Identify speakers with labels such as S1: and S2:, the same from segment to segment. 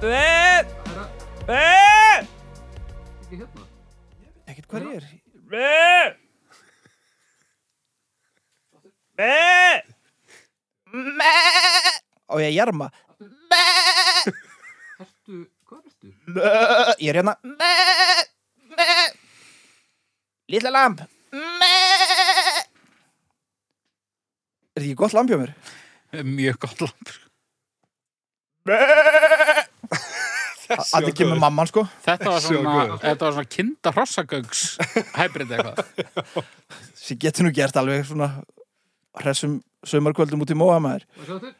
S1: Sveinn!
S2: Það er að-
S1: Sveinn!
S2: ekki hérna.
S1: Ekkert hvað ég er. Sveinn! Sveinn! Mæ! Á ég að jarma. Mæ!
S2: Ertu, hvað ertu?
S1: Ég er hérna. Mæ! Mæ! Lilla lamp. Mæ! Er þetta ekki gott lamp hjá mér?
S3: Mjög gott lampur.
S1: Mæ!
S4: Þessi
S1: Að það kemur mamman sko.
S3: Þetta var
S4: Svo
S3: svona,
S4: góð.
S3: þetta var svona kinda hrossagöngs hybrid eitthvað.
S1: sem getur nú gert alveg svona hressum sömarkvöldum út í móa maður
S2: Hvað sjá þetta?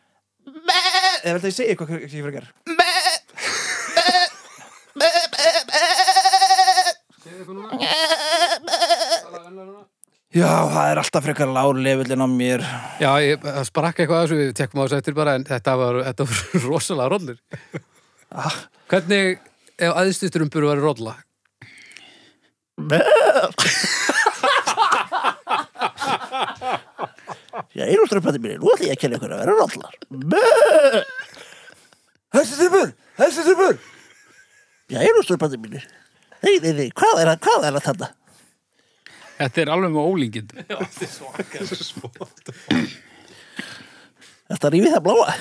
S1: eða vel það ég segi eitthvað hvað ég fyrir að gera
S2: Segðu eitthvað núna. Tala venlega núna.
S1: já, það er alltaf frekar lágur lefullin á mér
S3: Já, ég, það sprakk eitthvað að þessu, við tekkum á þessu eftir bara, en þetta var, þetta var rosalega rollir. Ah. Hvernig, ef aðstusturumbur var rolla?
S1: já, einu strömpandi mér, nú ætlum ég að kenna ykkur að vera rollar þessi strömpur, þessi strömpur já, einu strömpandi mér nei, nei, nei, hvað er að, hvað er að þetta
S3: Þetta er alveg með ólíkind.
S1: Þetta rífið það bláa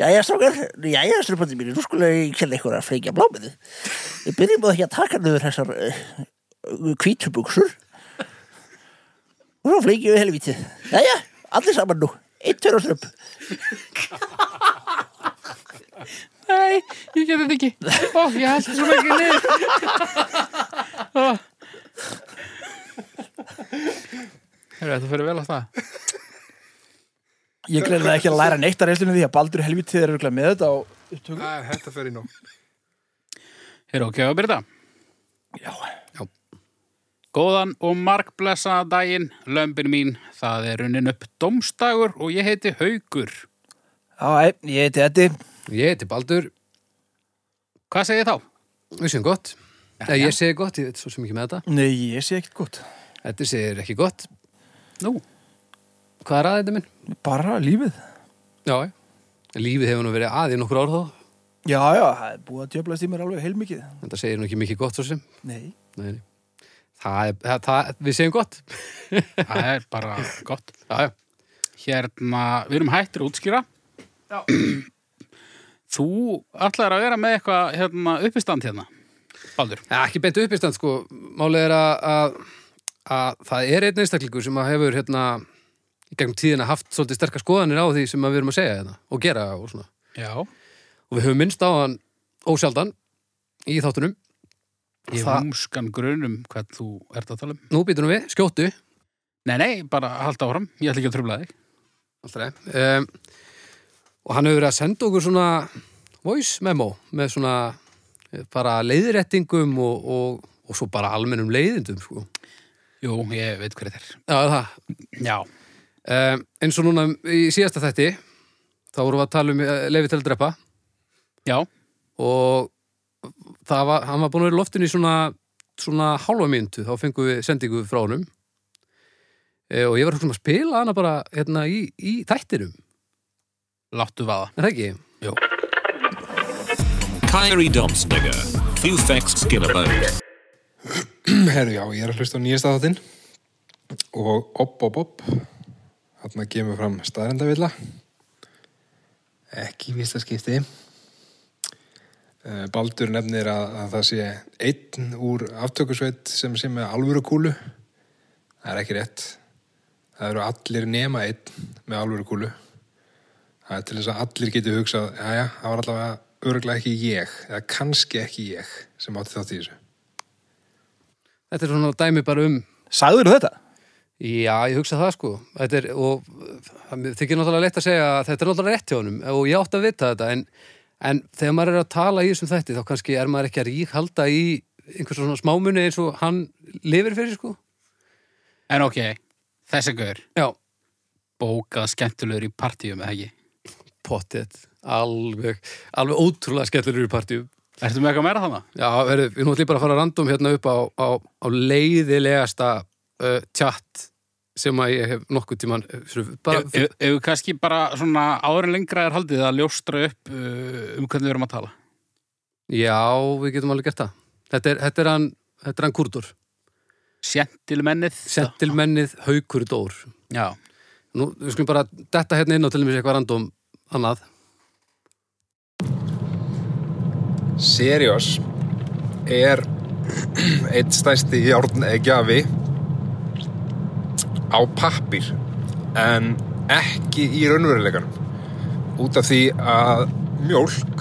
S1: Jæja, strákar Jæja, strömpandi mínu, nú skulle ég kenna ykkur að fleikja blámiðu Við byrjum á því að taka niður þessar uh, kvítubuxur og svo fleikjum við helvítið Jæja, allir saman nú Eitt tör og strömp
S3: Nei, ég get þetta ekki. Ó, ég held svo mikið niður. Ó. Heyrðu, þetta fyrir vel á það.
S1: Ég gleyði ekki að læra neitt að reynslunni því að Baldur helvítið er auðvitað með þetta og...
S4: Nei, þetta fer í nóg.
S3: Heyrðu, ok, að byrja það.
S1: Já,
S3: Góðan og markblessa daginn, lömbin mín. Það er runnin upp domstagur og ég heiti Haugur.
S1: Æ, ég heiti Eddi
S5: Ég heiti Baldur,
S3: Hvað segir þá?
S5: við séum gott. Nei, ég segi gott, ég veit svo sem ekki með þetta.
S1: Nei, ég sé ekkert gott
S5: Þetta segir ekki gott.
S3: Nú,
S5: Hvað er að þetta minn?
S1: Bara lífið
S5: Já, já. Lífið hefur nú verið aðið nokkur ár þó.
S1: Já, já, það er búið að djöflast í mér alveg heilmikið
S5: Þetta segir nú ekki mikið gott svo sem.
S1: Nei
S5: Nei, nei. Það er, það, það, við segjum gott.
S3: það er bara gott.
S5: Já, já.
S3: Hérna, við erum hættir að útskýra. Þú ætlar að vera með eitthvað hérna, uppistand hérna, Baldur.
S5: Ja, ekki beint uppistand, sko. Málið er að, að, að það er einn einstaklingur sem að hefur, hérna, í gegnum tíðina haft svolítið sterkar skoðanir á því sem að við erum að segja hérna og gera og svona.
S3: Já.
S5: Og við höfum minnst á hann ósjaldan í þáttunum.
S3: Ég
S5: Það-
S3: múskan grunum hvern þú ert að tala um.
S5: Nú býtum við, skjóttu.
S3: Nei, nei, bara halda áfram. Ég ætla ekki að tröfla þig.
S5: Alltaf um, Og hann hefur verið að senda okkur svona voice memo með svona eh, bara leiðréttingum og, og, og svo bara almennum leiðindum sko.
S3: Jú, ég veit hver þetta er.
S5: Já, það
S3: Já.
S5: um, Eins og núna í síðasta þætti þá vorum við að tala um leiði til að drepa
S3: Já.
S5: og það var, hann var búin að vera í loftinu í svona, svona hálfa myndu þá fengum við sendingu frá honum e, og ég var að hugsa um að spila hana bara hérna í, í þættinum
S3: Láttu vaða.
S5: er það ekki?
S3: Jú.
S6: Kyrie Domsnigger. Fufex Skillabode.
S4: Herru, já, ég er að hlusta á nýjasta þáttinn og opp, opp, opp þarna kemur fram staðrendavilla ekki í fyrsta skipti Eh, Baldur nefnir að, að það sé einn úr aftökusveit sem sé með alvöru kúlu það er ekki rétt það eru allir nema einn með alvöru kúlu það er til þess að allir geti hugsað já, já, það var allavega örglega ekki ég eða kannski ekki ég sem átti þátt í þessu
S5: Þetta er svona dæmi bara um
S1: Sagður þetta?
S5: Já, ég hugsa það sko Þetta er, og uh, mér þykir náttúrulega leitt að segja að þetta er náttúrulega rétt hjá honum og ég átti að vita þetta en, en þegar maður er að tala í þessum þætti þá kannski er maður ekki að rík halda í einhvers svona smámunni eins og hann lifir fyrir sko
S3: En ok, þessi gaur.
S5: Já,
S3: Bókað skemmtilegur í partíum, eða ekki?
S5: pottet, alveg alveg ótrúlega skellur í partíum
S3: Ertu með eitthvað meira þannig?
S5: Já, verið, við nú ætlum bara að fara random hérna upp á, á, á leiðilegasta uh, tjatt sem að ég hef nokkuð tíman bara,
S3: Ef ef- ef við kannski bara svona áður en lengra er haldið að ljóstra upp uh, um hvernig við erum að tala.
S5: Já, við getum alveg gert það Þetta er, þetta er, hann, þetta er hann kurdur
S3: Sjentilmennið.
S5: Sentilmennið haukur dór
S3: Já.
S5: Nú, við skulum bara detta hérna inn á til mér eitthvað random annað
S4: Seriós er eitt stæsti járnegjafi á pappir en ekki í raunveruleikanum út af því að mjólk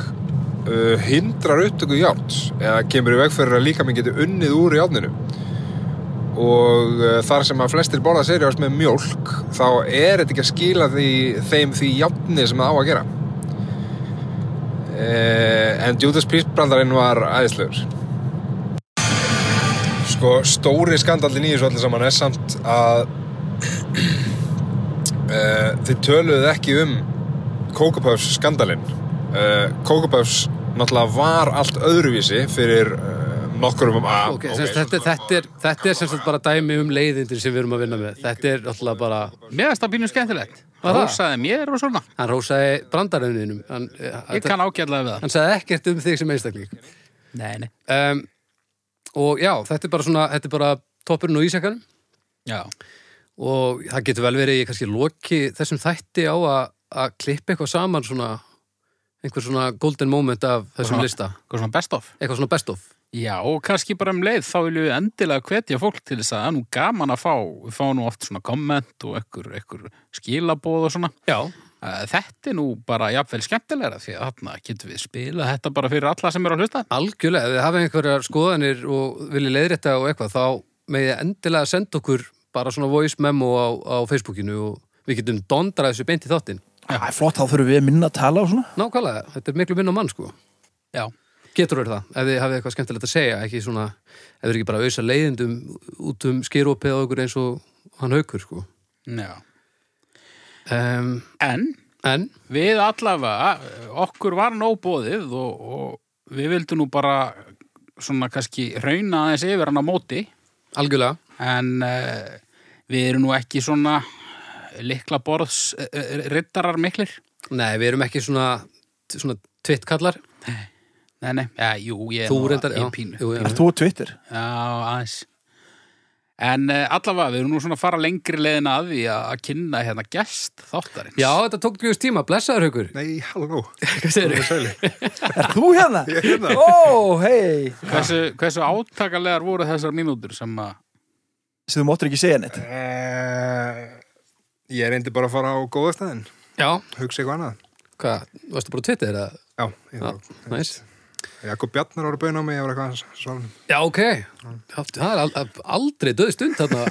S4: uh, hindrar upptöku járns eða kemur í veg fyrir að líka minn geti unnið úr járninu og uh, þar sem að flestir borða seriós með mjólk þá er þetta ekki að skila því, þeim því járni sem það á að gera Eh, en Judas Priest brandarinn var æðislegur sko stóri skandallin í þessu allir saman er samt að uh, þið töluðu ekki um Coco Puffs skandalinn uh, Coco Puffs náttúrulega var allt öðruvísi fyrir uh, nokkurum um að
S5: okay, okay, þetta, þetta er, þetta er sem sagt bara dæmi um leiðindir sem við erum að vinna með Þetta er alltaf bara
S3: Mér finnst það pínu skemmtilegt.
S5: það?
S3: Rósaði mér og svona.
S5: Hann rósaði brandaröfninum hann, eh,
S3: Ég
S5: þetta-
S3: kann ágætlega við það.
S5: hann sagði ekkert um þig sem einstakling
S3: Nei, nei.
S5: um, Og já, þetta er bara svona Þetta er bara toppurinn og ísjakanum
S3: Já.
S5: og það getur vel verið ég kannski loki þessum þætti á að, að klippa eitthvað saman svona einhver svona golden moment af þessum lista
S3: Hvað svona best of?
S5: eitthvað svona best of
S3: Já, og kannski bara um leið þá viljum við endilega hvetja fólk til þess að það er nú gaman að fá, við fáum nú oft svona komment og ekkur, ekkur skilaboð og svona.
S5: Já,
S3: Eh, Þetta er nú bara jafnvel skemmtilegra því að þarna getum við spilað þetta bara fyrir alla sem eru að hlusta.
S5: algjörlega, ef þið hafið einhverjar skoðanir og viljið leiðrétta og eitthvað þá megið þið endilega senda okkur bara svona voice memo á, á Facebookinu og við getum dondrað þessu beint í þáttinn
S1: Það er flott, þá þurfum við að minna að tala og svona
S5: Nákvæmlega, þetta er miklu minna mann sko
S3: Já.
S5: Getur verið það, ef þið hafið eitthvað skemmtilegt að segja ekki svona, ef þið er ekki bara að auðsa leiðindum út um skýrópið á okkur eins og hann haukur sko
S3: Já.
S5: um,
S3: En
S5: En
S3: við allavega, eh, okkur var nóg bóðið og, og við vildum nú bara svona kannski rauna aðeins yfir hann á móti.
S5: Algjörlega.
S3: en uh, við erum nú ekki svona likla borðs uh, rittarar miklir
S5: Nei, við erum ekki svona, svona tvittkallar.
S3: nei, nei, ja, jú, ég er
S5: Þú
S3: nú-
S5: reyndar,
S3: ég er pínu
S5: Jú,
S1: Ert
S5: já.
S1: Þú og Twitter
S3: já, aðeins en uh, allavega, við erum nú svona að fara lengri leiðin að því að að kynna hérna gest þáttarins
S5: já, þetta tók ljúst tíma, blessaður haukur.
S4: nei, halló
S5: Hvað segir þau?
S1: Er þú hérna? Ó, hei
S3: hversu, hversu áttakalegar voru þessar mínútur sem að
S1: Sem þú máttur ekki segja neitt
S4: Eh, ég reyndi bara að fara á góða staðinn
S5: Já.
S4: hugsa eitthvað annað
S5: Hvað, varstu bara á Twitter eða?
S4: já,
S5: Já,
S4: ég tók-
S5: næs.
S4: Jakob Bjarnar voru bauðin á mig, ég var eitthvað svona.
S5: Já, ok. Já, Það er al- al- aldrei döð stund þarna.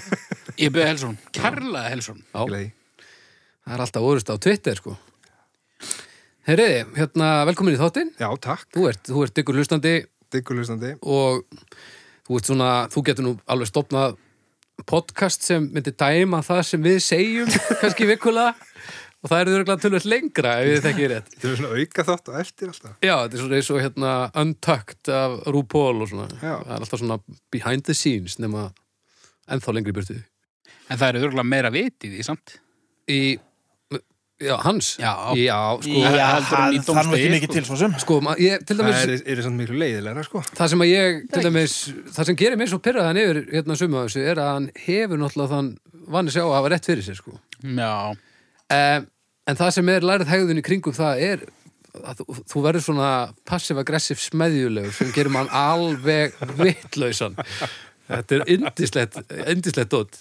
S3: ég beði Helsson, kærlega Helsson
S5: Já, það er alltaf orðist á Twitter, sko. Heyriði, hérna, velkomin í þáttinn.
S4: Já, takk,
S5: Þú ert, þú ert ykkur hlustandi
S4: diggulegstandi.
S5: og þú, ert svona, þú getur nú alveg stopnað podcast sem myndi dæma það sem við segjum kannski vikulega og það er þurrglega tölvöld lengra ef við þekkið rétt
S4: Þetta er svona auka þátt og eftir alltaf.
S5: Já, þetta er svona eins og hérna Untucked af RuPaul og svona
S4: Já.
S5: það er alltaf svona behind the scenes nema ennþá lengri í burtu
S3: en það eru örgulega meira vitið í því samt
S5: í, já, hans
S3: Já.
S5: sko,
S3: Já. heldur hann í
S1: það er nú ekki
S3: dómstigi,
S1: mikið
S3: sko.
S1: til svo sem
S5: sko ma- ég, til
S4: Það
S5: dæmis
S4: er, er samt miklu leiðilega, sko.
S5: það sem að ég, til dæmis, það sem gerir mér svo pyrraðan yfir hérna sumu af þessu er að hann hefur náttúrulega þann vann að sjá að hafa rétt fyrir sér sko.
S3: já,
S4: Eh,
S5: um, en það sem er lærið hegðun í kringum það er að þú, þú verður svona passive-aggressive smeðjulegur sem gerir mann alveg vittlausan þetta er indislegt indislegt dótt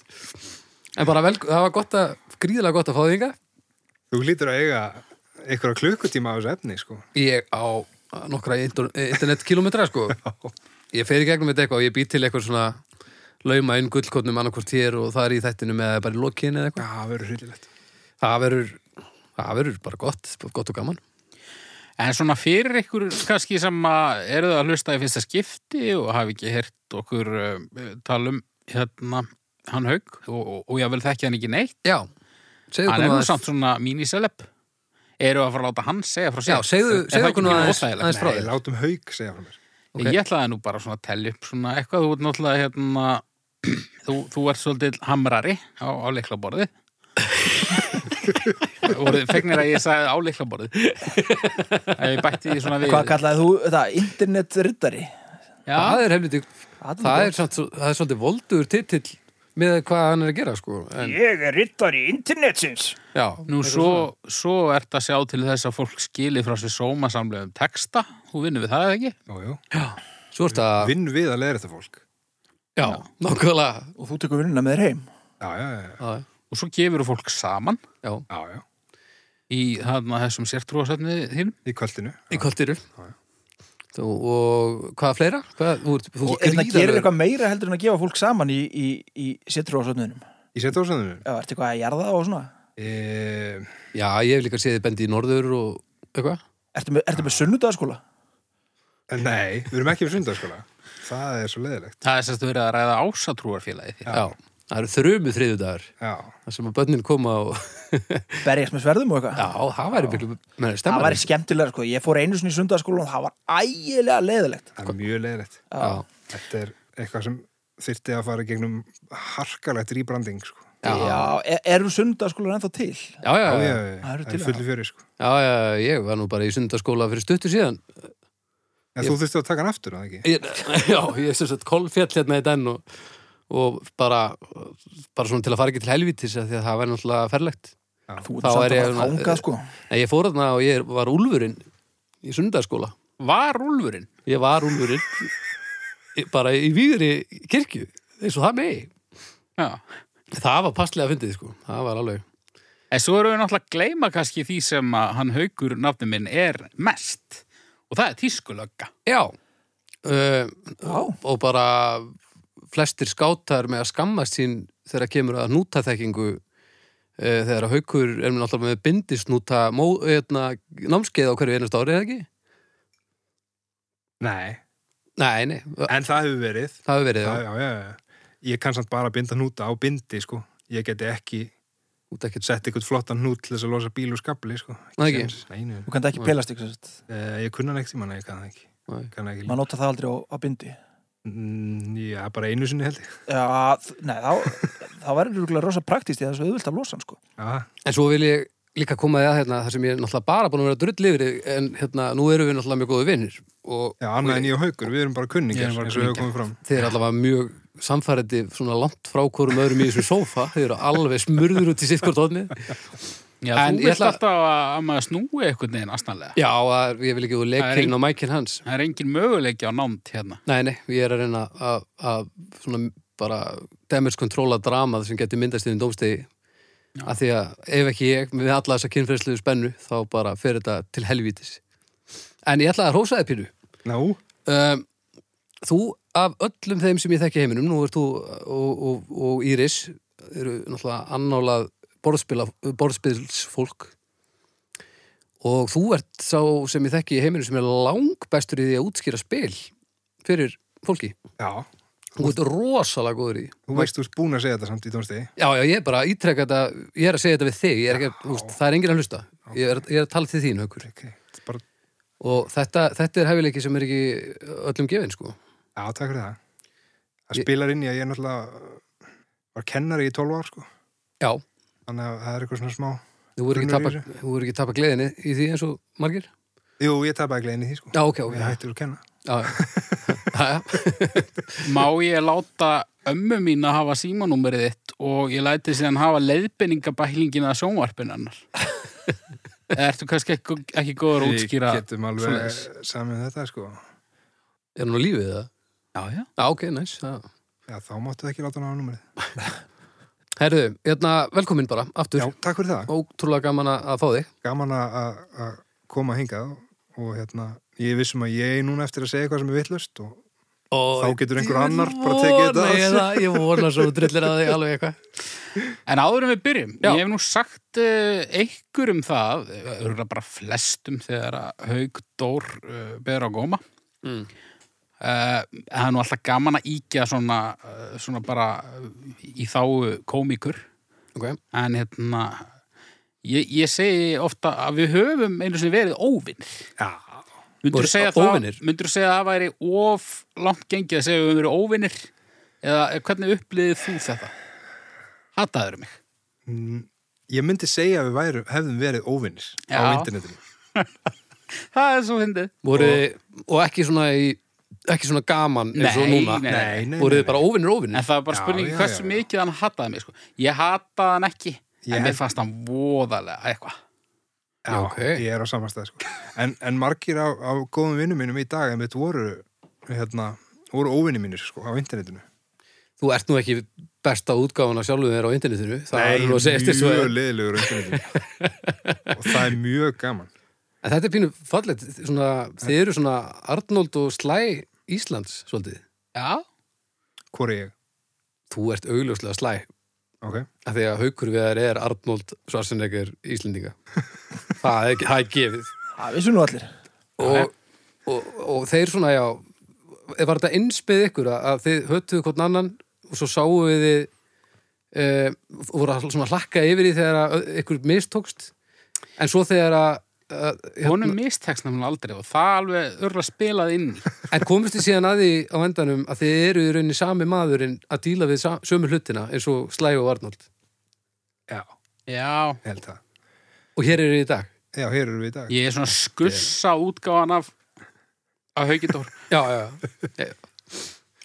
S5: en bara vel, það var gott að gríðlega gott að fá þig þinga
S4: Þú hlýtur að eiga einhverja klukkutíma á þessu efni, sko.
S5: ég á nokkra inter- eh, internetkilometra sko ég fer í gegnum þetta eitthvað og ég být til eitthvað svona lauma inn gullkotnum annarkvort hér og það er í þættinum eða bara í lokin eða
S4: Já,
S5: eitthvað
S4: það verður hryllilegt.
S5: það verður, það verður bara gott gott og gaman
S3: En svona fyrir ykkur kannski sem að eru það að hlusta í fyrsta skipti og hafi ekki hert okkur uh, talum hérna hann haug og, og, og ég vil þekki hann ekki neitt
S5: já, segðu okkur
S3: hann
S5: nú
S3: er nú
S5: aðeins-
S3: samt svona miniseleb eru að fara að láta hann segja frá sér
S5: Já, segðu,
S3: Er það
S5: segðu
S3: ekki
S5: okkur nú
S3: pínu
S5: aðeins,
S3: óþægilegt?
S5: aðeins frá
S4: Nei,
S5: þér.
S4: látum haug, segja frá mér.
S5: ok.
S3: Ég ætlaði nú bara svona að tellja upp svona eitthvað þú ert náttúrulega hérna þú, þú ert svolítið hamrari á, á leiklaborðið. Voruð fegnir að ég sagði á leiklaborðið. Ef ég bætti því svona við.
S1: Hvað kallaði þú þetta? Internetriddari?
S3: Já,
S5: það er helviti það er, samt, svo- það er svolítið voldur titill með hvað hann er að gera sko en,
S1: Ég er riddari internetsins.
S5: já,
S3: nú svo, svo ert að sjá til þess að fólk skili frá sér sómasamlegum texta. Þú vinnur við það eða ekki?
S4: Jú, jú.
S5: svo er það
S4: Vinn við að leiða þetta fólk.
S5: já, nákvæmlega
S1: Og þú tekur vinnuna með þér heim.
S4: Já, já, já.
S5: já,
S3: Og svo gefur fólk saman
S5: já,
S4: já, já.
S3: í þarna þessum sértrúasöfni þínum.
S4: Í kvöldinu.
S5: í kvöldiru þú, og hvað fleira? Hvað, þú, ert- þú,
S1: Og það gerir
S5: gríðarlegur-
S1: eitthvað meira heldur en að gefa fólk saman í, í, í sittrú á sötnunum.
S4: Í setjóðsöndinu.
S1: Já, ertu eitthvað að jarða og svona?
S4: E,
S5: já, ég hef líka séð þið bendi í norður og eitthvað
S1: Ertu með, ertu með sunnudagaskóla?
S4: nei, við erum ekki við sundarskóla. Það er svo leiðilegt.
S3: Það er sérst verið að ræða ásatrúarfélagið þitt.
S5: já, það eru þrjumu þriðudagar
S4: Já.
S5: þar sem að bönnin koma og
S1: Berjast með sverðum og eitthvað?
S5: já, það væri miklu menn,
S1: það
S5: stemmari.
S1: var skemmtilega sko, ég fór einu sinni í sundarskóla og það var ægilega leðilegt
S4: Það er mjög leiðilegt.
S5: já,
S4: Þetta er eitthvað sem þyrfti að fara í gegnum harkalegt rýbranding, sko.
S5: Já.
S1: Já, e- eru sundarskólar ennþá til?
S5: já, já,
S4: Já,
S5: já,
S4: já,
S5: já.
S4: já.
S1: Það eru
S4: Það
S1: til
S4: er fullu fjöri, sko.
S5: Já, já, ég var nú bara í sundaskóla fyrir stuttu síðan
S4: En þú þurfti að taka hann aftur, eða ekki?
S5: ég, Já, ég sem sagt kolfjall hérna í den og, og bara, bara svona til að fara ekki til helvítis af því að það væri náttúrulega ferlegt
S1: Þú ert
S5: Þá
S1: samt
S5: er
S1: að
S5: ég
S1: fara
S5: svona-
S1: þangað sko
S5: En ég fór þarna og ég var úlfurinn í sundaskóla
S3: Var úlfurinn?
S5: Ég var úlfurinn í- bara í výri kirkju eins og það megi
S3: Já.
S5: Það var passlega að fyndið, sko Það var alveg
S3: En svo erum við náttúrulega að gleyma kannski því sem að hann haukur nafnum minn er mest og það er tískulögga.
S5: Já, uh,
S1: Já,
S5: og bara flestir skátar með að skammast sín þegar kemur að nútaþekkingu uh, þegar að haukur er mér náttúrulega með bindisnúta mó, eitna, námskeið á hverju einast ári eða ekki?
S4: Nei.
S5: Nei, nei, það
S4: En það hefur verið.
S5: hefur verið
S4: Já,
S5: það,
S4: já, já, já. Ég kann samt bara að binda hnúta á bindi, sko. Ég geti ekki
S5: út ekkert
S4: sett eitthvað flottan hnút til þess að losa bíl úr skabli, sko.
S5: Nei, ekki.
S4: séns. Nei, nei.
S1: þú kannt ekki pelast ykkur sett
S4: Eh, Ég kunna hann ekkert tíma, nei, ég kann það ekki.
S5: Nei.
S4: Kann það ekki
S1: Maður nota það aldrei á, á bindi
S4: Mm, Já, bara einu sinni held ég.
S1: Já, þ- nei, þá, þá verður rúglega rosa praktíst í þessu auðvilt að losa hann sko
S4: Já,
S5: En svo vil ég líka koma því að hérna, það sem ég er náttúrulega bara búin að vera drull yfir en hérna, nú erum við náttúrulega mjög góði vinnir og
S4: já annað en ég og haukur, við erum bara kunningar,
S3: Ég er bara
S4: eins og við höfum
S3: kunningjar.
S4: komið fram.
S5: þeir eru allavega mjög samfærandi svona langt frá hverjum öðrum í þessum sófa þeir eru alveg smurður út í sitt hvort hodni
S3: Já,
S5: En
S3: þú
S5: ég
S3: veist
S5: ætla-
S3: alltaf að, að maður snúi einhvern veginn astanlega.
S5: Já, að- ég vil ekki þú
S3: Það er
S5: leikinn
S3: ein-
S5: og mækinn hans
S3: Það er engin möguleiki á námt hérna.
S5: Nei, nei, ég er að reyna að- að svona bara damage controla dramað sem getur myndast í þinn dómstegi af því að ef ekki ég með alla þessa kynferðsluðu spennu þá bara fer þetta til helvítis En ég ætla að hrósa þér pínu
S4: Ná,
S5: um, Þú af öllum þeim sem ég þekki í heiminum nú ert þú og, og, og Íris eru náttúrulega annálað borðspila, borðspilsfólk og þú ert sá sem ég þekki í heiminum sem er langbestur í því að útskýra spil fyrir fólki
S4: já,
S5: Þú ert rosalega góður í því.
S4: þú veist, þú ert búin að segja þetta samt í tónstegi.
S5: Já, já, ég er bara að ítrekka þetta, ég er að segja þetta við þig, ég er ekki, að- þú veist, það er enginn að hlusta. Ég er, ég er að tala til þín, haukur.
S4: Ok, bara,
S5: Og þetta, þetta er hefileiki sem er ekki öllum gefinn, sko.
S4: já, takk fyrir það. Það
S5: Ég-
S4: spilar inn í að ég náttúrulega var kennari í 12 ár, sko.
S5: Já,
S4: Þannig að það er eitthvað svona smá.
S5: þú voru ekki
S4: Grunar
S5: tapa,
S4: í
S5: þú voru ekki tapa gleðinni í því eins og margir?
S4: Jú, ég tapaði gleðin í því, sko.
S5: Já, ok, ok.
S4: Ég hættur að kenna.
S5: Já, já.
S3: Má ég láta ömmu mín að hafa símanúmerið þitt og ég læti síðan hafa leiðbendingabælingin að sjónvarpinu hennar. Ertu kannski ekki, ekki góður að útskýra?
S4: Við getum alveg
S3: svoleiðis.
S4: samið um þetta, sko.
S5: Er hún á lífið það?
S3: Já, já.
S5: Já, ok, næs. Nice,
S4: Já, þá máttu það ekki láta hann á númerið.
S5: Herðu, hérna, velkomin bara, aftur.
S4: Já, takk fyrir það.
S5: Ótrúlega gaman að að fá þig.
S4: Gaman að- að að koma hingað og hérna, ég er vissum að ég er núna eftir að segja eitthvað sem er vittlust og
S5: Og
S4: Þá getur einhver
S5: ég
S4: annar bara tekið þetta
S5: vona
S4: að
S5: ég
S4: sér.
S5: það, Ég vona svo þú drullir að þig alveg eitthvað.
S3: En áður en við byrjum,
S5: Já.
S3: ég hef nú sagt uh, einhver um það, örgulega bara flestum þegar að Haug Dór uh, beður á góma.
S5: Mm.
S3: Uh, það er nú alltaf gaman að íkja svona, uh, svona bara uh, í þáu komíkur.
S5: Ok.
S3: En hérna, ég, ég segi ofta að við höfum einu sem verið óvinn.
S4: Já,
S3: Myndur
S5: Voru-
S3: þú segja það?
S5: óvinir?
S3: Myndur þú segja að það væri of langt gengið að segja að við höfum verið óvinnir? Eða eh, hvernig upplýðið þú þetta? Hataður mig.
S4: Ég myndi segja að við væru, hefðum verið óvinnir á
S3: Já.
S4: internetinu.
S3: Það er svo hindi.
S5: Voru, og, ekki svona í ekki svona gaman eins og
S3: Nei,
S5: núna
S3: nei,
S4: nei. nei,
S5: voruð
S4: nei,
S5: þið bara óvinnir
S3: En
S5: óvinnir
S3: það er bara
S4: Já,
S3: spurningi
S4: já,
S3: hversu
S4: já.
S3: mikið hann hataði mig, sko. Ég hataði hann ekki,
S4: Ég
S3: en mér
S4: held-
S3: fannst hann voðalega eitthvað.
S4: Já,
S5: ok.
S4: ég er á samastæð sko. en, en margir á, á góðum vinnum mínum í dag en mitt voru, hérna, voru óvinnir mínir sko, á internetinu.
S5: þú ert nú ekki besta útgáfan af sjálfum þér á internetinu það er nú að segja eftir svo
S4: mjög
S5: en
S4: leðilegur á internetinu. og það er mjög gaman.
S5: þetta er pínu fallegt svona, þið eru svona Arnold og Slæ Íslands svolítið
S3: Já,
S4: Hvor er ég?
S5: þú ert augljóslega Slæ
S4: Ok.
S5: af því að haukur við þær er Arnold Svarsenegger Íslendinga það er, það er gefið
S1: Það vissu nú allir.
S5: og, og, og þeir svona já var þetta innspið ykkur að, að þið höttuðu hvort annan og svo sáu við þið e, voru að svona hlakka yfir því þegar að ykkur mistókst en svo þegar að, að
S3: honum mistekst nefnilega aldrei og það alveg örla spilað inn. í.
S5: en komist þið síðan að því á endanum að þið eru í rauninni sami maðurinn að díla við sa- sömu hlutina eins og Slæg og Arnold
S4: Já,
S3: Já,
S4: ég held það.
S5: og hér eru þið í dag
S4: Já, hér eru við í dag.
S3: ég er svona skussa útgáfan af, af Haukindór.
S5: já, já, já.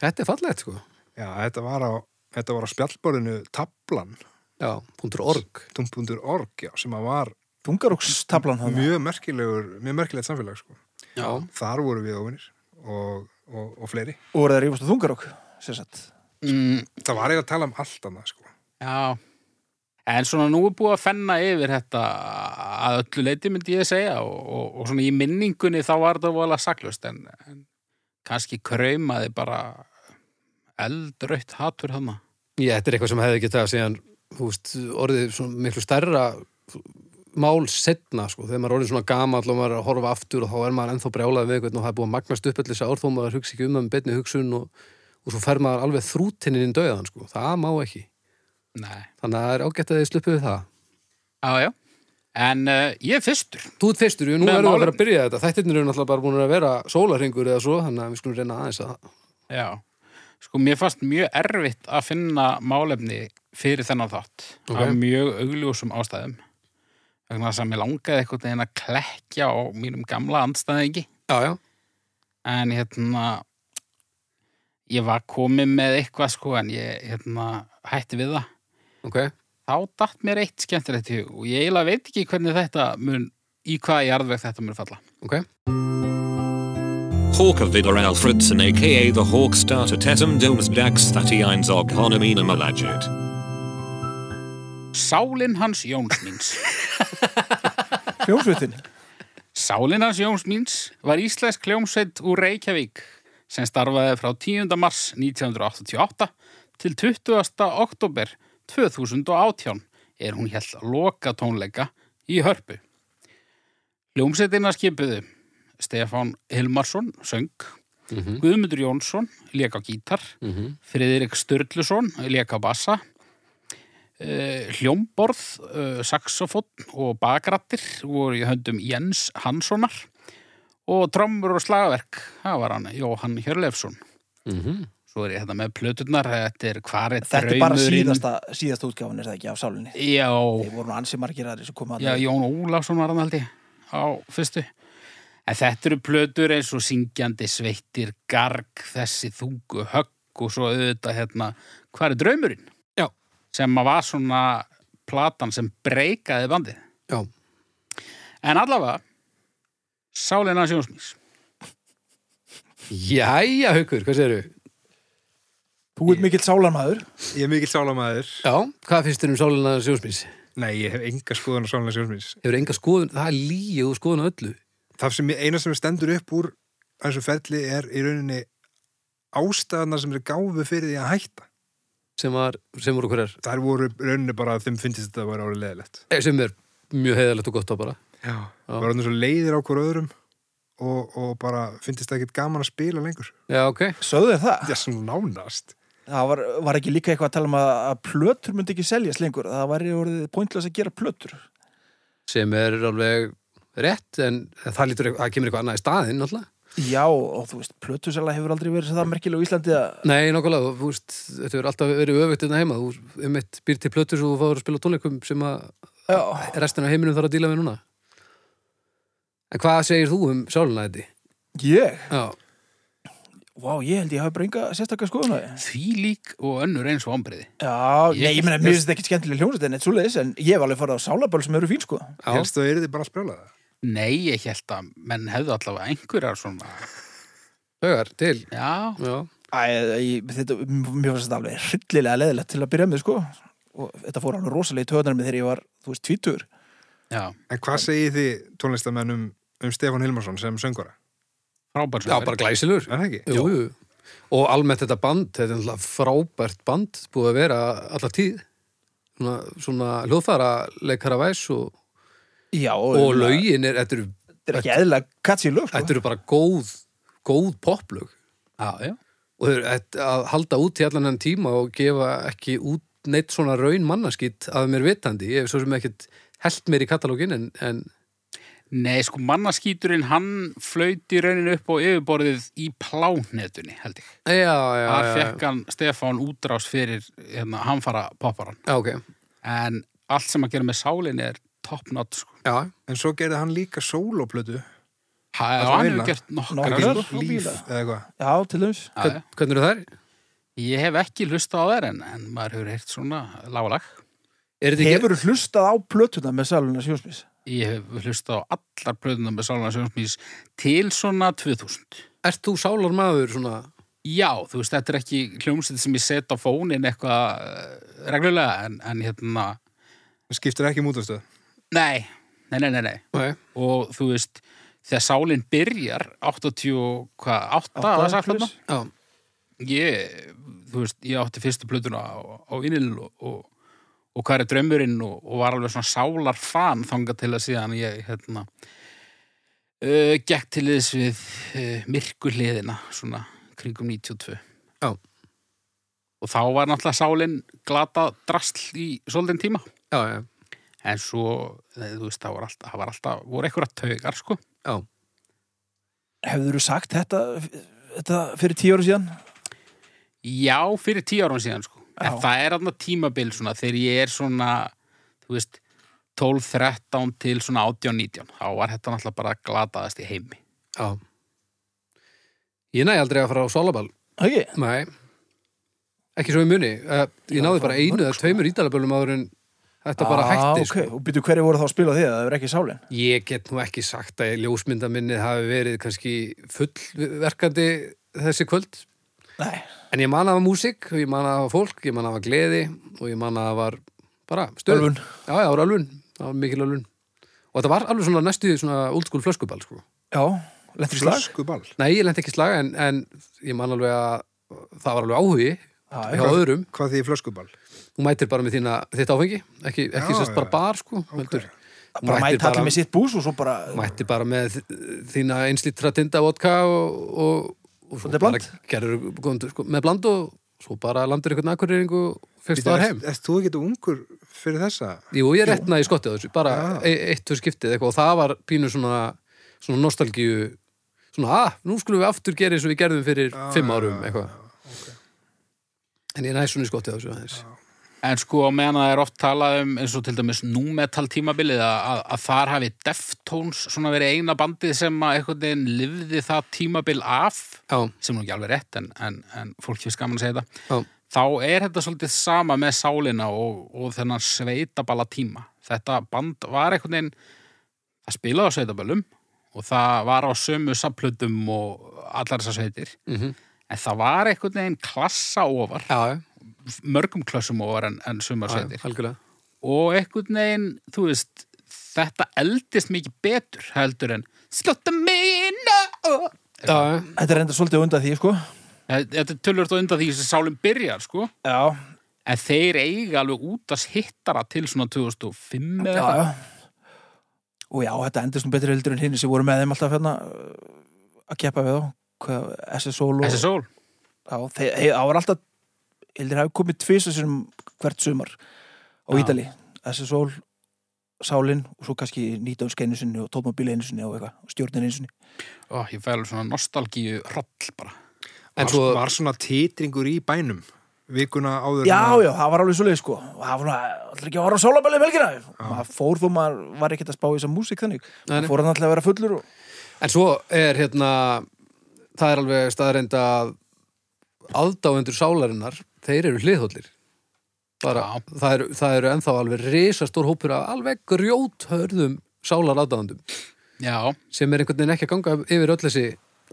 S5: þetta er fallegt sko
S4: Já, þetta var á, þetta var á spjallborðinu Tablan,
S5: já, punktur org
S4: tum.org, já, sem að var
S1: Tungarúkstablan það.
S4: mjög merkilegur, mjög merkilegt samfélag sko.
S5: já,
S4: Þar voru við óvinnir og, og, og fleiri.
S1: Og voru það rífast á Tungarúk, sér sett.
S3: Mm,
S4: Það var eiginlega að tala um allt annað sko.
S3: já, en svona nú er búið að fenna yfir þetta að öllu leiti myndi ég segja og, og, og svona í minningunni þá var þetta voðalega saklust en, en kannski kraumaði bara eldraut hatur hana.
S5: Já, þetta er eitthvað sem hefði getað síðan, þú veist, orðið svona miklu stærra mál setna, sko, þegar maður er orðið svona gamall og maður er að horfa aftur og þá er maður ennþá brjálað við eitthvað og það er búið að magnast upp allir þess að orð þó maður hugsi ekki um það með beinni hugsun og, og svo fer maður alveg þrútininn inn döðan, sko, það má ekki.
S3: Nei.
S5: Þannig að það er ágætt að þið sluppu við það.
S3: Já, já. En uh, ég er fyrstur.
S5: Þú ert fyrstur, jú, nú
S3: Með
S5: erum við að
S3: málefni.
S5: vera að byrja þetta. Þættirnir eru náttúrulega bara búin að vera sólarhingur eða svo, þannig að við skulum reyna aðeins að...
S3: Já. Sko, mér fannst mjög erfitt að finna málefni fyrir þennan þátt.
S5: Ok.
S3: Af mjög augljósum ástæðum. Vegna þess að mér langaði eitthvað en að klekja á mínum gamla andstæðingi.
S5: Já, já,
S3: En hérna, ég var komið með eitthvað sko, en ég hérna, hætti við það.
S5: ok.
S3: Þá datt mér eitt skemmtilegt í hug og ég eiginlega veit ekki hvernig þetta mun, í hvaða jarðveg þetta mun falla.
S5: ok.
S6: Hawk of Vidar Alfredson aka the Hawk starter Tetum Domes Dax Thatiines Og Honomina Malajit.
S3: Sálin hans Jónsnins.
S1: Hljómsveitin.
S3: Sálinans Jóns Míns var íslensk kljómsveit úr Reykjavík sem starfaði frá 10. mars 1988 til 20. oktober 2018 er hún held loka tónleika í Hörpu. Hljómsveitina skipuðu Stefán Hilmarsson, söng,
S5: Mhm,
S3: Guðmundur Jónsson, lék á gítar, Friðrik Sturluson, lék á bassa, Eh, hljómborð, eh, saxofón og bakrattir voru í höndum Jens Hanssonar og trommur og slagverk, það var hann Jóhann Hjörleifsson.
S5: mhm.
S3: Svo er ég þetta með plöturnar, þetta er hvar er
S1: Þetta er bara
S3: draumurinn?
S1: síðasta, síðasta útgáfan er það ekki af sálinni.
S3: Já,
S1: Þeir voru nú ansi margir aðri sem koma að
S3: já, Jón Ólafsson var hann aldrei á fyrstu. En þetta eru plötur eins og syngjandi sveittir, garg, þessi þungu högg og svo auðvitað hérna, hvar er draumurinn?
S5: Já.
S3: Sem að var svona platan sem breykaði bandið.
S5: Já.
S3: En allavega, sálina sjónsmís.
S5: Jæja, haukur, hvað segirðu?
S1: Þú ert mikill sálarmaður.
S4: Ég er mikill sálamæður.
S5: Já, hvað finnst þér um sálina sjósmins?
S4: Nei, ég hef enga skoðan á sálamæður sjálfsmins.
S5: hefur enga skoðun, það er lígi og skoðun á öllu
S4: það sem ég, eina sem stendur upp úr þessu ferli er í rauninni ástæðanar sem eru gáfu fyrir því að hætta.
S5: sem, var, sem voru hverjar,
S4: Þær voru í rauninni bara að þeim finnst þetta að vera árið leðilegt.
S5: eh, sem er mjög heiðalegt og gott á bara
S4: Já. Það voru svo leiðir á hver öðrum og, og bara finnst þetta ekkert gaman að spila lengur.
S5: Já, ok,
S1: Sögðu þér það?
S4: Já, svona nánast.
S1: Það var, var ekki líka eitthvað að tala um að, að plötur myndi ekki seljast lengur. Það væri orðið pointless að gera plötur.
S5: sem er alveg rétt en það, lítur, það kemur eitthvað annað í staðinn náttúrulega
S1: Já, og þú veist, plötusala hefur aldrei verið það merkilega á Íslandi að
S5: Nei, nokkulega, þú veist, þetta hefur alltaf verið öfugt innan heima, þú um eitt býr til plötur og þú fáður að spila á tónleikum sem að
S1: Já,
S5: restin af heiminum þarf að díla við núna En hvað segir þú um sáluna þetta?
S1: ég
S5: Já,
S1: Vá, ég held ég hafi bara enga sérstakka skoðun á því
S3: Því lík og önnur eins og ombriði.
S1: Já,
S3: Ég-
S1: nei, ég meina, mér finnst þetta ekkert skemmtileg hljómsveit en eitt svoleiðis, en ég hef alveg farið á sálaböl sem eru fín, sko
S5: já,
S4: Helst þú eru þið bara að sprjála það?
S3: Nei, ég held að menn hefðu allavega einhverjar svona.
S5: högar, til
S3: Já,
S5: Já,
S1: Æ, ég, þetta, mér finnst þetta alveg hryllilega leðilegt til að byrja með, sko og þetta fór alveg rosalega í töðunar með þegar ég var, þú veist, tvítur
S3: já,
S4: En hvað segir þið tónlistamenn um, um Stefán Hilmarsson sem söngara?
S3: frábær
S5: já bara glæsilur
S4: Er það ekki?
S5: Jú, jú Og almennt þetta band, þetta er náttúrulega frábært band búið að vera alla tíð svona, svona hljóðfæra leikara væs og,
S1: Já,
S5: og lögin er, þetta eru,
S1: Þetta er ekki eðlilega katsi lög,
S5: þetta
S1: sko
S5: eru bara góð góð poplög
S3: Já, já.
S5: og þeir eru að halda út í allan hann tíma og gefa ekki út neitt svona raun mannaskýtt að mér vitandi ég hef svo sem ekkert held mér í katalógin en, en
S3: Nei, sko, mannaskíturinn, hann flöyti rauninu upp á yfirborðið í plánetunni, held ég.
S5: já, já,
S3: Þar
S5: já, já,
S3: fekk hann Stefán útrás fyrir hérna, hamfara popparan.
S5: já, ok
S3: En allt sem að gera með sálinni er top-notch, sko.
S5: já,
S4: En svo gerði hann líka sóloplötu
S3: Ha,
S4: Það
S3: og hann
S4: er
S3: hefur
S4: vinna.
S3: gert nokkar.
S1: Nokkrar og
S4: Líf eða
S1: bílar.
S4: eitthvað
S1: Já, til dæmis
S3: Já, já.
S5: hvern, hvernig eru þær?
S3: Ég hef ekki hlusta á þær en, en maður hefur heyrt svona lágalag.
S5: Er þetta ekki,
S1: Hefur hlustað á plötuna með sáluna sjósmís?
S3: Ég hef hlusta á allar plöðunar með Sálunar Sjónsmís til svona 2000.
S5: ert þú sálar maður svona
S3: Já, þú veist, þetta er ekki hljómsveit sem ég set á fónin eitthvað eh, reglulega en, en hérna,
S4: Skiptir ekki um mútastöð
S3: nei, nei, nei, nei, nei.
S5: Nei.
S3: Og þú veist, þegar sálinn byrjar, 88, það er sagt hérna,
S5: já,
S3: ég, þú veist, ég átti fyrstu plötuna á, á Ínil og, og, og hvað er draumurinn og, og var alveg svona sálar fan þangað til að síðan ég, hérna, uh, gekk til þess við uh, myrkuhliðina, svona, kringum 92.
S5: Já.
S3: Og þá var náttúrulega sálinn glata drasl í svolítinn tíma.
S5: já, já,
S3: En svo, eh, þú veist, það var alltaf, það var alltaf voru einhverja taugar, sko.
S1: Hefur þú sagt þetta, þetta fyrir tíu ára síðan?
S3: Já, fyrir tíu árum síðan sko. En
S1: Já.
S3: það er aðna tímabil svona þegar ég er svona, þú veist 12, 13 til svona 18, 19 þá var þetta náttúrulega bara glataðast í heimi
S5: já. ég næ aldrei að fara á sálaball
S1: Ekki?
S5: Nei, ekki svo í muni uh, Ég
S1: Já,
S5: náði
S1: það
S5: bara
S1: var
S5: einu
S1: mörg, Ah,
S5: eða tveimur ídalabölum áður en þetta bara hætti
S1: ok, sko. og byrju hverju voru þá að spila því að það er ekki sálin
S5: sko. Ég get nú ekki sagt að ljósmyndaminnið hafi verið kannski fullverkandi þessi kvöld
S1: Nei,
S5: En ég man að hafa músík, ég man að hafa fólk, ég man að hafa gleði og ég man að hafa bara stöð
S1: Ölvun.
S5: Já, já, það var ölvun, það var mikil ölvun Og þetta var alveg svona næstu því svona old school flöskuball sko.
S1: já, lentur í slag
S4: Flöskuball
S5: Nei, ég lenti ekki í slag en, en ég man alveg að það var alveg áhugi
S1: Já,
S5: hjá öðrum
S4: Hvað því flöskuball?
S5: þú mætir bara með þína, þitt áfengi ekki, ekki
S4: Já,
S5: sérst bara
S4: já.
S5: bar sko okay.
S1: bara mætt allir með sitt bús og svo bara
S5: mætir bara með þína einslítra tinda vodka og, og, og svo
S1: Svolítið
S5: bara
S1: bland.
S5: gerur sko, með bland og svo bara landur einhvern akkurreiringu og fyrst
S4: Býtu,
S5: það
S4: ert-
S5: heim
S4: Ert þú ekki ungur fyrir þessa?
S5: Jú, ég retnaði í skottið á þessu, bara
S1: Ah.
S5: e eitt fyrir skiptið eitthvað og það var pínu svona svona nostalgíu svona að, nú skulum við aftur gera eins og við gerðum fyrir
S1: Ah,
S5: fimm árum eitthvað En ég næði svona í skottið á þessu aðeins
S3: En sko, á meðan að það er oft talað um eins og til dæmis númetal tímabilið að, að, að þar hafi Deftones svona verið eina bandið sem að einhvern veginn lifði það tímabil af
S5: Já,
S3: sem er nú ekki alveg rétt en, en, en fólk finnst gaman að segja þetta
S5: já,
S3: þá er þetta svolítið sama með sálina og, og þennan sveitaballa tíma. Þetta band var einhvern veginn það spilaði á sveitaböllum og það var á sömu samplutum og allar þessar sveitir.
S5: Mhm.
S3: En það var einhvern veginn klassa ofar,
S5: já, já,
S3: mörgum klassum ofar en, en sumar
S5: já,
S3: sveitir.
S5: algjörlega
S3: Og einhvern veginn, þú veist, þetta eldist mikið betur heldur en slóta minna og...
S5: Já, já,
S1: Þetta er enda svolítið undan því, sko
S3: Þetta er tölvöld og undan því sem sálinn byrjar, sko.
S1: Já,
S3: En þeir eiga alveg út að hittara til svona 2005
S1: já, já Og já, þetta endist nú betri heldur en hinn sem voru með þeim alltaf hérna uh, að keppa við þá Hvað, SSOL og
S3: Þessi sól.
S1: Já, þeir, hei, það var alltaf heldur hafi komið tvisa sinum hvert sumar á
S3: Já.
S1: Ítali SSOL sálinn og svo kannski nýtaunsk einu sinni og tómabíl einu sinni og eitthvað, stjórnin einu sinni
S3: Ó, ég fælu svona nostalgíu hroll bara.
S5: En
S4: var,
S5: svo-
S4: var svona titringur í bænum vikuna áður en
S1: Já,
S4: að-
S1: já, það var alveg svoleið sko og það var svona, alltaf ekki að vara á sólabæli velgina og það fór þó maður var ekkert að spá í þessa músík þannig,
S5: Nei, nei.
S1: það fór hann alltaf að vera fullur og...
S5: En svo er hérna það er alveg staðreind að aðdáendur sálarinnar þeir eru hliðhóllir bara, það, eru, það eru ennþá alveg risastór hópur af alveg grjóthörðum sálar aðdáendum
S3: Já,
S5: sem er einhvern veginn ekki að ganga yfir öll þessi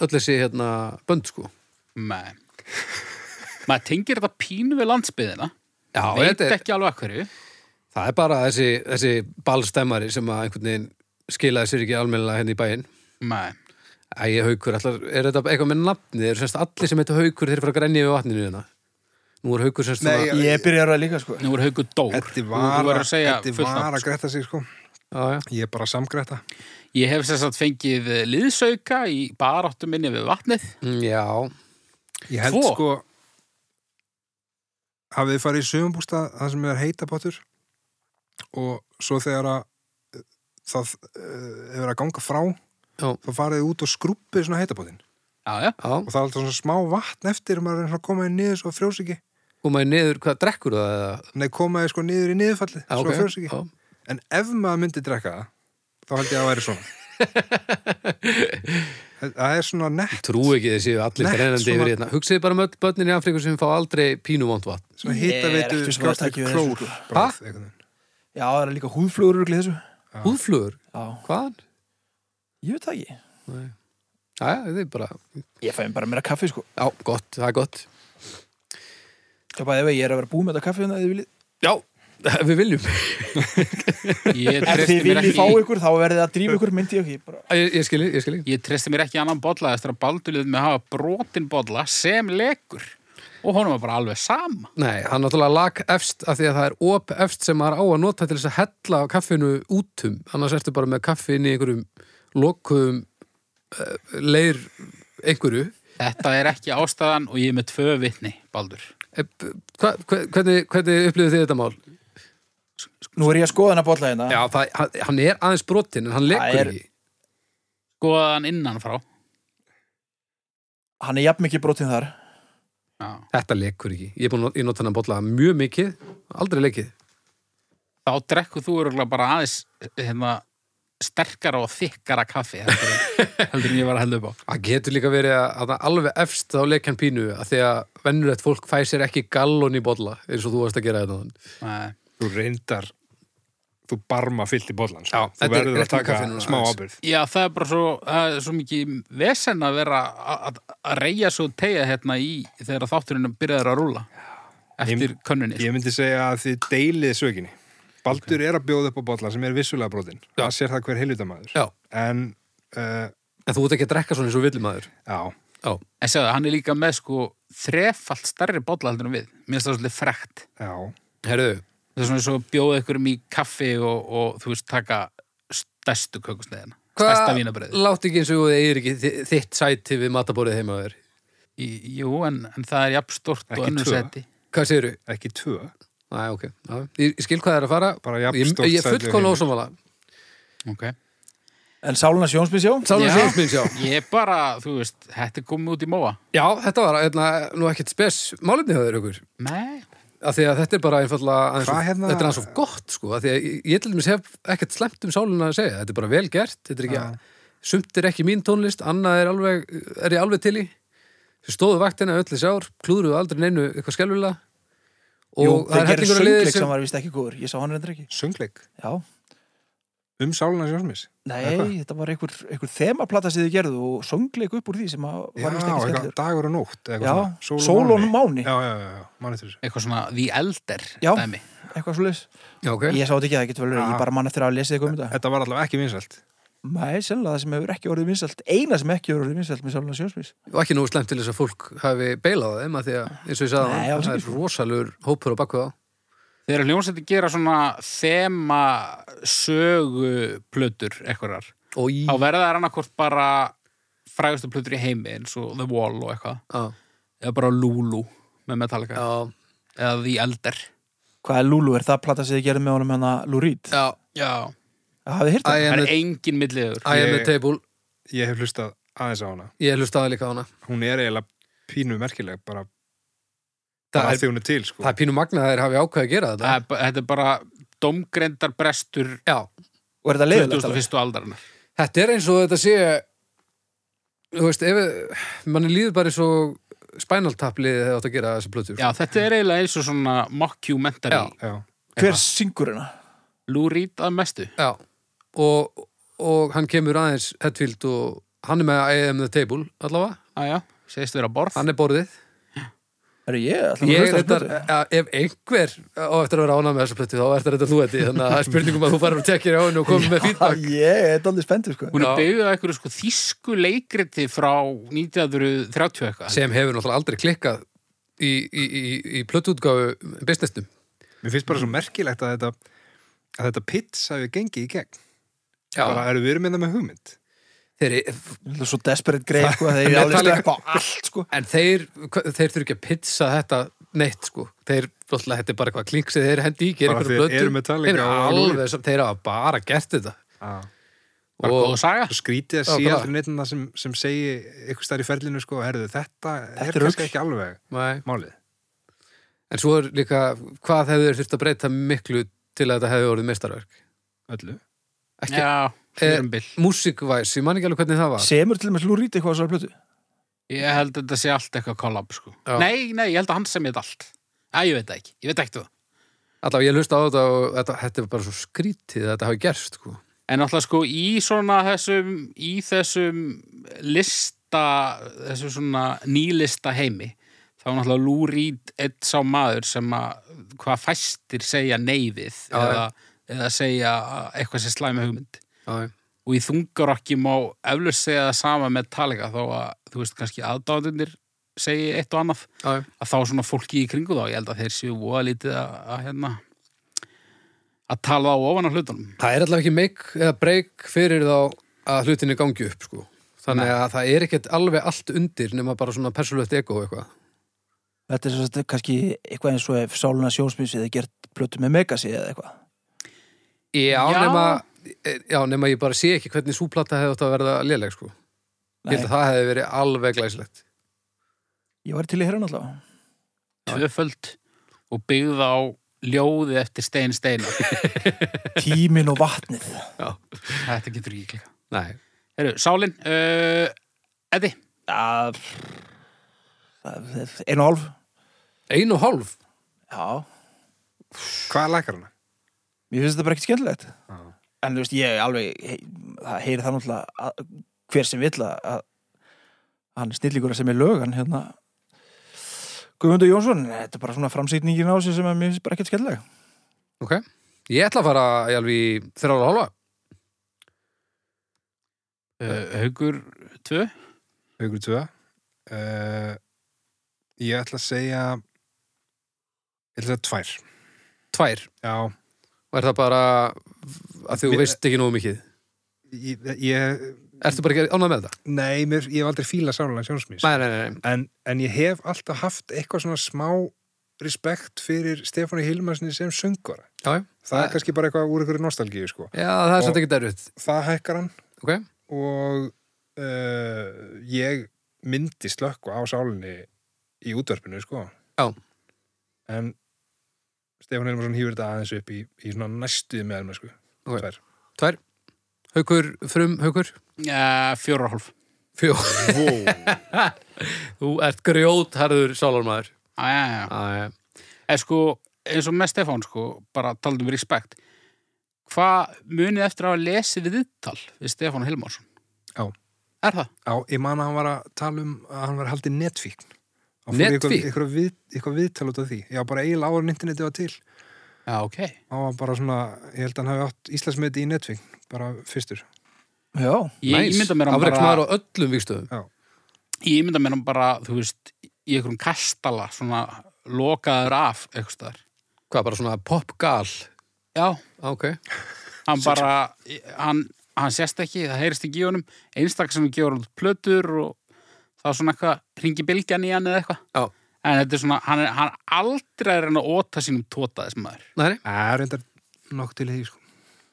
S5: öll þessi hérna bönd sko
S3: með. Maður tengir þetta pínu við landsbyðina.
S5: Já,
S3: Veit
S5: þetta er,
S3: ekki alveg hverju.
S5: það er bara þessi, þessi ballstemmari sem að einhvern veginn skilaði sér ekki almennilega henni í bæinn
S3: Með.
S5: Æja, haukur, allar, er þetta eitthvað með nafni? Er semst allir sem heitir haukur þeir fara að grenja við vatninu hérna? Nú er haukur semst
S4: Nei,
S5: svona-
S4: ég-
S1: Ég byrja að ræða líka sko
S3: Nú er haugur dór.
S4: Eddi
S3: Nú-
S4: var,
S3: Þú verður að segja
S4: Eddi
S3: fullt
S4: var
S3: nafn,
S4: að gretta sig sko
S5: Já, já.
S4: Ég er bara að samgretta
S3: Ég hef sér satt fengið eh, liðsauka í baráttu minni við vatnið.
S5: Mm, Já,
S4: Ég held
S3: Tvo?
S4: sko hafið þið farið í sögumbústa það sem er heitapottur og svo þegar að eh, það eh, hefur að ganga frá
S5: Já.
S4: þá farið þið út og skrúppið svona heitapottin
S3: Já, já.
S5: já.
S4: og það er alltaf svona smá vatn eftir og maður er svona að koma þið niður svo frjós ekki
S5: Komaði niður, hvað, drekkur það eða?
S4: Nei, koma þið sko niður í niðurfallið
S3: Ah,
S5: Já,
S4: svo
S5: ok.
S4: frjós ekki
S5: Já.
S4: En ef maður myndi drekka það þá held ég að það væri svona Það- Það er svona nett
S5: Trú ekki þessi allir
S4: Nett,
S5: brennandi
S4: svona-
S5: yfir hérna. Hugsið bara með börnin í Afríku sem fá aldrei pínumónt vatn.
S4: svona
S1: Ég er
S4: hitaveitu
S1: ekki svo
S4: skjóttir
S1: að taka við þessu,
S4: klór
S1: sko.
S5: Ha?
S4: bráð, einhvern veginn.
S1: Já, það er líka húðflugur örugglega í þessu
S5: Húðflugur?
S1: Já,
S5: Hvaðan?
S1: ég veit það ekki
S5: Jæja, þið er bara,
S1: Ég fæði bara meira kaffi sko
S5: já, gott, það er gott.
S1: Já, bæði vegi, ég er að vera búið með þetta kaffi hérna, ef þið viljið-
S5: Já, við viljum.
S3: Ég
S1: Ef
S3: treysti
S1: þið
S3: mér
S1: viljið fá
S3: ekki,
S1: ykkur, þá verðið að drífa ykkur myndi ég ekki bara...
S5: Ég, ég skilji, ég skilji.
S3: ég treysti mér ekki annan bolla eftir að baldulið með að hafa brotin bolla sem lekur. Og honum var bara alveg sama.
S5: Nei, hann náttúrulega lag efst af því að það er op efst sem maður á að nota til þess að hella á kaffinu útum. Annars ertu bara með kaffi inn í einhverjum lokum uh, leir einhverju.
S3: Þetta er ekki ástæðan og ég er með tvö vitni, Baldur.
S5: Eh, b- Hva, hva- hvernig, hvernig upplifið þið þetta mál?
S1: Nú er ég að skoða hana bolla hérna
S5: Já, það, hann, hann er aðeins brotinn en hann lekur
S1: er-
S5: ekki.
S3: Skoðan innan frá.
S1: Hann er jafn mikið brotin þar
S3: Já.
S5: Þetta lekur ekki. Ég er búin að ég nota hann að bolla mjög mikið, aldrei lekið.
S3: Þá drekku þú öruglega bara aðeins hérna, sterkara og þykkara kaffi heldur en, heldur en ég var að hella upp á.
S5: Það getur líka verið að, að það alveg efst á lekjan pínu að því að vennurett fólk fæ sér ekki gallon í bolla eins og þú varst að gera þetta. áðan.
S3: Nei.
S4: þú reyndar þú barma fyllt í bollan sko.
S5: Já,
S4: þú
S5: þetta er
S4: verður að
S5: rétt með
S4: taka
S5: kaffinu núna
S4: smá
S5: aðeins.
S4: ábyrð
S3: Já, það er bara svo, það er svo mikið vesen að vera að- að að reyja svo tegja hérna í þegar þátturinn byrjaður að rúla eftir
S4: Ég-
S3: könnunni.
S4: ég myndi segja að þið deilið söginni Baldur er að bjóða upp á bollan sem er vissulega brotin það sér það hver heilutamaður
S5: Já,
S4: en uh,
S5: en þú ert ekki að drekka svona eins og villimaður.
S4: já,
S5: Já,
S3: En segðu, hann er líka með sko þrefalt stærri bolla heldur en við. Mér finnst það svolítið frekt.
S4: já,
S5: herruðu,
S3: Það er svona svo bjóða ykkur um í kaffi og, og þú veist taka stærstu kökusneiðina. Stærsta vínabröði.
S5: látt ekki eins og þið eigir ekki þi- þitt sæti við matabórið heima á þér?
S3: Jú, en, en það er jafn stort og
S4: Ekki
S3: önnur
S4: tvö.
S3: seti.
S5: Hvað segirðu?
S4: ekki tvö
S5: Næ, ok. Já, ég, ég skil hvað það er að fara.
S4: Bara jafn
S5: Ég-
S4: stórt
S5: Ég er
S4: sæti og
S5: fullkóla
S4: heima.
S5: ósámála.
S3: Okay.
S1: En sáluna sjónsmins, já?
S5: Sálega
S3: Já.
S5: sjónsmins, já.
S3: Ég er bara, þú veist, þetta er komið út í móa.
S5: Já, þetta var hérna, nú ekkert spes málefni hjá þér ykkur.
S3: Nei,
S5: Af því að þetta er bara einfallega aðeins
S4: Hvað
S5: of-
S4: hérna-
S5: þetta er aðeins of gott sko, af því að ég, ég til dæmis hef ekkert slemt um sáluna að segja, þetta er bara vel gert þetta er ekki, sumt er ekki mín tónlist annað er, alveg, er ég alveg til í þau stóðu vaktina öll þess ár klúðruðu aldrei neinu eitthvað skelvilega og
S1: Jú, þeir
S5: það er
S1: gerir
S5: hellingur að liði
S1: söngleik sem
S5: sem
S1: var vist ekki góður Ég sá hann reyndar ekki
S4: söngleik
S1: Já,
S4: um sáluna sjálfsmis
S1: nei,
S4: Eða hvað?
S1: þetta var einhver, einhver þemaplata sem þið gerðu og söngleik upp úr því sem að
S4: já,
S1: var vist ekki
S4: eitthvað
S1: skellur
S4: dagur og nótt
S1: Já,
S4: eitthvað svona.
S1: sól og máni
S4: já, já, já, já, manni til þessu
S3: eitthvað svona The Elder
S1: Já.
S3: dæmi.
S1: eitthvað svo leis
S5: já, okay.
S1: Ég sá þetta ekki, það getur vel verið,
S4: Já.
S1: ég bara mann eftir að hafa lesið eitthvað um þetta
S4: þetta var allavega ekki vinsælt
S1: Nei, sennilega það sem hefur ekki orðið vinsælt eina sem ekki hefur orðið vinsælt með sáluna sjónsmins
S5: og ekki nógu slemt til þess að fólk hafi beilað á þeim af því að eins og ég sagði,
S1: Nei,
S5: áðan,
S1: alls
S5: það
S1: ekki,
S5: er rosalur hópur á bakku á
S3: Þegar hljómsætti gera svona þema sögu plötur eitthvaðar,
S5: og í
S3: þá verða það annarkvort bara frægustu plötur í heimi eins og The Wall og eitthvað,
S5: á,
S3: eða bara Lulu með Metallica,
S5: já,
S3: eða The Elder.
S1: Hvað er Lulu, er það plata sem þið gerðu með honum hana Lurít?
S5: já,
S3: Já,
S1: hérna, hafið þið hýrt það?
S4: I
S3: Það
S4: am
S3: er
S4: the,
S3: engin milliður.
S5: I am
S4: Ég-
S5: the table,
S4: ég hef hlustað aðeins á hana
S5: ég hlustaði líka á hana
S4: hún er eiginlega pínu merkileg bara,
S5: Það
S4: bara
S5: er-
S4: því hún er til sko.
S5: Það er pínu magnað að þeir hafi ákveð að gera
S3: Það
S5: þetta
S3: er ba- Þetta er bara domgrendar brestur
S5: Já,
S1: Og er þetta leiðilegt alveg?
S3: 21. aldarinn.
S5: þetta er eins og þetta sé Þú veist, ef manni líður bara eins og spænaltaplið hefði átt að gera þessa plötur
S3: Já, þetta er eiginlega eins og svona mockumentary.
S5: Já.
S4: Já.
S1: Hver syngur hérna?
S3: Lou Reed að mestu.
S5: Já, og, og hann kemur aðeins Hetfield og hann er með I am the table allavega,
S3: Aja, Ah, segist vera borð.
S5: hann er borðið
S1: Er ég? ætla nú að
S5: Ég
S1: hlusta á
S5: reyndar,
S1: þessu.
S5: ja, ef einhver á eftir að vera ánað með þessu plötu þá er þetta reyndar þú þetta þannig að það er spurningum að þú farir og tekir á henni og komir með
S1: Ha,
S5: feedback
S1: Ég er daldið spenntur sko
S3: Hún
S5: Já.
S3: er byggðið á einhverju sko þýsku leikriti frá 1930 eitthvað.
S5: sem hefur náttúrulega aldrei klikkað í, í, í, í plötuutgáfu businessnum
S4: mér finnst bara svo merkilegt að þetta að þetta pits hafi gengið í gegn bara
S5: Já,
S4: eru við erum hérna með það með
S5: þeir,
S4: hugmynd
S1: Þetta er Svo desperate greið sko Þeir eru alveg
S5: Metallica-
S1: stökk á allt sko
S5: en þeir þeir þurfi ekki að pizza þetta neitt sko, þeir, náttúrulega, þetta er bara eitthvað klink sem þeir hendi í, gera
S4: Bara
S5: einhverju
S4: þeir
S5: plötu
S4: eru með Metallica
S5: þeir,
S4: og Lou Reed.
S5: alveg, sam- þeir hafa bara gert þetta
S3: Bara
S5: og-
S3: góð saga.
S4: Svo skrítið að
S5: Já,
S4: sé
S5: bara.
S4: aldrei neitt um það sem, sem segi eitthvað stær í ferlinu sko, herðu þetta er
S1: er
S4: kannski
S1: rugl.
S4: ekki alveg
S5: Nei.
S4: málið
S5: en svo er líka, hvað hefur þeir þurft að breyta miklu til að þetta hefði orðið mestarverk
S4: öllu
S5: ekki, Eh.
S3: Já, smjörumbill.
S5: músikvæs, ég man ekki alveg hvernig það var
S1: Semur til og með lúrít eitthvað á þessari plötu
S3: Ég held að þetta sé allt eitthvað kollab sko.
S5: Já.
S3: Nei, nei, ég held að hann sem ég þetta allt. Æ, ég veit það ekki. Ég veit um ekki það.
S5: Allá, ég hlusta á þetta og þetta, þetta er bara svo skrítið að þetta hafi gerst, sko.
S3: En alltaf sko í svona þessum, í þessum lista, þessum svona nýlista heimi, þá er náttúrulega Lou Reed eitt sá maður sem að hvað fæstir segja nei við
S5: Já,
S3: eða, eða segja eitthvað sem slæmi hugmynd.
S5: Já,
S3: Og í þungarokki má eflaust segja það sama með talega þó að þú veist kannski aðdáðunir segi eitt og annað
S5: já,
S3: að þá svona fólki í kringu þá, ég held að þeir séu voða lítið að, að hérna að tala á ofan á hlutunum.
S5: það er allavega ekki meik eða breyk fyrir þá að hlutinni gangi upp, sko. Þannig að það er ekkert alveg allt undir nema bara svona persónlegt ego og eitthvað.
S1: Þetta er svo þetta kannski eitthvað eins og ef Sáluna Sjónsmins eða gert plötu með Megasi eða eitthvað
S5: Já,
S3: Já.
S5: Nema, e, já, nema ég bara sé ekki hvernig súplata hefði átt að verða léleg, sko. Ég held
S1: Nei.
S5: að það hefði verið alveg glæsilegt.
S1: Ég var til í hérna alltaf
S3: tvöföld og byggð á ljóði eftir stein steina
S1: Tímin og vatnið
S3: þetta getur ekki klika
S5: Nei.
S3: Heru, Sálin, uh, Eddi
S1: Já, það er Einu og hálf
S5: Ein og hálf?
S1: Já,
S4: hvað lækar hana?
S1: mér finnst þetta bara ekkert skemmtilegt En þú veist, ég alveg he, það heyri það náttúrulega að, hver sem vill að, að hann er snillingur að sem er lögan hérna Guðmundur Jónsson, þetta er bara svona framsýtningin á sig sem að mér finnst bara ekkert skemmtileg
S5: Ok. Ég ætla að fara í alveg í þrjára og hálfa.
S3: uh, Haugur 2
S4: Haugur 2 uh, Ég ætla að segja Ég ætla að segja tvær
S5: Tvær.
S4: Já,
S5: Og er það bara að þú
S4: Mér-
S5: veist ekki nógu mikið?
S4: ég, ég
S5: Ertu bara ekki ánað með þetta?
S4: Nei, mér, ég hef aldrei fílað sálega sjónsmís
S5: Nei, nei, nei, nei.
S4: en, en ég hef alltaf haft eitthvað svona smá respekt fyrir Stefáni Hilmarsni sem söngvara
S5: Já, já.
S4: Það
S5: Æ.
S4: er kannski bara eitthvað úr ykkur nostalgíu sko.
S5: Já, það er
S4: Og-
S5: samt ekki derfitt.
S4: Það hækkar hann
S5: Ok?
S4: og uh, ég myndi slökku á sálinni í útverfinu sko.
S5: Já.
S4: En Stefán Hilmarsson hýfur þetta aðeins upp í, í svona næstuð með elma sko.
S5: Ok.
S4: Tvær.
S5: Tvær. Haukur, frum, haukur.
S3: uh, fjóra og hálf
S5: Fjó. Þú ert grjót, harður sálarmæður.
S3: ah, ja, ja.
S5: Æ,
S3: En sko, eins og með Stefán sko, bara talandi um respekt hvað munið eftir að hafa lesið viðtal við Stefán Hilmarsson
S4: Já.
S3: Er það?
S4: Já, ég man að hann var að tala um að hann var haldið netfíkn. Hann fór í
S5: Netfíkn?
S4: Eitthvað, eitthvað, við, eitthvað viðtal út af því. Já, bara eiginlega áður en internetið var til.
S3: Já, ok.
S4: Hann var bara svona, ég held að hann hafi átt Íslandsmiði í netfíkn, bara fyrstur.
S1: Já,
S3: Ég
S5: næs.
S3: ímynda mér hann
S5: Afreksmaður
S3: bara,
S5: á öllum vikstöðum.
S3: ég ímynda mér hann bara, þú veist, í einhverjum kastala, svona lokaður af, eitthvað staðar.
S5: Hvað, bara svona popgal?
S3: Já,
S5: Á, Ok.
S3: hann bara hann, hann sérst ekki, það heyrist ekki í honum einstak sem gefur hann út plötur og það er svona eitthvað ringi bylgjan í hann eða
S5: Já.
S3: eitthvað en þetta er svona, hann er hann aldrei er hann að óta sínum tóta þessum tota, maður
S5: Nei, nei.
S4: Það er reyndar nokk til því, sko.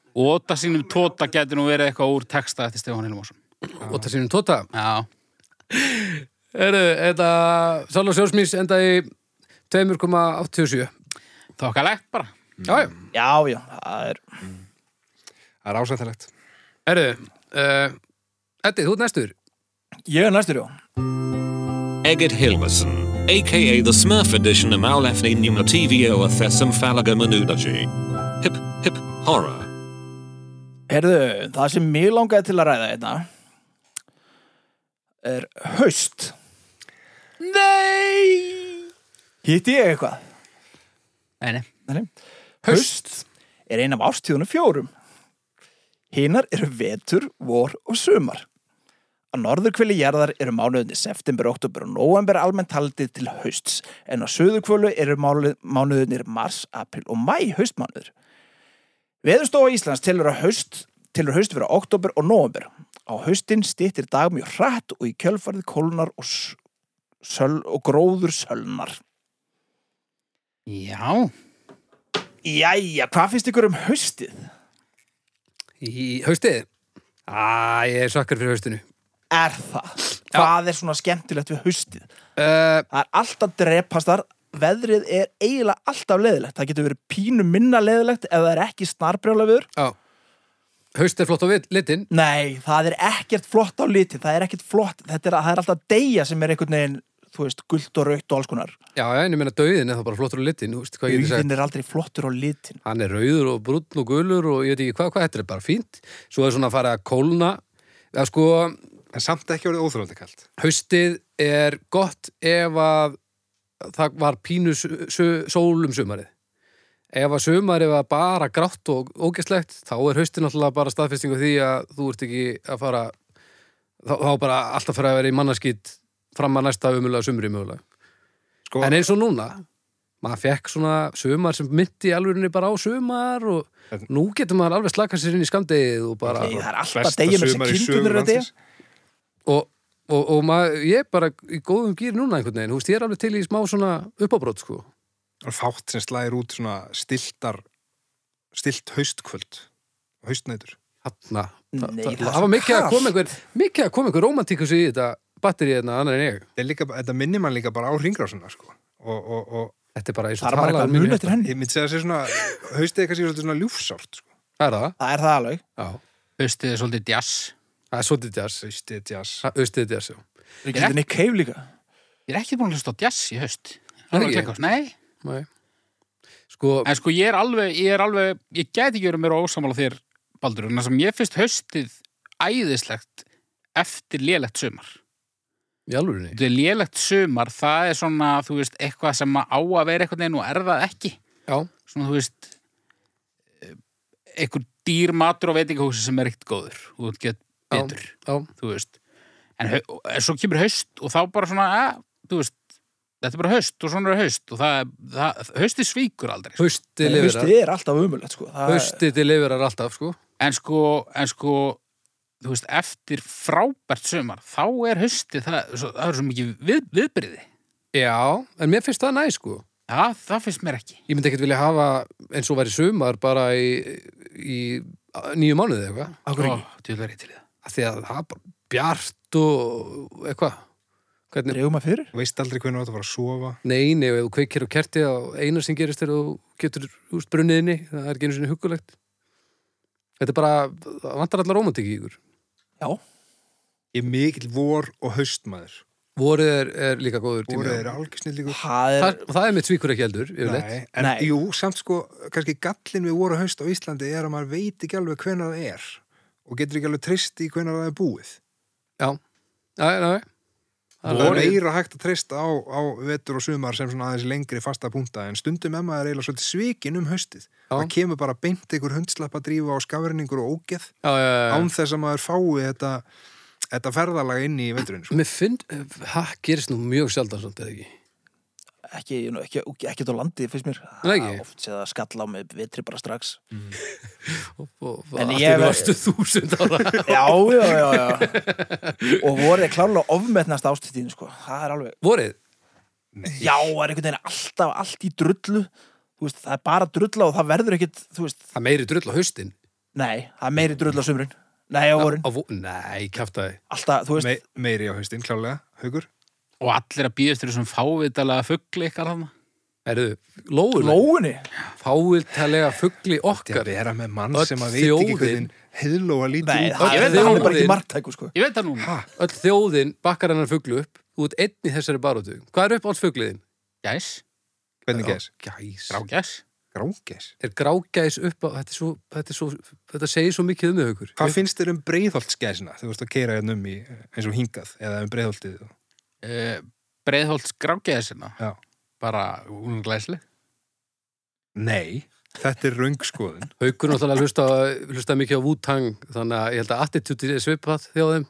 S3: og Óta sínum tóta getur nú verið eitthvað úr texta eftir Stefán Hilmarsson
S5: og það sínum tóta
S3: Já,
S5: Eru, þetta Sala Sjósmís enda í 2,87
S3: þokkalegt bara
S5: Jájá,
S1: Já, já, það er
S4: Það er ásættilegt.
S5: eru uh, Eddi, þú ert næstur
S1: Ég er næstur, já
S6: Egert Hilmerson, aka the Smurf edition of Malefni Numna TVO Athesum Falaga Manudaji. Hip, hip, horror.
S1: Herðu, það sem mér langaði til að ræða þetta er haust Nei Hitti ég eitthvað?
S3: Nei, nei.
S1: Nei. Haust er ein af ástíðunum fjórum. Hinar eru vetur, vor og sumar. Á norðurkvili jarðar eru mánuðinni september, oktober og november almennt haldið til hausts en á söðurkvölu eru mánuðinni mars, april og mæ haustmánuður. Veðurstofa Íslands telur að haust telur haust vera oktober og november. Á haustin stýttir dag mjög hratt og í kjölfarið kólnar og, s- söl, og gróður sölnar.
S3: Já,
S1: Jæja, hvað finnst ykkur um haustið?
S5: Í haustið Æ, ég er sakkar fyrir haustinu
S1: er það hvað er svona skemmtilegt við haustið
S5: uh,
S1: það er alltaf drepast þar veðrið er eiginlega alltaf leðilegt það getur verið pínu minna leðilegt ef það er ekki snarbrjála viður
S5: Já Haust er flott á vit- litinn
S1: nei, það er ekkert flott á liti það er ekkert flott, þetta er, það er alltaf deyja sem er einhvern veginn, þú veist, gult og raukt og alls konar
S5: Já, já, en ég meina döiðin er þá bara flottur á litinn Þú veist hvað ég geti sagt
S1: auðvinn er aldrei flottur á litin
S5: Hann er rauður og brúll og gulur og ég veit ekki hvað, hvað, þetta er bara fínt Svo er svona að fara að kólna Það sko,
S4: En samt ekki orðið óþrólandi kalt.
S5: haustið er gott ef að það var pínu su- su- sól um sumarið ef að sumarið var bara grátt og ógæstlegt þá er haustið náttúrulega bara staðfestingu því að þú ert ekki að fara þá, þá bara alltaf fyrir að vera í mannaskýt fram að næsta umulega sumri mögulega
S4: Sko,
S5: en eins og núna maður fekk svona sumar sem myndi alvegurinni bara á sumar og
S4: En-
S5: nú getur maður alveg slakað sér inn í skamdegið og bara
S1: það er alltaf
S4: besta
S1: deyja með
S4: sumar í
S1: þessi
S4: sögu
S1: kindunir að deyja
S4: landsins.
S5: og, og, og maður, ég er bara í góðum gýr núna einhvern veginn, þú veist, ég er alveg til í smá svona uppábrót, sko.
S4: Það er fátt sem slæðir út svona stiltar, stilt haustkvöld, haustnætur.
S5: Hanna, Þa-
S1: Nei,
S5: það
S1: það er
S5: það var
S1: svo
S5: mikið að
S1: kalt.
S5: koma einhver mikið að koma einhver romantíkus í þetta batterið hérna annar en ég.
S4: Þetta er líka- Þetta minnir mann líka bara á ringrásuna, sko. Og, og, og
S5: Þetta er bara eins
S1: það
S5: og
S1: er bara
S5: talað
S1: eitthvað
S5: um mínu
S1: mun eftir
S5: hjarta.
S1: henni
S4: ég myndi segja að það sé svona, haustið er kannski svolítið svona ljúfsárt, sko.
S5: Það er það,
S1: það er það alveg
S5: já.
S3: haustið er svolítið jazz
S5: Það er svolítið jazz.
S4: Haustið, jazz.
S5: Það er austið jazz, já.
S1: það er neitt keif líka
S3: Ég er ekki búin að hlusta á jazz í haust
S5: Er
S3: Alveg
S5: ekki?
S3: klikkast, Nei,
S5: Nei. Sko,
S3: en sko ég er alveg, ég er alveg ég gæti ekki verið mér ósamála þér Baldur, en það sem ég finnst haustið æðislegt eftir lélegt sumar
S5: í alvörinni.
S3: Þetta er lélegt sumar, það er svona, þú veist, eitthvað sem á að vera eitthvað neginn og er það ekki.
S5: Já,
S3: Svona, þú veist, eh, einhver dýr matur og veitingahúsi sem er ekkert góður. Þú veist, get
S5: Já.
S3: betur,
S5: já,
S3: þú veist. En, hau- og- en svo kemur haust og þá bara svona, að, þú veist, þetta er bara haust og svona er haust og það, það hausti svíkur aldrei. sko.
S5: haustið
S1: haustið
S5: lifirar.
S1: er alltaf umulegt sko það er
S5: Haustið lifirar alltaf, sko.
S3: En sko, en sko, þú veist, eftir frábært sumar, þá er hausti, það, svo- það er svo mikið við, viðbyrði.
S5: Já, en mér finnst það næ, sko.
S3: Já, það finnst mér ekki.
S5: Ég myndi ekkert vilja hafa eins og væri sumar bara í, í nýju mánuði eitthvað.
S3: Akkur ekki. Ó, djúlega reytilega.
S5: að því að það er bara bjart og eitthvað hvernig,
S1: dreifum að fyrir
S4: Þú veist aldrei hvernig þú átt að fara að sofa.
S5: nei, nei, og ef þú kveikir og kerti og eina sem gerist er að þú getur úst brunniðinni, það er ekki einu sinni huggulegt þetta er bara það vantar allar romantik í ykkur
S1: já
S4: Ég er mikill vor og haustmaður.
S5: voruð er, er líka góður tími
S4: Vorið er algjör snillíkur.
S1: það er
S5: það, og það er mitt svíkur ekki heldur yfirleitt.
S4: Nei, en
S1: Nei.
S4: jú, samt sko, kannski gallin við voru haust á Íslandi er að maður veit ekki alveg hvenær það er og getur ekki alveg trist í hvenær það er búið.
S5: já, já, já, já
S4: Það er meira hægt að trista á, á vetur og sumar sem svona aðeins lengri fasta púnta en stundum emma er eiginlega svolítið svikin um haustið. Það kemur bara beint einhver hundslappa drífa á skafrinningur og ógeð
S5: já, já, já.
S4: án þess að maður fái þetta, þetta ferðalag inn í veturinn. Sko.
S5: mér finn, það gerist nú mjög sjaldan samt eða ekki
S1: ekki, ég nú ekki, ekki, ekki á landi finnst mér
S5: Nei,
S1: Það
S5: ekki.
S1: oft sé það skalla á mig vetri bara strax
S5: og, og,
S1: En
S5: og
S1: ég
S5: allir
S1: var-
S5: varstu þúsund ára
S1: já, já, já, já og voruð er klárlega ofmetnast ástíðin sko. það er alveg,
S5: vorið,
S1: já, það er einhvern veginn alltaf allt í drullu, þú veist, það er bara drulla og það verður ekkit, þú veist
S5: það meiri drull á haustin
S1: Nei, það er meiri drull á sumrun Nei, á vorin,
S5: Á vo- Nei, kjaftaði
S1: alltaf, þú veist
S4: Me, meiri á haustin, klálega, haugur
S3: Og allir að býðast þessum fávitalega fuggli ykkar hann.
S5: Erðu, lóður
S1: Lóunni,
S5: Fáviltalega fuggli
S4: Þetta
S5: okkar
S4: er að vera með mann
S5: Öll
S4: sem að veit ekki
S5: þjóðin.
S4: hvernig heiðlóa
S1: nei,
S4: lítið út
S1: það
S3: Ég
S1: er,
S3: veit
S1: hann er
S3: að
S1: bara
S5: vorin-
S1: ekki margtæku sko.
S3: Ég veit það núna.
S4: Ha,
S5: Öll þjóðin bakkar hennar fugglu upp Þú ert einn í þessari barótu Hvað er upp alls fuggliðin?
S3: Gæs,
S4: hvernig gæs?
S5: Gæs
S3: grágæs.
S4: Grángæs?
S5: Er grágæs upp á Þetta, er svo, þetta, er svo, þetta segir svo mikið um þau ykkur
S4: Hvað finnst þér um breiðholtsgæsina? Þú veist að keira hérna um í eins og hingað eða um breiðholtið og-
S3: Uh, Breiðholts hérna. grágæsina.
S4: Já.
S3: Bara, hún er glæsli.
S4: Nei, þetta er röngskoðun
S5: Haukur náttúrulega hlusta, hlusta mikið á Wu-Tang þannig að ég held að attitútið er svipað hjá þeim.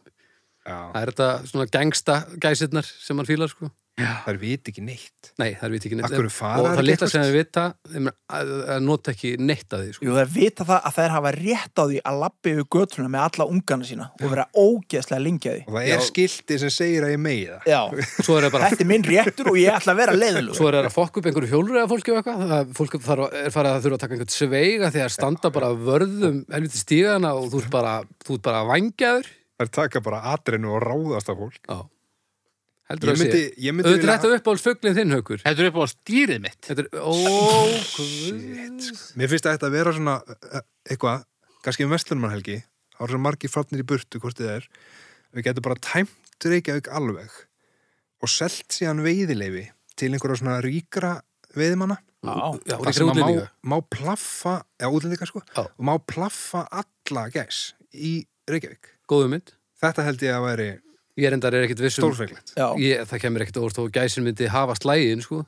S4: Já.
S5: Það er þetta svona gangsta gæsirnar sem hann fílar sko.
S4: Það er vit ekki neitt
S5: Nei, það er viti ekki neitt.
S4: Af hverju fara
S5: Og
S4: þær
S5: það
S4: ekki
S5: litla
S4: eitthvert?
S5: sem þeir vita þeim er að, að nota ekki neitt að því sko.
S1: Jú, það er vita það að þær hafa rétt á því að lappi yfir götuna með alla ungana sína og vera ógeðslega lengi að
S4: Og
S1: því
S4: það er skilti sem segir að ég megi það
S1: Já,
S5: Svo er það bara
S1: þetta er minn réttur og ég ætla að vera leiðilug
S5: Svo er það að fokka upp einhverju hjólrega fólki og eitthvað, það fólk þarf, að- er farið að þurfa að taka einhvern sveiga þegar standa bara vörðum helviti stígana og þú ert bara, þú ert bara vangjaður.
S4: Það er taka bara atrinu og ráðast af fólk
S5: Já. Heldur
S4: Ég
S5: að
S4: myndi,
S5: sé.
S4: ég myndi
S5: Auðvitað er þetta uppáhalds fuglinn þinn, Haukur.
S3: Þetta er upp á stýrið mitt.
S5: Þetta er, ó, guð.
S4: Mér finnst að þetta vera svona eh, eitthvað, kannski um vestlunumannhelgi þá eru svo margir farnir í burtu hvort þið er við getum bara tæmt Reykjavík alveg og selt síðan veiðileifi til einhverja svona ríkra veiðimanna
S5: Já,
S4: þar sem að má, má plaffa já, útlendinga sko,
S5: Já.
S4: og má plaffa alla gæs í Reykjavík
S5: Góðu mynd.
S4: Þetta held ég að væri
S5: Ég er endar er ekkit vissum
S4: stórfenglegt
S1: Já,
S5: ég, Það kemur ekkit óvart og gæsin myndi hafa slægin sko.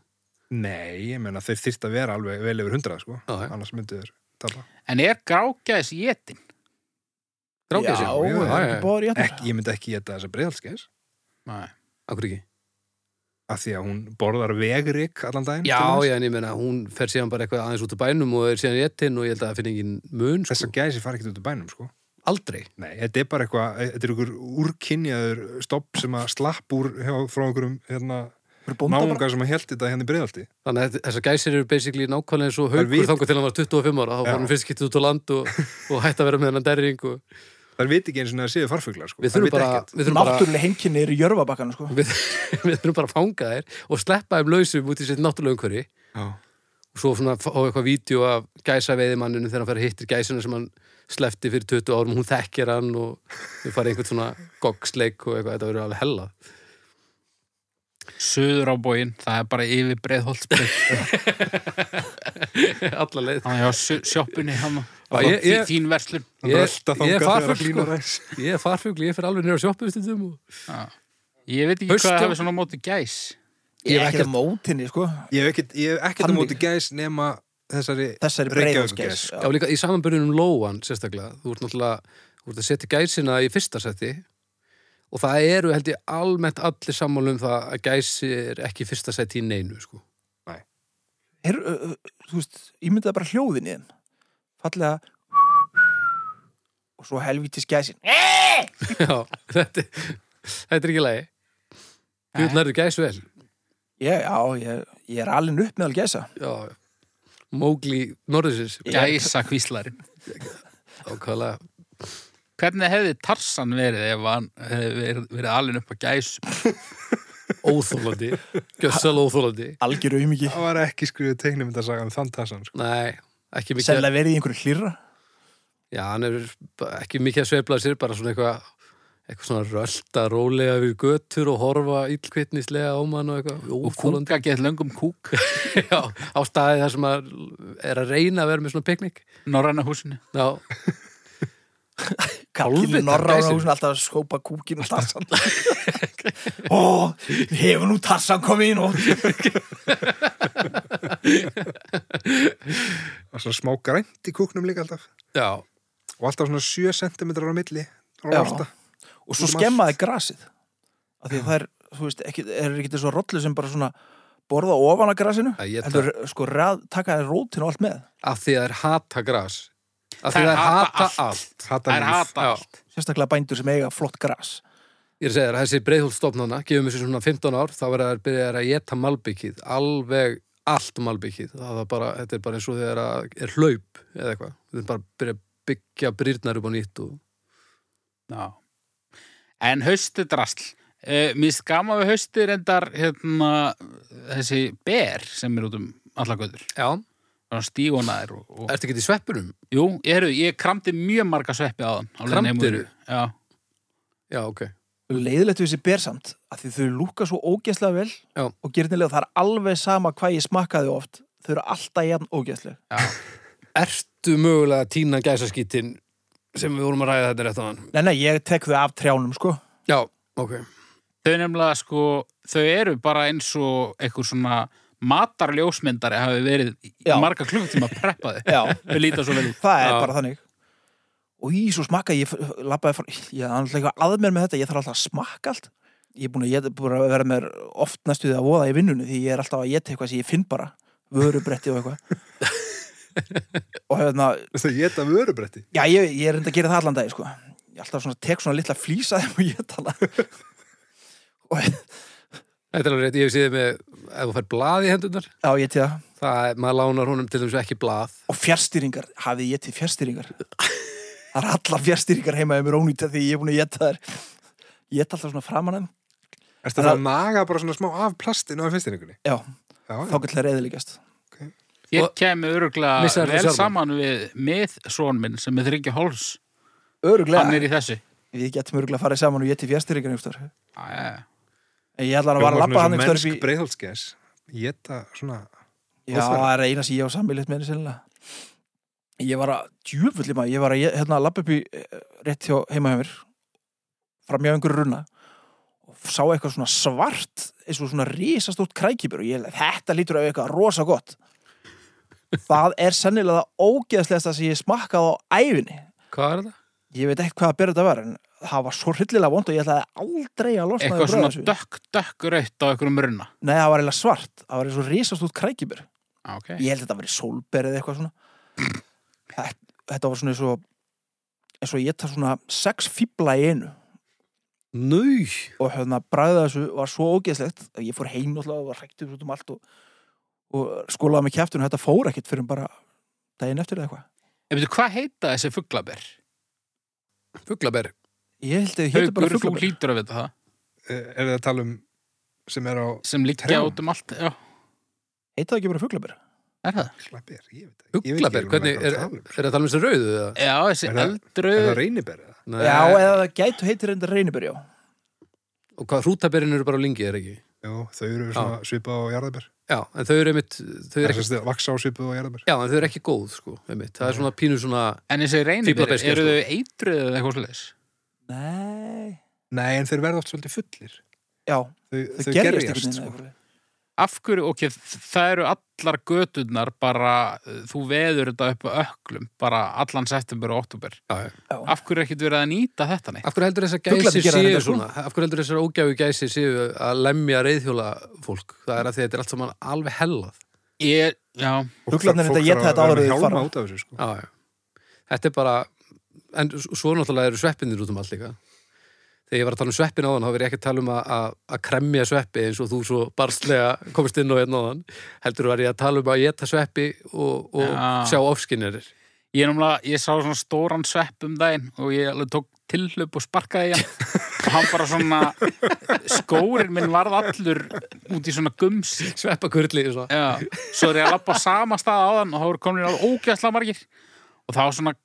S4: Nei, ég meina þeir þyrft að vera alveg vel yfir hundrað sko,
S5: Já, já.
S4: annars myndu þeir tala
S3: En er grágæs jétin?
S5: Drákið sig
S1: já,
S4: jú,
S1: það
S5: já,
S1: er
S5: já.
S1: ekki bóður í
S4: ekki, Ég myndi ekki geta þessa breiðhalsgæs
S3: Nei.
S5: Akkur ekki
S4: af því að hún borðar vegrik allan daginn
S5: Já,
S4: til dæmis.
S5: já, en ég meina hún fer síðan bara eitthvað aðeins út af bænum og er síðan í ettinn og ég held að það finn engin mun sko.
S4: Þessar gæsi fara ekkert út af bænum, sko.
S5: Aldrei
S4: Nei, þetta er bara eitthvað, þetta er einhver úrkynjaður stopp sem að slapp úr hjá, frá einhverjum hérna,
S1: þetta
S4: náungar sem að held þetta hérna í breiðaldi.
S5: Þannig að þetta- þessar gæsir eru basically nákvæmlega eins og
S4: Þær
S5: haukur
S4: vit-
S5: þangur til hann var 25 ára þá
S4: Já.
S5: var hann fyrst getið út á land og, og hætti að vera með hennan derring og...
S4: Það veit ekki eins og það séu farfuglar, sko.
S5: Við
S4: Þær
S5: þurfum
S4: vita
S5: bara,
S4: ekkert.
S5: við þurfum bara
S1: Náttúrulega heimkynni eru í jörfabakkanum sko
S5: við, við þurfum bara að fanga þær og sleppa þeim lausum út í sitt náttúrulega umhverfi
S4: Já.
S5: og svo svona fá eitthvað vídeo af gæsa veiðimanninu þegar hann fer að hittir gæsina sem hann slefti fyrir 20 árum og hún þekkir hann og við farið einhvern svona goggsleik og eitthvað, þetta verður alveg hella
S3: Suður á bóginn, það er bara yfir breiðholtsbreyð.
S5: alla leið
S3: Þannig að sjoppunni hann.
S5: Já, ég- ég-
S3: hérna. Þín verslun.
S5: Ég,
S4: Rölta þangað
S5: ég er
S4: þegar að
S5: farfugl
S4: hlýnar
S5: sko.
S4: aðeins.
S5: Ég er farfugl, ég fer alveg nýra sjoppu stundum og...
S3: Ég veit ekki
S5: Haustjón-
S3: hvað það hefur svona á móti gæs.
S1: Ég er
S5: hef
S1: ekki að mótinni sko
S4: Ég hef ekkert, ég hef ekkert á móti gæs nema þessari,
S1: Þessari
S4: Reykjavíkurgæs.
S1: breiðanskeis
S5: Já, líka í samanbyrjunum lóan sérstaklega Þú ert náttúrulega, þú ert að setja gæsina í fyrsta seti og það eru held ég almennt allir sammálum það að gæsi er ekki í fyrsta seti í neinu sko.
S1: Her, uh, Þú veist, ég myndi það bara hljóðin í þeim Fallega Og svo helvítis gæsin
S5: Já, þetta, þetta er ekki lægi Þú nærðu gæs vel
S1: Ég, já, ég, ég er alinn upp meðal gæsa
S5: Já, Mógli Norðursins
S3: Gæsa kvíslari.
S5: Ákvæðlega
S3: Hvernig hefði Tarsan verið ef hann hefði verið, verið alveg upp á gæs?
S5: óþólandi Gjössal óþólandi
S1: Algjör auðmiki
S4: það var ekki skrifuð teiknumyndasaga um þann tassan, sko.
S5: Nei, ekki mikið
S1: Sennilega verið í einhverju hlýra
S5: Já, hann er bara ekki mikið að sveifla sér bara svona eitthvað eitthvað svona rölda, rólega við götur og horfa illkvittnislega á mann og eitthvað
S3: Og
S5: óþólandi
S3: kúka gett löngum kúk
S5: Já, á staði þar sem að er að reyna að vera með svona piknik
S3: Norræna húsinu.
S5: Já,
S1: Kallinn í
S5: Hálfvitar
S1: norra
S5: gæsir.
S1: og hún alltaf að skópa kúkin og tassan Ó, hefur nú tassan komið inn og
S4: Það var svona smá grænt í kúknum líka alltaf.
S5: já,
S4: Og alltaf svona 7 cm á milli. Það var
S1: Já.
S4: alltaf.
S1: og svo skemmaði grasið af því að það er, þú veist, ekki, er ekki þessu rollu sem bara svona borða ofan að grasinu
S5: Að éta.
S1: heldur sko ræð, taka þér rótin og allt með
S5: af því að það er hata gras af því að það
S3: Þær
S5: er
S3: hata
S5: hata
S3: allt.
S5: allt
S4: Hata
S3: Það er
S4: líf.
S3: hata allt.
S1: sérstaklega bændur sem eiga flott gras
S5: Ég er að segja þér að þessi breiðhólstofnana gefum þessu svona 15 ár, þá verða þær byrjaðar að geta malbyggið, alveg allt malbyggið, það er bara, þetta er bara eins og þegar að er hlaup eða eitthvað, þetta er bara að byrja að byggja brýrnar upp á nýtt og
S3: Já. En haustið drasl. Uh, mér finnst gaman við haustið reyndar hérna, þessi ber sem er út um allakvöldur.
S5: Já,
S3: Stígonaðir og... og
S5: ertu ekki í sveppunum?
S3: jú, ég, heru, ég kramdi mjög marga sveppi á þann.
S5: Kramdirðu?
S3: Já.
S5: Já, ok.
S1: leiðilegt við þessi bersamt að því þau lúka svo ógeðslega vel
S5: Já.
S1: og gerðnilega það er alveg sama hvað ég smakkaði oft þau eru alltaf jæfn ógeðslega
S5: Ertu mögulega að tína gæsaskítin sem við vorum að ræða þetta rétt á hann?
S1: Nei, nei, ég tek þau af trjánum sko
S5: Já, ok.
S3: Þau nefnilega sko, þau eru bara eins og eitthvað svona matarljósmyndari hafi verið í
S1: Já.
S3: marga klukkutíma að preppa þau.
S1: Já.
S3: Þau líta svo vel út.
S1: það er
S5: Já.
S1: bara þannig og í svo smakkaði ég f- labbaði frá ég er alltaf eitthvað að mér með þetta ég þarf alltaf að smakka allt ég er búin að, éta- búin að vera mér oft næstu því að voða í vinnunni því ég er alltaf að geta eitthvað sem ég finn bara vörubretti og eitthvað og hérna
S4: Þetta er geta vörubretti.
S1: Já, ég, ég er reynd að gera það allan dag, sko. Ég alltaf svona tek svona litla flís að þeim og ég tala. og
S5: Þetta er alveg rétt, ég hef séð með, ef þú fær blað í hendunar,
S1: já, ég til það.
S5: það er, maður lánar honum til þess ekki blað.
S1: Og fjárstýringar, hafið ég til fjárstýringar. það er alla fjárstýringar heima um mér ónýta því ég er búin að geta þær. Ég geta alltaf svona framan þeim.
S4: Ertu það að naga bara svona smá af plastinu af fyrstiningunni?
S1: Já,
S4: Já,
S1: þá getur það reyðilegast.
S3: Ég
S5: Og-
S3: kemi öruglega
S5: Missaðir þú
S3: vel
S5: sjálfan?
S3: saman við mið són minn sem er þryggja hóls. Hann
S1: Öruglega.
S3: er í þessu.
S1: Við getum öruglega farið saman og ég til fjárstýringar einhver stöður.
S3: Æ, já, já.
S1: En ég ætla að vara að labba hann einhver
S4: einhverjum
S1: stöður
S4: Mennsk
S1: upp í...
S4: breiðhaldsgæs. Geta svona...
S1: Já, það er eina sem ég á sammeilitt með henni sennilega. Ég var að, djúvulli maður, ég var að hérna, lappa upp í eh, rétt hjá heima hjá mér, framjá einhverju runna og sá eitthvað svona svart, eins og svona risastórt krækibur og ég leið, þetta lítur af eitthvað rosa gott. Það er sennilega það ógeðslegasta sem ég smakkað á æfinni.
S5: Hvað er þetta?
S1: Ég veit ekkert hvað að bera þetta var en það var svo hryllilega vond og ég ætlaði aldrei að losna
S3: eitthvað
S1: við
S3: svona
S1: bragðið af þessu.
S3: dökk, dökk raut á einhverjum runna.
S1: Nei, það var eiginlega svart. Það var eins og risastórt krækibur.
S3: Á, ok.
S1: ég held að þetta verið sólberið eða eitthvað svona þetta, þetta var svona eins og eins og ég taf svona sex fíbla í einu
S5: Nau!
S1: og hérna bræðið þessu var svo ógeðslegt að ég fór heim náttúrulega og var hræktur út um allt og, og skólaði mig kjæftun og þetta fór ekkert fyrir bara daginn eftir eða eitthvað
S3: Ég veitu, hvað heita þessi fugglaber?
S5: Fuglaber.
S1: ég held að ég hétu bara
S3: Haugur, þú
S1: fuglabur
S3: hlýtur að vita það.
S4: Er það að tala um sem er á
S3: Sem liggja
S4: Trjám.
S3: út um allt. Já,
S1: heita það ekki bara fuglabur
S3: er það?
S4: klapir? Ég veit ekki. Ég veit
S5: Fuglaber,
S4: ekki
S5: hvernig,
S4: hvað
S5: er, er
S4: það tala um.
S5: það að tala um þessi rauðu eða?
S3: Já, þessi
S4: Er það-
S3: eldru...
S4: Er það reynibær eða?
S5: Nei.
S1: já eða það gætu heitir enda reynibur já
S5: Og hvað, hrútaberin eru bara á lingi, er ekki?
S4: Já, þau eru svona svipað á jarðabær.
S5: Já, en þau eru einmitt, þau
S4: Það
S5: eru
S4: er
S5: ekki,
S4: svona vaksa á svipað á jarðabær.
S5: já, en þau eru ekki góð, sko, einmitt. Það er svona pínu svona,
S3: En þessi reynir,
S5: Fíflaberskeið,
S3: eru
S5: sko.
S3: þau eitruð eða eitthvað sliðis?
S1: nei
S4: Nei, en þeir verða oft svolítið fullir.
S1: já
S4: Þau,
S1: það gerjast
S4: þau gerjast,
S1: einhvern
S4: sko.
S1: veginn sko.
S3: Af hverju, ok, það eru allar göturnar bara, uh, þú veður þetta upp á öklum, bara allan september og oktober.
S5: já, já.
S3: Af hverju er ekkert verið að nýta þetta neitt?
S5: Af hverju heldur þessar
S1: Fuglarnir
S5: gæsi
S1: gera
S5: séu
S1: þetta, sko.
S5: svona? Af hverju heldur þessar ógæfu gæsi séu að lemja reyðhjóla fólk? Það er að því að þetta er allt saman alveg hellað.
S3: Ég, já,
S1: Fuglarnir reynda
S4: Fólk
S1: að éta
S4: þarf
S1: þetta áður
S4: vera
S1: en
S4: með
S1: þeir
S4: hjálma
S1: fara.
S4: út af þessu, sko.
S5: Já, já. Þetta er bara, en s- svo náttúrulega eru sveppinir út um allt líka. Þegar ég var að tala um sveppin áðan, þá verið ég ekki að tala um að, að, að kremja sveppi eins og þú svo barstlega komist inn á einn áðan. Heldur var ég að tala um að geta sveppi og, og
S3: Já.
S5: sjá ofskinnerir.
S3: ég, námlega, ég sá svona stóran svepp um daginn og ég alveg tók tilhlaup og sparkaði í hann og hann bara svona skórin minn varð allur út í svona gums
S5: Sveppakurli, svona.
S3: Já, svo er ég að lappa á sama stað á þann og þá eru komin alveg ógæsla margir og þá svona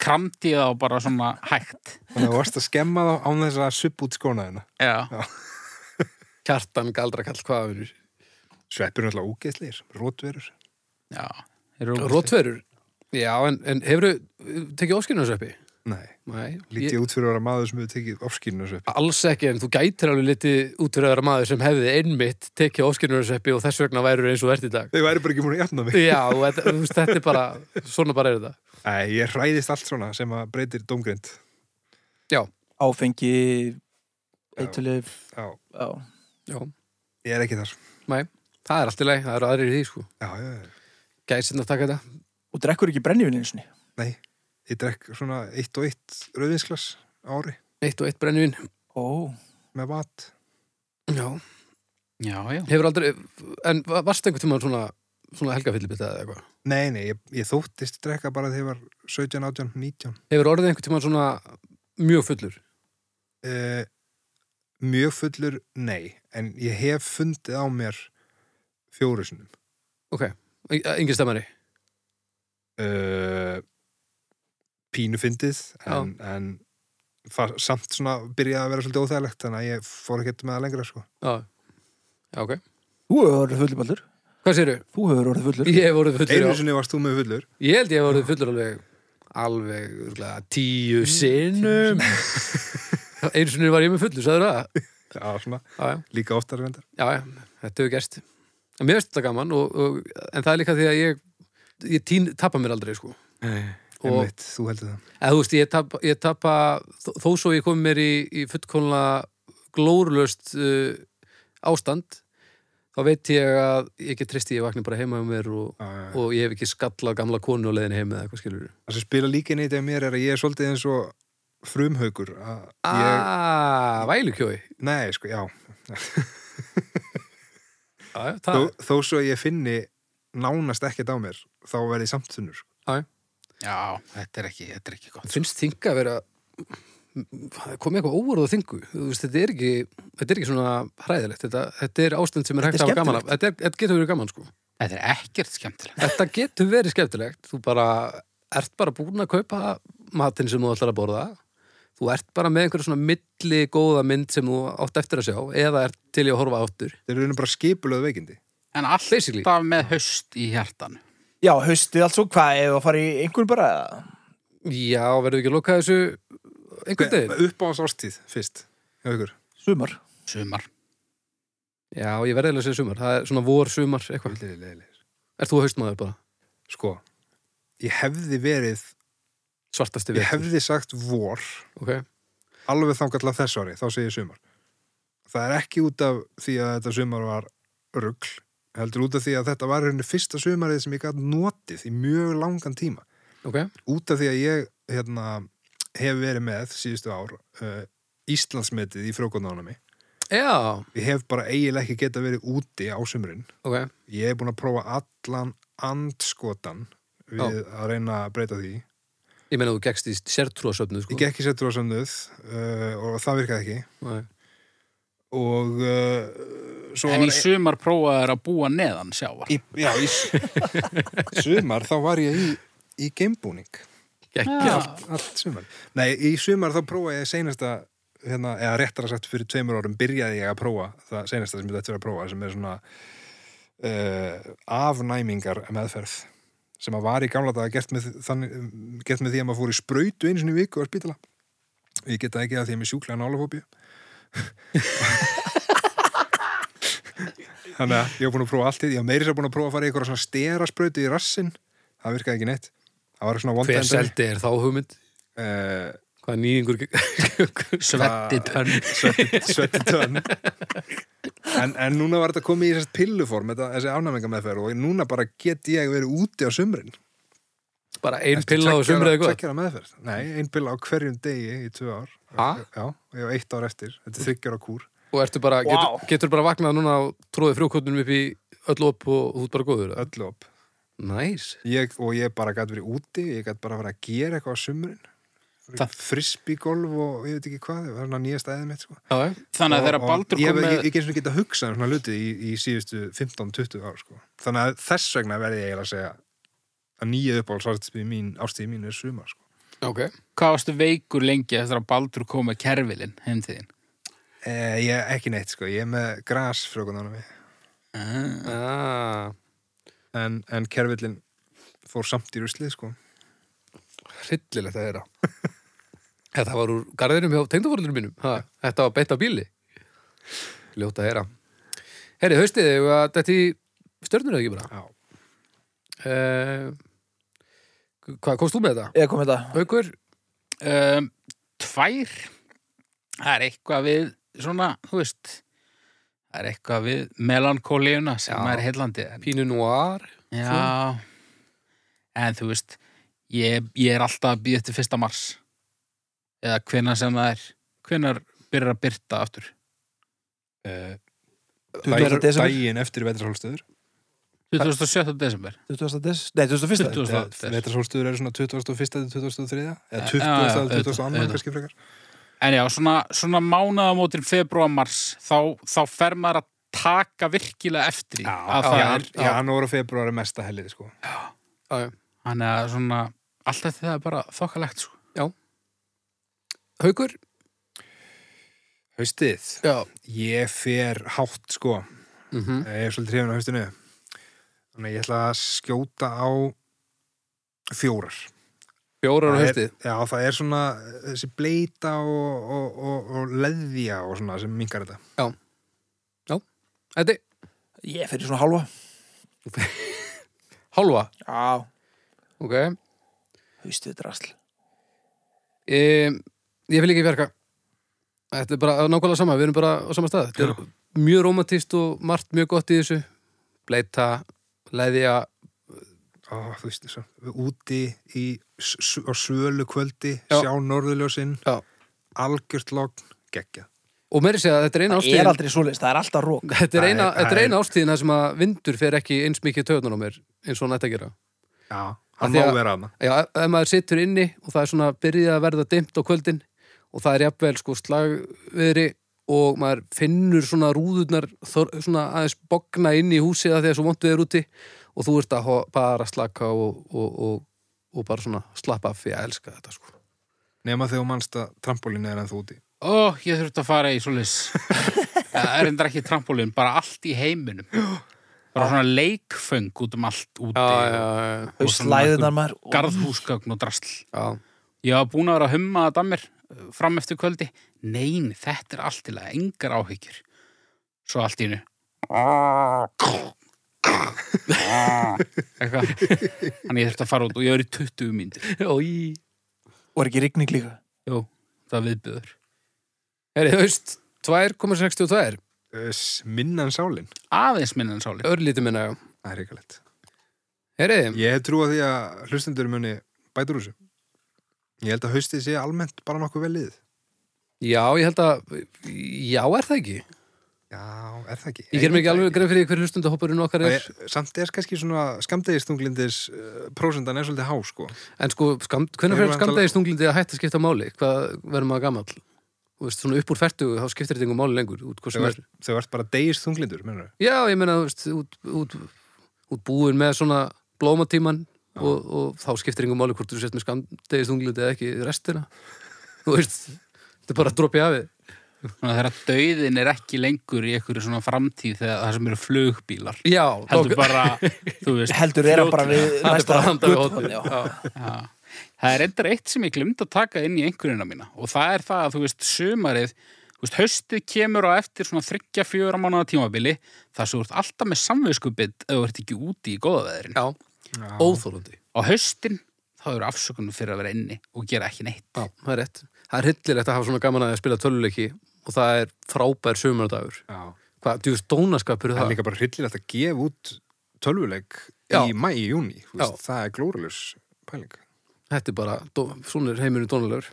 S3: kramdi ég þá bara svona hægt
S4: Þannig að þú varst að skemma þá án þess að supp út skóna hérna.
S3: Já,
S5: Kjartan, galdrakall, hvað verður?
S4: Sveppir eru alltaf ógeðslegir, rótverur.
S3: já Eru ógeðslegir.
S5: Rótverur? Já, en, en hefur þau tekið ofskinnarsveppi?
S4: Nei,
S5: Nei.
S4: lítið út fyrir að vera maður sem hefur tekið ofskýrinu sveppi.
S5: Alls ekki, en þú gætir alveg litið útverðara maður sem hefði einmitt tekið óskinnurarsveppi og þess vegna værið eins og verðt í dag.
S4: Þau væri bara ekki múin að jafna mig.
S5: Já, og þetta, þú veist, þetta er bara, svona bara er þetta.
S4: Æ, ég hræðist allt svona sem að breytir dómgrind.
S1: áfengi eitthulif
S4: Já,
S1: já
S5: Já,
S4: ég er ekki þar.
S5: nei, það er allt í leið, það eru aðrir í því, sko.
S4: Já, já, já.
S5: Gæsinn að taka þetta.
S1: og drekkur ekki brennivinn eins og
S4: Nei, ég drekk svona eitt og eitt rauðinsglas ári
S5: Eitt og eitt brennivinn.
S1: ó
S4: með vat.
S5: Já.
S3: Já, já
S5: Hefur aldrei, en va- varstu einhvern tímann svona, svona helgafyllibita eða eitthvað?
S4: Nei, nei, ég, ég þóttist drekka bara þegar ég var 17, 18, 19
S5: Hefur orðið einhvern tímann svona mjög fullur?
S4: uh, Mjög fullur, nei En ég hef fundið á mér fjórusunum
S5: Ok, engin stemmari
S4: uh, Pínu fyndið en, en fa- samt svona byrjaði að vera svolítið óþægilegt Þannig að ég fór ekkert með það lengra sko
S5: Já, já ok
S1: Þú hefur orðið fullur baldur
S5: Hvað sérðu?
S1: Þú hefur orðið fullur
S5: Ég hef orðið fullur,
S4: Einu
S5: já.
S4: sinni varst þú með fullur
S5: Ég held ég hef orðið fullur alveg alveg örugglega, tíu sinnum Einu sinni var ég með fullur, sagður það?
S4: Já, svona,
S5: Já, já,
S4: líka oftar reyndar
S5: já, já, þetta hefur gerst En Mér finnst þetta gaman og, og, en það er líka því að ég, ég tín, tapa mér aldrei sko Og-
S4: Einmitt, þú heldur það
S5: eða þú veist, ég tapa, ég tapa þó, þó svo ég kom mér í, í fullkomlega glórulaust uh, ástand þá veit ég að ég get tristi ég vakna bara heima um mér og,
S4: Já, já, já.
S5: og ég hef ekki skallað gamla konu á leiðin heim eða eitthvað skilur
S4: Það sem spila líka neitt af mér er að ég er svolítið eins og frumhaukur að
S5: Ah.
S4: ég,
S5: aaaah, vælukjói
S4: Nei, sko, já
S5: Já, já,
S4: þó,
S5: það-
S4: þó svo ég finni nánast ekkert á mér þá verði ég samt þunnur sko.
S3: Já, þetta er ekki, þetta er ekki gott.
S5: finnst þinga að vera það er komið eitthvað óvörð á þingu Þú veist, þetta er ekki, þetta er ekki svona hræðilegt þetta, þetta er ástand sem er hægt
S1: er
S5: að hafa gaman af þetta, er- þetta getur verið gaman sko
S3: Þetta er ekkert skemmtilegt.
S5: Þetta getur verið skemmtilegt. Þú bara, ert bara búin að kaupa matinn sem þú ætlar að borða. Þú ert bara með einhverja svona milli góða mynd sem þú átt eftir að sjá eða ert til í að horfa áttur.
S4: þeir eru bara skipulöð veikindi
S3: En
S5: Basically.
S3: alltaf með haust í hjartanu.
S1: Já, haustið alls og hvað ef að fara í einhvern bara
S5: Já, verður ekki að loka þessu einhvern deginn?
S4: upp á hans ástíð fyrst hjá ykkur.
S1: sumar
S3: Sumar.
S5: Já, ég verði eiginlega að segja sumar. Það er svona vor, sumar, eitthvað.
S4: Leiðilegir, leiðilegir.
S5: Er þú haustmaður bara?
S4: sko ég hefði verið
S5: Svartasti
S4: ég
S5: við.
S4: hefði sagt vor
S5: Ok,
S4: alveg þangar til þess ári, þá segi ég sumar það er ekki út af því að þetta sumar var rugl heldur út af því að þetta var henni fyrsta sumarið sem ég gæti notið í mjög langan tíma
S5: ok.
S4: út af því að ég hérna, hef verið með síðustu ár uh, Íslandsmetið í frókotnánami
S5: Já,
S4: ég hef bara eiginlega ekki geta verið úti á sumrin
S5: ok.
S4: ég hef búin að prófa allan andskotan við að reyna að breyta því
S5: Ég meina þú gekkst í sértrúasöfnu, sko.
S4: ég gekk í settur á samnöð uh, og það virkaði ekki
S5: Nei.
S4: og uh, svo
S3: En í
S4: var ein-
S3: sumar prófaði þeir að búa neðan sjávar.
S4: í, já, í s- sumar þá var ég í, í geimbúning
S5: Gekkja.
S4: allt sumar Nei, í sumar þá prófaði ég seinasta hérna, eða réttara sagt fyrir tveimur árum byrjaði ég að prófa það seinasta sem ég þetta verið að prófa sem er svona uh, afnæmingar meðferð sem að var í gamla daga gert með, þannig, gert með því að maður fór í sprautu einu sinni í viku á spítala ég geta ekki að því að ég er með sjúklega nálafóbíu þannig að ég hef búin að prófa allt í því ég hef meiri sér búin að prófa að fara í eitthvað svona stera sprautu í rassin það virkaði ekki neitt það var svona
S5: Hver
S4: vondan
S5: seldi er þá hugmynd?
S4: uh,
S5: Hvað nýðingur
S3: Svetti tönn.
S4: svetti tönn en, en núna var þetta komið í þessast pilluform þetta, þessi afnæminga meðferð og núna bara get ég verið úti á sumrin
S5: bara ein pilla á sumrið eitthvað?
S4: tvekkjara meðferð, nei, ein pilla á hverjum degi í tvö ár
S5: Ha?
S4: já, ég á eitt ár eftir, þetta er þryggjara kúr
S5: og ertu bara, getur, getur bara vaknað núna og tróðið frjókotnum upp í öll upp og þú ert bara góður eða?
S4: öllu op
S5: Næs,
S4: ég, og ég bara gæti verið úti ég gæti bara verið að gera eitthvað á sumrin
S3: Það-
S4: frisbygolf og ég veit ekki hvað það var hann nýja stæðið mitt sko.
S5: já, já.
S3: Þannig að þeirra
S4: Og- og
S3: baldur
S4: ég,
S3: kom
S4: með... ég,
S3: með...
S4: ég, ég ekki geta hugsað um svona hluti í, í síðustu 15-20 ár sko. þannig að þess vegna verði ég eiginlega að segja að nýja uppáhalds ástíð mín, ástíð mín er sumar sko.
S5: ok
S3: Hvað varstu veikur lengi eftir að baldur kom með kerfilinn heim til þín?
S4: e, ég, ekki neitt, sko. ég er með gras frjókundanum
S5: ah,
S4: en, en kerfillin fór samt í ruslið sko.
S5: Hryllilegt að þeirra Þetta var úr garðinum hjá tengdafórlunum mínum ha, Þetta var beitt af bíli Ljóta að þeirra Herri, haustið, eigum við að þetta í stjörnur eða ekki bara
S4: Já.
S5: eh, Hvað, komst þú með þetta?
S1: Eða kom þetta
S5: Haukur?
S3: Um, tvær. Það er eitthvað við svona, þú veist, það er eitthvað við melankóliuna sem
S5: Já.
S3: er heillandi. En
S5: Pínu Noir?
S3: Já, en þú veist, ég, ég er alltaf að býja eftir fyrsta mars. Eða hvenar sem það er, hvenar byrjar að byrta aftur.
S4: e,
S1: Þú ert að desember?
S4: daginn eftir vetrarhálstöður
S3: 27. desember
S1: 20. des, nei, 21.
S3: 20. desember
S4: Vetrasólstuður Eh, eru svona 21. til 23. eða
S3: Já,
S4: 20.
S3: já,
S4: til 22.
S3: auðvitað,
S4: kannski frekar
S3: En já, svona, svona mánaðamótin februar-mars þá, þá fer maður að taka virkilega eftir í að það
S4: já,
S3: er
S4: já, janúar og februar er mesta helið sko.
S3: Þannig að svona, alltaf þetta er bara þokkalegt sko.
S5: Haukur?
S4: Haustið,
S5: Já.
S4: ég fer hátt sko Eh,
S5: Mm
S4: Ég er svolítið hrifin á haustinu Þannig að ég ætla að skjóta á fjórar
S5: Fjórar á
S4: Það er-
S5: haustið.
S4: Já, það er svona eh, þessi bleita og, og, og, og leðja og svona sem minkar þetta
S5: Þetta er
S1: Ég fyrir svona halva
S5: hálfa.
S1: Já,
S5: Ok.
S1: haustuð drasl
S5: Ég, ég vil ekki verka. Þetta er bara nákvæmlega sama, við erum bara á sama stað. Þetta er mjög romantíst og margt mjög gott í þessu. Bleita, leðja,
S4: Ó, þú veist, svo, úti í, s- s- á svölu kvöldi
S5: Já.
S4: sjá norðurljósin
S5: Já.
S4: algjört logn, geggjað
S5: og meiri segja að þetta er eina
S1: Það er
S5: ástíðin.
S1: aldrei svoleiðis, það er alltaf rók
S5: Þetta er eina,
S4: Það er-
S5: þetta er eina ástíðina sem að vindur fer ekki eins mikið töðnur á mér eins og hann ætti að gera.
S4: Já,
S5: Af
S4: hann
S5: því
S4: má
S5: að-
S4: vera hana
S5: Já, ef- ef maður situr inni og það er svona byrjið að verða dimmt á kvöldin og það er jafnvel sko slagviðri og maður finnur svona rúðurnar þor, svona aðeins bogna inn í húsið að því að svo vondu er úti og þú ert að ho- bara slaka og, og, og, og bara svona slappa af því að elska þetta sko.
S4: Nefna þegar þú manst að trampolínu er ennþá úti
S3: Ó, ég þurfti að fara í svoleiðis Það er endur ekki trampolín bara allt í heiminum bara svona leikföng út um allt úti
S5: já, já.
S3: og svona
S1: Slæðunar maður
S3: einhver garðhúsgögn og drasl
S5: já.
S3: Ég var búin að vera að humma að dammir fram eftir kvöldi. Nein, þetta er allt til að engar áhyggjur. Svo allt í hennu. Eitthvað. Þannig ég þurfti að fara út og ég var í 20 mínútur.
S5: Ói.
S1: Og er ekki rigning líka
S3: Jú, það viðbyður.
S5: Er þið haust 2,62
S4: Öss, Minna en sálin,
S3: Aðeins minna en sálið.
S5: örlítið minna, já.
S4: það er reikalegt
S5: Heriði,
S4: Ég hef trúið því að hlustendur muni bætur úr þessu Ég held að haustið sé almennt bara nokkuð vel lið
S5: já, ég held að já, er það ekki?
S4: Já, er það ekki?
S5: Ég ger mér ekki alveg greið fyrir hver hlustundahoppurinn okkar er
S4: fyrir Samt er kannski svona skamdegistunglindis uh, prósendan er svolítið há sko
S5: En sko, skamt, hvernig
S4: Erum
S5: fyrir
S4: við
S5: skamdegi stunglindi að hætta að skipta máli? Hvað verður maður gamall? Þú veist, svona upp úr færtugu, þá skiptir þetta engum máli lengur. Út, hvað sem
S4: Þegar
S5: er.
S4: þú ert bara degistunglindur, mennur
S5: Já, ég meina, þú veist, út, út, út búin með svona blómatíman og, og þá skiptir engum máli hvort þú sett með skamdegi stunglindi eða ekki restina. Þú veist, þetta er bara að droppi afið.
S3: Svona þegar dauðin er ekki lengur í einhverju svona framtíð þegar það sem eru flugbílar.
S5: Já,
S3: Heldur bara, þú veist.
S1: Heldur er hann bara við
S5: Það er bara
S1: næsta
S5: handa við
S1: götu-
S5: hóttir.
S1: Já.
S3: Já. Það er endur eitt sem ég glemt að taka inn í einhverjuna mína og það er það að þú veist sumarið þú veist, haustið kemur á eftir svona 3-4 mánuða tímabili þar sem þú ert alltaf með samviskubið ef þú ert ekki úti í góða veðrin
S5: Já, óþólandi.
S3: á haustin þá eru afsökunum fyrir að vera inni og gera ekki neitt
S5: Já, það er rétt. Það er hryllilegt að hafa svona gaman að spila töluleiki og það er frábær sömurdagur.
S4: Já
S5: Hvað, djúst dónaskapur er
S4: Það
S5: það?
S4: er líka bara hryllilegt að gefa út tölvuleik
S5: Já.
S4: í mæ, í júni þú veist,
S5: Já.
S4: Það er glóruljus pæling
S5: Þetta er bara, dó- svona er heimurinn dónalegur.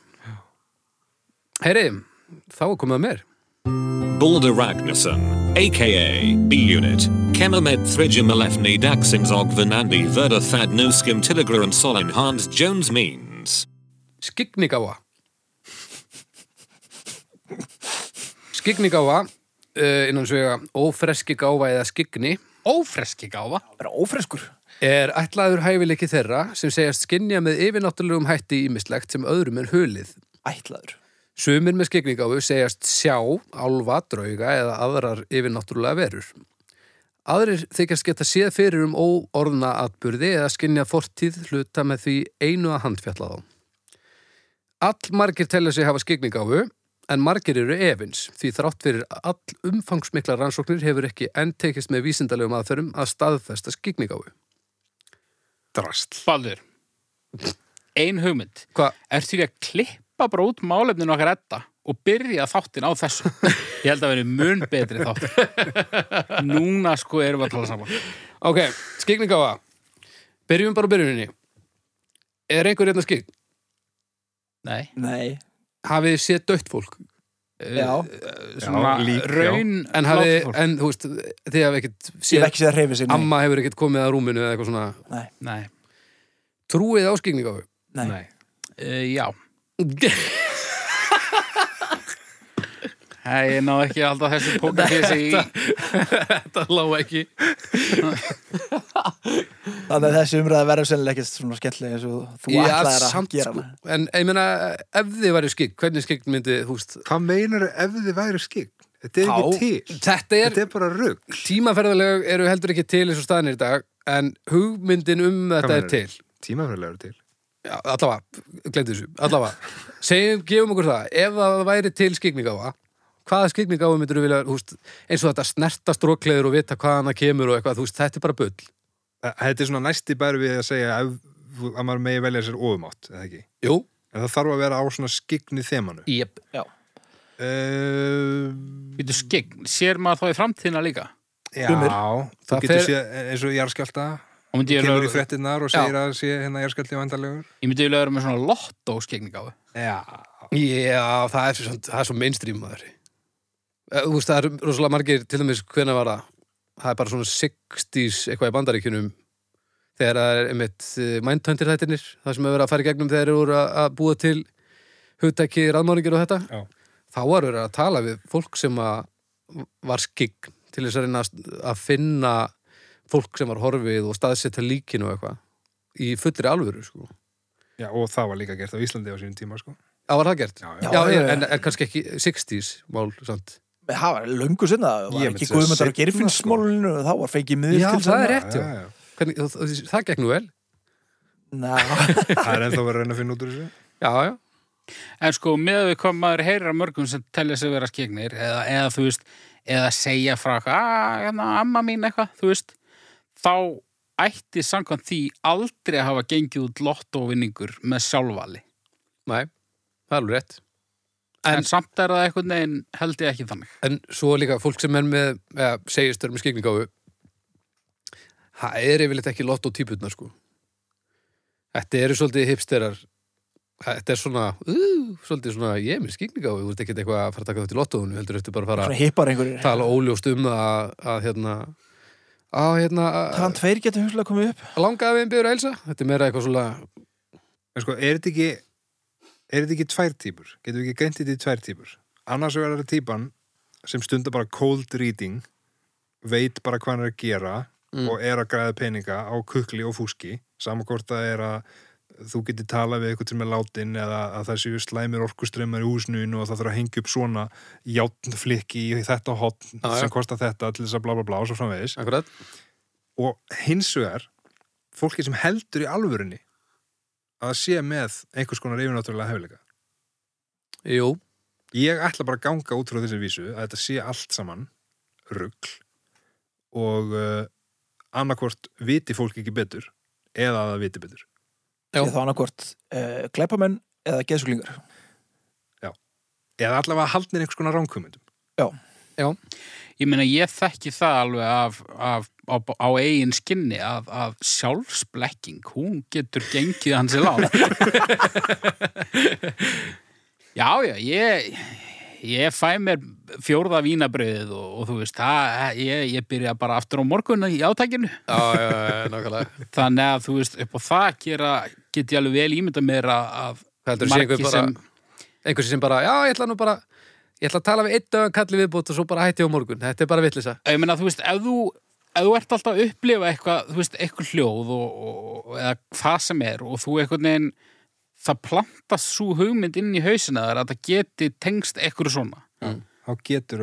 S5: Heyri, þá er komið að mér.
S6: Balder Ragnarsson, aka B Unit, Kemamed Thrijum Alefni Daxims Ogvanandi Verda Thad Noskim Tilligram Solin Hans Jones Means.
S5: Skignigáa. Skignigáa, uh, innan svega ófreski gáfa eða skigni,
S3: Ófreski gáfa
S1: Bara ófreskur
S5: er ætlaður hæfileiki þeirra sem segjast skinja með yfirnáttúrulegum hætti ímislegt sem öðrum er hulið.
S1: Ætlaður
S5: Sumir með skignigáfu segjast sjá, álfa, drauga eða aðrar yfirnáttúrulega verur. Aðrir þykjast geta séð fyrir um óorðna atburði eða skinja fortíð hluta með því einu að handfjalla þá. All margir telja sig hafa skignigáfu en margir eru efins því þrátt fyrir all umfangsmikla rannsóknir hefur ekki enn tekist með vísindalegum aðferðum að staðfesta skignigáfu.
S4: Drastl
S3: Baldur, ein hugmynd
S5: Hva?
S3: Ertu því að klippa bara út málefninu okkar etta og byrja þáttin á þessu Ég held að vera mun betri þátt Núna sko erum við að tala saman
S5: Ok, skignigáfa. Byrjum bara á byrjuninni. Er einhver hérna skign?
S3: Nei
S1: Nei
S5: Hafið þið séð dött fólk?
S1: Já.
S5: eh,
S3: svona
S4: Já, lík, já.
S3: raun
S5: En, hafi, en þú veist, þið hafi ekkert
S1: Ég hef
S5: séð,
S1: ekki séð að hreyfi sig, nei.
S5: amma hefur ekkert komið að rúminu eða eitthvað svona
S3: Nei,
S5: trúið áskikning á þau
S1: Nei.
S3: uh, já Nei, ég náði ekki alltaf þessu pókafési í
S5: Þetta lág ekki
S1: Þannig að þessi umræða verður sennilega ekkert svona skemmtilega eins og þú
S5: Já,
S1: ætlaðir að
S5: samt
S1: gera
S5: sko
S1: hana.
S5: En ég meina, ef þið væri skikk, hvernig skikk myndi, þú veist
S4: Hvað meinar ef þið væri skikk? Þetta er
S5: Á,
S4: ekki til.
S5: Þetta er,
S4: Þetta er bara rugg.
S5: tímaferðalög eru heldur ekki til eins og staðin er í dag En hugmyndin um þetta er
S4: meinarðu?
S5: til
S4: Tímafæðilega til.
S5: Já, allavega, glemdu þessu, allavega segjum, gefum okkur það, ef það væri til skikningáfa, hvaða skikningáfa myndir þú vilja, húst, eins og þetta snerta strókleður og vita hvaðan það kemur og eitthvað, húst, þetta er bara bull.
S4: Þa- Þetta er svona næsti bæri við að segja ef, að maður megi velja sér ofumátt, eða ekki?
S5: Jú,
S4: En það þarf að vera á svona skikni þemanu.
S5: jep.
S4: Uh,
S3: Býtu skegg, sér maður þá í framtíðina líka
S4: já,
S1: Sumir.
S4: þú
S5: Það
S4: getur
S5: fer-
S4: fer... séð eh, eins og jarðskjálta,
S3: og myndi ég,
S4: kemur í
S3: lögur,
S4: frettinnar og segir að sé hérna jarðskjálti vandalegur.
S3: ég myndi ég lögur með svona lottó skegningáðu
S4: Já.
S5: Já, það er svo, það er svo mainstream maður. Eh, Þú veist, það er rosalega margir, til dæmis, hvenær var það? Það er bara svona 60s eitthvað í bandaríkjunum þegar það er einmitt mindtöndir þættinir, það sem hefur verið að fara í gegnum þegar þeir eru að, að búa til hugtæki raðmáringar og þetta.
S4: Já.
S5: Þá var verið að tala við fólk sem að var skikk til þess að reyna að- að finna fólk sem var horfið og staðsetta líkinu og eitthvað í fullri alvöru, sko.
S4: já, og það var líka gert á Íslandi á sínum tíma, sko.
S5: Það var það gert?
S4: Já,
S5: já,
S4: já.
S1: Já, já, já.
S5: En, en kannski ekki 60s mál, sant?
S1: Það var löngu sinna, það
S4: Ég
S1: var
S4: myndi
S1: ekki
S4: segja
S1: guðmyndar og
S4: seinna, sko.
S1: gerfinnsmólinu og þá var feikið miður
S5: Já,
S1: til
S5: það er
S1: þarna.
S5: rétt, já.
S4: Já, já.
S5: Hvernig, það, það, það gekk nú vel.
S1: Ná,
S4: Það er ennþá verið að reyna að finna út úr þessu.
S5: Já, já.
S3: En sko, með við hvað maður heyrir af mörgum sem telja sig vera skegnir eða, eða þú veist, eða segja frá eitthvað, að, hérna, amma mín eitthvað, þú veist þá ætti samkvæmt því aldrei að hafa gengið út lottóvinningur með sjálfvali
S5: Næ, það er alveg rétt.
S3: en,
S5: En-
S3: samt er það eitthvað neginn held ég ekki þannig
S5: En svo líka fólk sem er með, eða, segist þau með skikningáfu, það er yfirleitt ekki lott og típutnar, sko. Þetta eru svolítið hipsterar. Þetta er svona, uh, svolítið svona, ég er með skikningáfu, þú veist ekki eitthvað að fara að taka þátt í lottóðunum, heldur þetta bara að fara
S1: svona hippar einhverjir.
S5: að tala óljóst um það að, að hérna, að hérna,
S1: Talan tveir getur hugsalega komið upp.
S5: að langaði við byrður að elsa. Þetta er meira eitthvað svona,
S4: En sko, er þetta ekki er þetta ekki tvær típur? Getum við ekki greint þetta í tvær típur? Annars verður þetta típan sem stundar bara cold reading veit bara hvað hann er að gera
S5: Mm.
S4: og er að græða peninga á kukli og fúski saman hvort það er að þú getur talað við eitthvað sem er látin eða að það séu slæmir orkuströmmar í húsnun og það þarf að hengja upp svona játnflikki í þetta hotn
S5: Já, já.
S4: sem kostar þetta til þess að bla bla bla og svo framvegis
S5: akkurat,
S4: og hins vegar fólki sem heldur í alvörunni að sé með einhvers konar yfirnáttúrulega hefileika.
S5: jú,
S4: Ég ætla bara að ganga út frá þessi vísu að þetta sé allt saman rugl og uh, annarkvort viti fólk ekki betur eða að það viti betur.
S5: Já.
S1: Ég þá annarkvort uh, glæpamenn eða geðsuglingar.
S4: Eða allavega haldnir einhvers konar ránkvömyndum.
S3: Ég meina, ég þekki það alveg af, af, á, á eigin skinni að, að sjálfsblekking, hún getur gengið hans í lág. já, já, ég, ég fæ mér fjórða vínabröðið og, og þú veist, það, ég, ég byrja bara aftur á morgun í átækinu.
S5: já, já, já, nákvæmlega.
S3: Þannig að þú veist, upp á það gera, get ég alveg vel ímynda mér að að
S5: heldur sé einhver
S3: margir
S5: bara einhversi sem bara, já ég ætla nú bara ég ætla að tala við einn dögan kalli viðbútt og svo bara hætti ég á morgun, þetta er bara vitlisa
S3: ég meina, þú veist, ef þú ef þú ert alltaf að upplifa eitthvað, þú veist, eitthvað hljóð og, og, eða hvað sem er og þú eitthvað neginn það plantast svo hugmynd inn í hausina þar að það geti tengst eitthvað svona
S4: Þá getur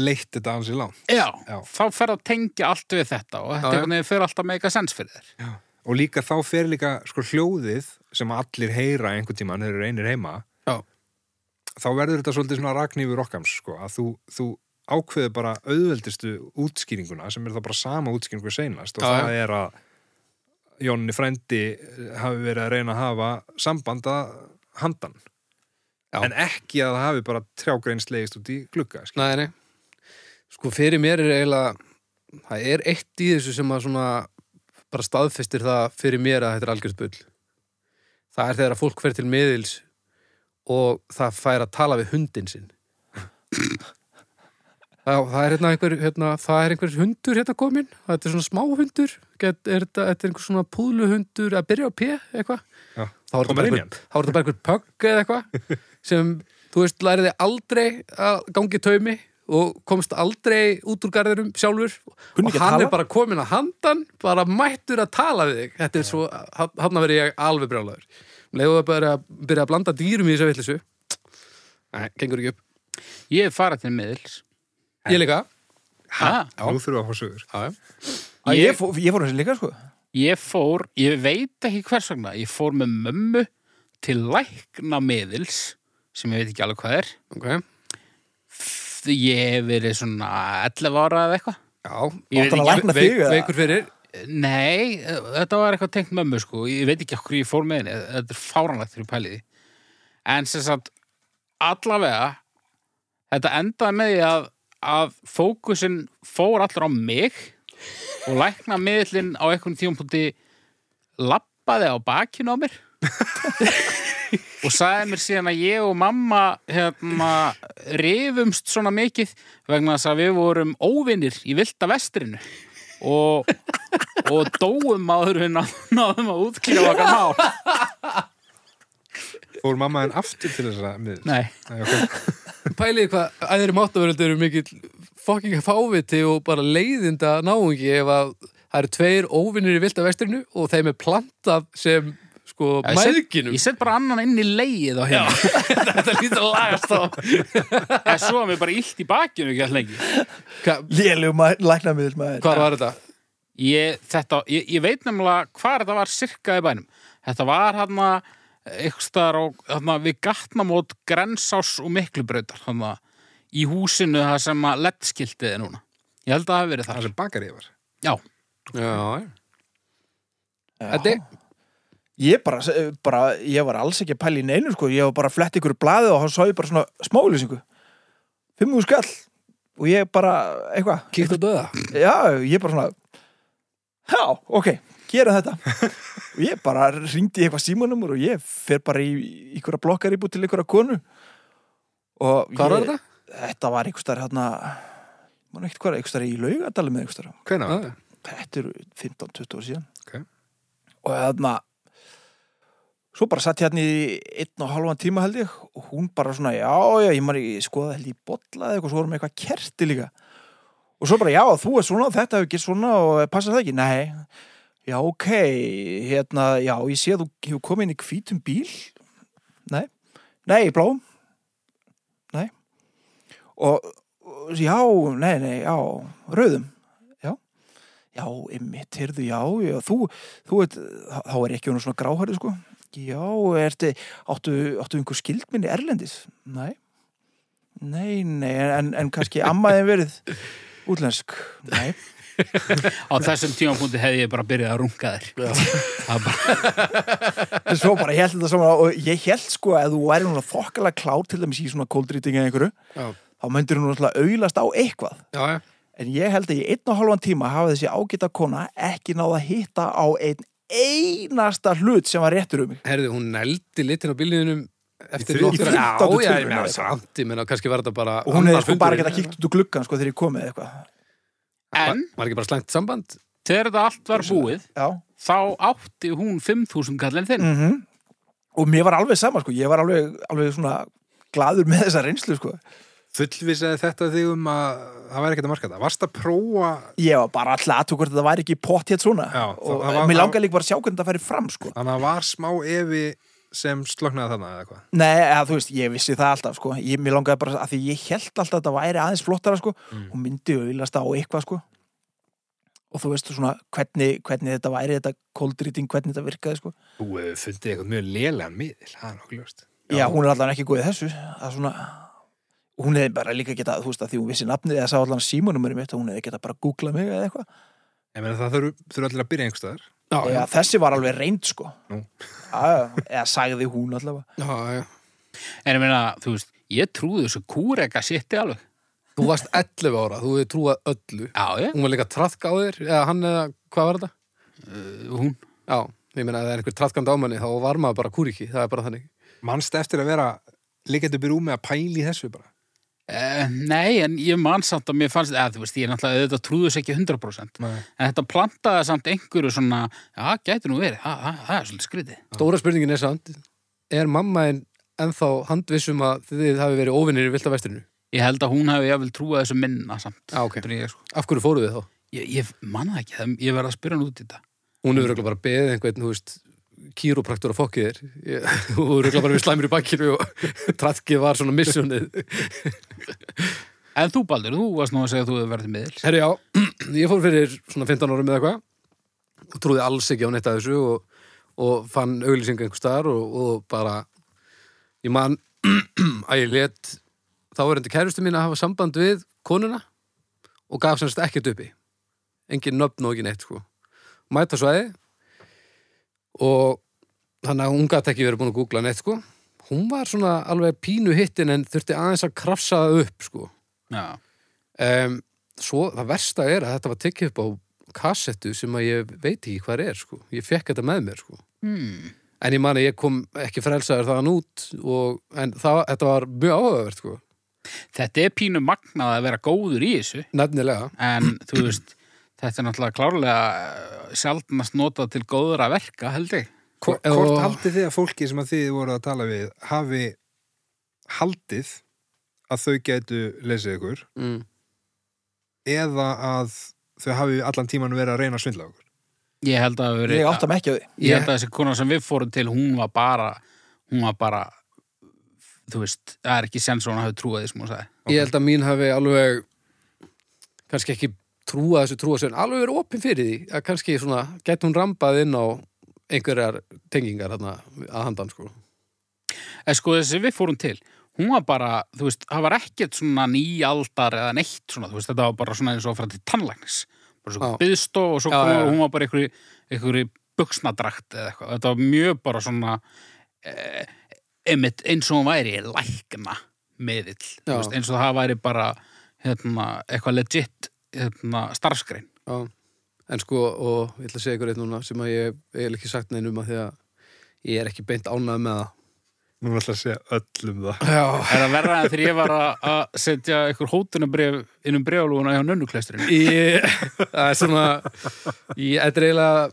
S4: leitt þetta hans í langt.
S3: já,
S4: Já.
S3: þá fer að tengja allt við þetta og
S5: Já,
S3: þetta
S5: já.
S3: eitthvað neginn fer alltaf að meika sens fyrir þér
S4: Og líka þá fer líka sko hljóðið sem allir heyra einhvern tíma en þeir eru einir heima
S5: Já.
S4: þá verður þetta svolítið svona ragnýfur okkams sko, að þú, þú ákveður bara auðveldistu útskýringuna sem er það bara sama útskýringu seinast og
S5: Já, já.
S4: það er að Jónni frændi eh, hafi verið að reyna að hafa sambanda handan
S5: Já.
S4: en ekki að það hafi bara trjágrein slegist út í glugga skilur.
S5: Nei, nei, sko fyrir mér er eiginlega það er eitt í þessu sem að svona bara staðfestir það fyrir mér að þetta er algjörst bull það er þegar að fólk fer til miðils og það fær að tala við hundin sinn Það, það er hérna einhver, hérna, það er einhver hundur hérna komin, þetta er svona smá hundur, Get, er þetta, þetta er einhver svona púðluhundur að byrja á P, eitthvað. Þá
S4: Já.
S5: er þetta
S4: Komar
S5: bara
S4: inn í
S5: einhver- þá er þetta bara einhver pögg eða eitthvað, sem, þú veist, læriði aldrei að gangi taumi og komst aldrei út úr garðurum sjálfur
S1: Kunni
S5: og
S1: ekki að
S5: hann
S1: tala.
S5: er bara komin að handan, bara mættur að tala við þig. Þetta er svo, hann að vera ég alveg brjálaður. Leðu það bara að byrja að blanda dýrum í þessu villisu. Nei, gengur ekki upp.
S3: Ég hef farað til miðils.
S5: Ég líka.
S3: Ha?
S4: Nú þurfum við að fá sögur.
S5: Já, já.
S1: Æ,
S3: Ég-
S1: ég, fó, ég fór þessi líka sko
S3: Ég fór, ég veit ekki hvers vegna, ég fór með mömmu til lækna miðils, sem ég veit ekki alveg hvað er.
S5: Ok.
S3: F- Ég hef verið svona 11 ára eða eitthvað.
S5: Já,
S3: Ég veit
S1: Áttan að
S3: ekki,
S1: lækna
S5: veik,
S1: þig eða?
S5: veikur fyrir
S3: nei, þetta var eitthvað tengt mömmu sko, ég veit ekki okkur ég fór með henni, þetta er fáranlegt fyrir pæliði. En sem sagt, allavega, þetta endaði með því að, að fókusin fór allur á mig og lækna miðlinn á einhvern tíumpúti lappaði á bakinu á mér og sagði mér síðan að ég og mamma hérna, rifumst svona mikið vegna þess að við vorum óvinnir í vilda vestrinu og, og dóum áður en að náðum að útkýra okkar mál
S4: Fór mamma henn aftur til þessara miður.
S3: Nei,
S4: Nei, ok.
S5: Pæliði hvað æðri máttavöröldur eru mikill fucking fáviti og bara leiðinda náungi ef að það eru tveir óvinnir í vilda vestrinu og þeim er plantað sem sko
S3: Já, ég set-
S5: mæðginum
S3: ég set bara annan inn í leið á hérna
S5: Þetta lítur að lagast á
S3: en svo að mér bara illt í bakinu ekki allengi
S5: Hva,
S1: Lélegu lækna miður maður
S5: Hvað var þetta?
S3: Ég, þetta, ég, ég veit nefnilega hvað þetta var sirka í bænum. Þetta var hann að staðar á, hann við gatnamót Grensás og Miklubrautar hann í húsinu það sem að leddskiltið er núna. Ég held að það hafi verið
S4: Það
S3: þar.
S4: sem bakar ég var.
S3: Já,
S5: Já,
S1: Já.
S5: þetta
S1: Ég bara, bara, ég var alls ekki að pæla í neinu sko Ég var bara að fletta ykkur blaðið og þá sá ég bara svona smáulýsingu Fimmu skall Og ég bara, eitthvað
S5: Kíkt að döða
S1: Já, ég bara svona Já, ok, gera þetta og ég bara ringdi í eitthvað símanumur og ég fer bara í í einhverja blokkar íbúð til einhverja konu og
S5: Hvað var
S1: ég,
S5: þetta?
S1: Þetta var einhver starf hérna mann ekkert hvað, einhver starf í laugadalum eða einhver starf
S4: Hvenær? var þetta?
S1: þetta eru 15-20 ár síðan
S4: Ok.
S1: og þarna svo bara satt ég hérna í einn og halvan tíma held ég og hún bara svona, já, já, ég maður ég skoða held ég bolla eða eitthvað, svo vorum við eitthvað kerti líka og svo bara, já, þú er svona þetta hefur gert svona og passa það ekki, nei já, ok, hérna já, ég sé að þú hefur komið inn í hvítum bíl nei nei, í bláum nei og, og já, nei, nei, já, rauðum Já, ymmit, heyrðu, já, já, þú, þú veit, þá þá er ekki hún svona gráhæri, sko. Já, ertu, áttu, áttu einhver skildminni erlendis? Nei. Nei, nei, en, en kannski ammaðin verið útlensk. Nei.
S3: á þessum tímapunkti hefði ég bara byrjað að runga þér. Það er bara,
S1: En svo bara, ég held þetta saman og ég held sko að þú væri núna þokkala klár til dæmis í svona kóldrýting eða einhverju,
S5: Já.
S1: þá myndir hún náttúrulega auðlast á eitthvað.
S5: Já, já
S1: En ég held að í einn og halvan tíma hafa þessi ágæta kona ekki náða að hitta á einn einasta hlut sem var réttur um mig.
S5: Herði, hún neldi litin á bíliðinum eftir
S1: í
S5: nokkur
S4: þriðju-
S5: Já,
S1: fimmtándu
S5: já,
S1: tölunni
S5: ég meina
S1: eða eitthvað.
S5: samt Ég meina, kannski var þetta bara
S1: og hún hefði
S5: annar
S1: sko bara
S5: fundurinn.
S1: geta kíkt út úr gluggan sko þegar ég komið eða eitthvað
S3: en
S5: Var ekki bara slengt samband?
S3: þegar þetta allt var búið,
S1: já
S3: þá átti hún 5.000 kallin þinn.
S1: mm og mér var alveg sama sko ég var alveg, alveg svona gladur með þessa reynslu sko
S4: Fullvisaði þetta þig um að það væri ekkert að marka þetta. Varst að prófa
S1: ég var bara alltaf aðtúr hvort þetta væri ekki pott hér svona
S4: Já,
S1: og
S4: það var-
S1: mér
S4: það-
S1: langaði líka bara að sjá hvernig þetta færi fram sko
S4: Þannig að það var smá evi sem sloknaði þarna eða hvað.
S1: nei, eða, þú veist, ég vissi það alltaf sko ég, mér langaði bara að því ég held alltaf að þetta væri aðeins flottara sko
S4: Mm.
S1: og myndi auðlast á eitthvað sko og þú veist svona hvernig, hvernig þetta væri þetta koldrýting, hvernig þetta virkaði sko
S4: Þú hefur fundið eitthvað mjög lélega miðil, það er nokkuð ljóst.
S1: Já, hún er allan ekki góð í þessu að svona, hún hefði bara líka geta þú veist að því hún vissi nafnið eða sá allan símanumurinn mitt og hún hefði geta bara googlað mig eða eitthvað
S4: Ég meina það þurfa þurf allir að byrja einhverstaðar.
S5: Já,
S1: Já, þessi var alveg reynd sko
S4: Nú.
S1: Já, já, eða sagði hún allavega
S5: já, já
S3: En ég meina, þú veist, ég trúði þessu kúreka sitti alveg.
S5: Þú varst 11 ára, þú hefði trúað öllu
S3: Já, ég,
S5: Hún var líka trafka á þér, eða hann eða hvað var þetta?
S3: hún.
S5: Já, ég meina að það er einhver trafkandi ámanni þá var maður bara kúriki, það er bara þannig
S4: Manst eftir að vera líkandi byrjum með að pæli í þessu bara.
S3: Eh, nei, en ég man samt að mér fannst, eða þú veist, ég er náttúrulega, þetta trúðus ekki 100%.
S4: Nei.
S3: En þetta plantaði samt einhverju svona, já, gæti nú verið, ha, ha, það er svolítið skrítið.
S5: Stóra spurningin er samt, er mamma en ennþá handvissum að þið hafi verið óvinnir í vilda vestrinu?
S3: Ég held að hún hefði jafnvel trúað þessu minna samt.
S5: Já, Ah, ok.
S3: heldur en Ég, sko.
S5: Af hverju fóruð þið þá?
S3: ég, ég man það ekki, það- ég verð að spyrja hann út í þetta.
S5: Hún hefur örugglega bara beðið einhvern, þú veist, kýrópraktur að fokkið þér. Ég- Hún hefur örugglega bara við slæmur í bakkinu og traðkið var svona missunnið.
S3: En þú, Baldur, þú varst nú að segja að þú hefur verið miðil.
S5: Herri, já, ég fór fyrir svona 15 árum eða eitthvað og trúði alls ekki á neitt að þessu og, og fann auglýsingar einhvers staðar og, og bara ég man að ég let þá er endur kærustu mín að hafa samband við konuna og gaf semst ekkert uppi engin nöfn og ekki neitt sko. mæta svæði og þannig að hún gæti ekki verið búin að googla neitt sko. hún var svona alveg pínu hittin en þurfti aðeins að krafsa það upp sko.
S3: Já,
S5: um, svo það versta er að þetta var tekið upp á kassettu sem að ég veit ekki hvað er sko. ég fekk þetta með mér sko.
S3: hmm.
S5: en ég man að ég kom ekki frelsaður þaðan út og, en það, þetta var mjög áhugavert sko.
S3: þetta er pínu magnað að vera góður í þessu.
S5: nefnilega
S3: En, þú veist, þetta er náttúrulega klárlega eh, sjaldnast notað til góðra verka, held ég.
S4: Hvort,
S5: Og-
S4: hvort haldið þið að fólki sem að þið voru að tala við hafi haldið að þau gætu lesið ykkur
S5: mm.
S4: eða að þau hafi allan tíman verið að reyna að svindla okkur?
S3: Ég held að það hafi verið...
S1: Ég átta mig ekki á því
S3: ég held að þessi kona sem við fórum til hún var bara hún var bara þú veist, það er ekki sens að hún hafi trúið því sem hún sagði
S5: ég held að mín hafi alveg kannski ekki trúa þessu trúa sér alveg verið opin fyrir því að kannski svona gæti hún rambað inn á einhverjar tengingar hana, að handan sko.
S3: en sko þessi við fórum til hún var bara, þú veist, það var ekkert svona nýjaldar eða neitt svona, þú veist, þetta var bara svona eins og frá til tannlæknis bara svo
S5: Já.
S3: byðstó og svo
S5: Já,
S3: kom,
S5: já, já.
S3: hún var bara einhverju, einhverju buksnadrakt eða eitthvað, þetta var mjög bara svona eh, einmitt eins og hún væri lækna meðill, þú
S5: Já.
S3: veist, eins og það væri bara hérna, eitthvað legit hérna, starfskrein
S5: Já, en sko, og ég ætla að segja ykkur eitt núna sem að ég ég hef ekki sagt neinum að því að ég er ekki beint ánað með
S4: Nú ætla að segja öllum það.
S5: það. Já.
S3: Er það verra en þegar ég var að- að setja einhver hótunabref innum brefalúna hjá nönnuklæsturinn?
S5: Ég, það er svona, ég, þetta er eiginlega,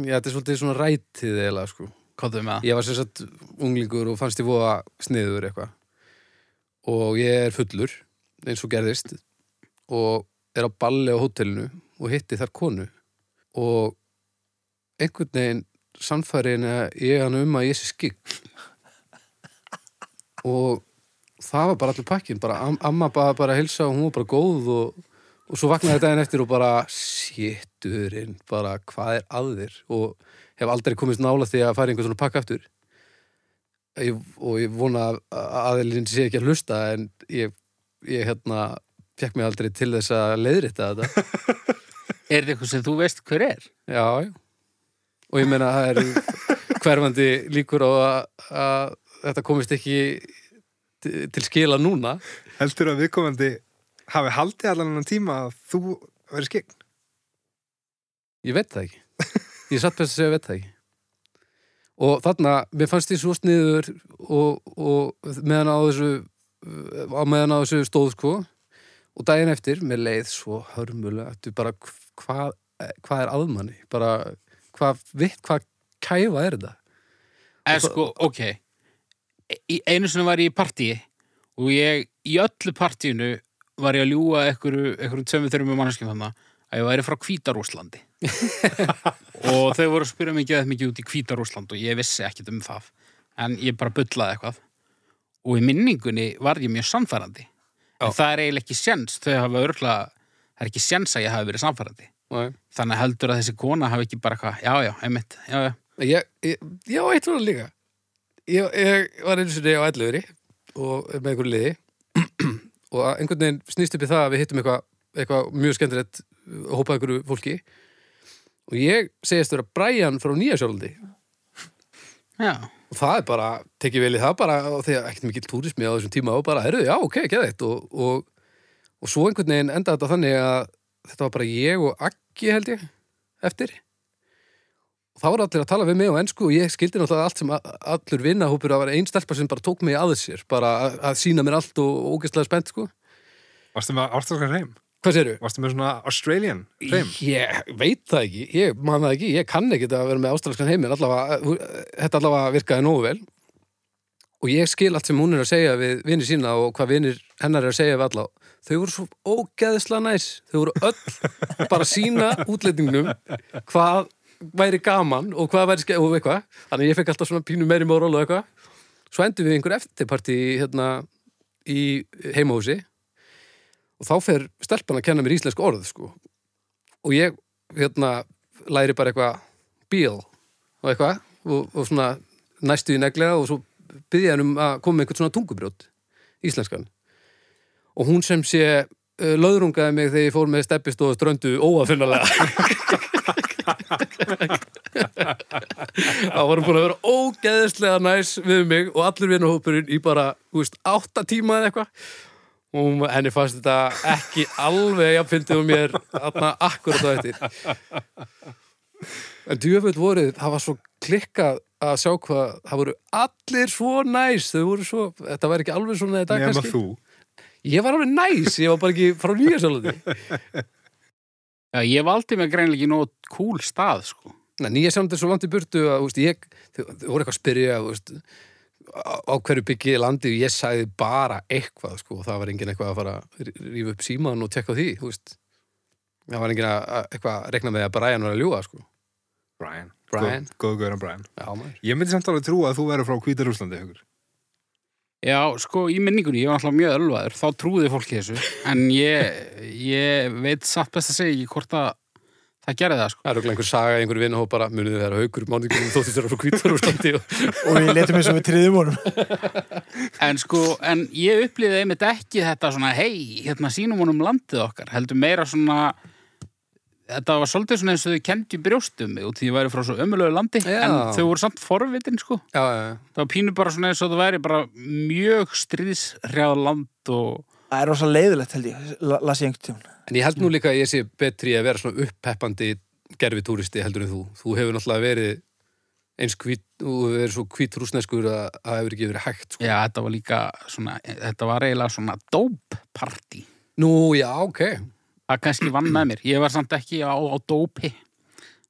S5: ég, þetta er svolítið svona rætið eiginlega, sko.
S3: Kóðum með það?
S5: Ég var sér satt unglingur og fannst ég voða sniður eitthvað. Og ég er fullur, eins og gerðist, og er á balli á hótelinu og hitti þar konu. Og einhvern veginn samfærin að ég hann um að ég sé skikk. Og það var bara allur pakkin, bara am amma bara, bara að hilsa og hún var bara góð og, og svo vaknaði daginn eftir og bara sétturinn, bara hvað er að þér og hef aldrei komist nála því að fara í einhvern svona pakka aftur ég, og ég vona að- að aðeilinn sé ekki að hlusta en ég, ég hérna fekk mig aldrei til þess að leiðrita þetta
S3: Er þetta eitthvað sem þú veist hver er?
S5: já, já og ég meina það er hverfandi líkur á að, að þetta komist ekki til til skila núna
S4: Heldur að viðkomandi hafi haldið allan annan tíma að þú verið skegn?
S5: Ég veit það ekki. Ég satt best að segja að veit það ekki. Og þarna, mér fannst ég svo sniður og, og meðan á þessu á meðan á þessu stóð sko og daginn eftir, mér leið svo hörmulega, þetta er bara hv- hvað hvað er aðmanni, bara hvað, vitt, hvað kæfa er þetta?
S3: En sko, ok, Í- einu sinni var ég í partíi og ég, í öllu partíinu var ég að ljúga einhverju, einhverju tveimur þurfum mannskjum þannig að ég væri frá Hvítarúslandi og þau voru að spyrja mig geðað mikið út í Hvítarúsland og ég vissi ekkit um það en ég bara bullaði eitthvað og í minningunni var ég mjög samfærandi en það er eiginlega ekki séns þau hafa örgla, það er ekki séns að ég hafi verið samfærandi
S5: Nei.
S3: þannig heldur að þessi kona hafi ekki bara eitthvað, já, já, einmitt, já, já
S5: Ég, ég, já, eitt var það líka ég, ég var einu sinni á ætluveri og með einhverju liði og einhvern veginn snýst upp í það að við hittum eitthvað eitthva mjög skemmtilegt uh, hópa af einhverju fólki og ég segist vera Brian frá Nýja Sjólandi
S3: Já,
S5: og það er bara, tekið vel í það bara og þegar ekkert mikil túrismi á þessum tíma og bara, herruðu, já, ok, geðveitt og, og, og svo einhvern veginn endaði þetta þannig að þetta var bara ég og Aggi held ég, eftir þá er allir að tala við mig á ennsku og ég skildi náttúrulega allt sem a- allur vinnahópur að vera einn stelpa sem bara tók mig að sér bara að, að sína mér allt og og ógeðslega spennt sko.
S4: Varstu með ástralskan hreim?
S5: Hvað séru?
S4: Varstu með svona Australian hreim?
S5: Ég veit það ekki, ég man það ekki, ég kann ekki að vera með ástralskan heiminn, allavega, hú- þetta allavega virkaði nógu vel og ég skil allt sem hún er að segja við vinnir sína og hvað vinnir hennar er að segja við alla þau voru svo ógeðsla næs þau voru öll bara að sína útlendingnum hvað væri gaman og hvað væri skeið og eitthvað, þannig að ég fekk alltaf svona pínu meiri móral og eitthvað, svo endur við einhver eftirparti hérna í heimahúsi og þá fer stelpan að kenna mér íslensk orð sko og ég hérna læri bara eitthvað bíl og eitthvað og, og svona næstu í neglega og svo byrja hann um að koma með einhvern svona tungubrjót íslenskan og hún sem sé uh, löðrungaði mig þegar ég fór með steppist og ströndu óafinnalega það voru búin að vera ógeðislega næs við mig og allir vinahópurinn í bara, þú veist, átta tíma eða eitthvað og hún- henni fannst þetta ekki alveg að fyndið um mér þarna akkurat á eftir en djöfull voruð það var svo klikkað að sjá hvað það voru allir svo næs þau voru svo, þetta væri ekki alveg svona í dag
S4: Nefna
S5: kannski.
S4: þú.
S5: Ég var alveg næs, ég var bara ekki frá nýja sjálfandi.
S3: Já, ég valdi mig greinlega ekki nóg cool stað, sko.
S5: Nei, nýja sjálfandi er svo langt í burtu að, þú veist, ég, þau, þau voru eitthvað að spyrja, þú veist, á, á hverju byggið landið, og ég sagði bara eitthvað, sko, og það var enginn eitthvað að fara að rí- rífa upp síman og tekka á því, þú veist. Það var enginn að, að eitthvað að rekna með að Brian var að ljúga, sko.
S4: Brian.
S5: Brian.
S4: Góð góður Brian.
S5: Já, maður.
S4: Ég myndi samt alveg trúa að þú verður frá Hvítarúslandi, hugur.
S3: Já, sko, í minningunni, ég var alltaf mjög ölvaður, þá trúði fólki þessu, en ég, ég veit satt best að segja ekki hvort að það gerði það, sko.
S5: Það er okkur einhver saga, einhver vinahóp bara, munið þið vera haukur, máningum, þóttist þeirra frá hvítar úr standi og...
S1: og við letum eins og við triðum honum
S3: En sko, en ég upplýði einmitt ekki þetta svona, hei, hérna sínum honum landið okkar, heldur meira svona, þetta var svolítið svona eins og þau kemdi brjóstum mig út því ég væri frá svo ömulegu landi,
S5: Já.
S3: en þau voru samt forvitin, sko.
S5: Já, já, já.
S3: Það var pínu bara svona eins og það væri bara mjög stríðshrjáð land og
S1: það er rosa leiðilegt held ég, la- las ég einhvern tíma
S5: En ég held nú líka að ég sé betri að vera svona upppeppandi gerfi túristi heldur en þú. Þú hefur náttúrulega verið eins hvít, þú hefur verið svo hvít rúsneskur að að það hefur ekki verið hægt. Sko.
S3: já, þetta var líka svona, þetta var eiginlega svona dóppartí.
S5: Nú, já, ok.
S3: Það kannski vann með mér. Ég var samt ekki á, á dópi,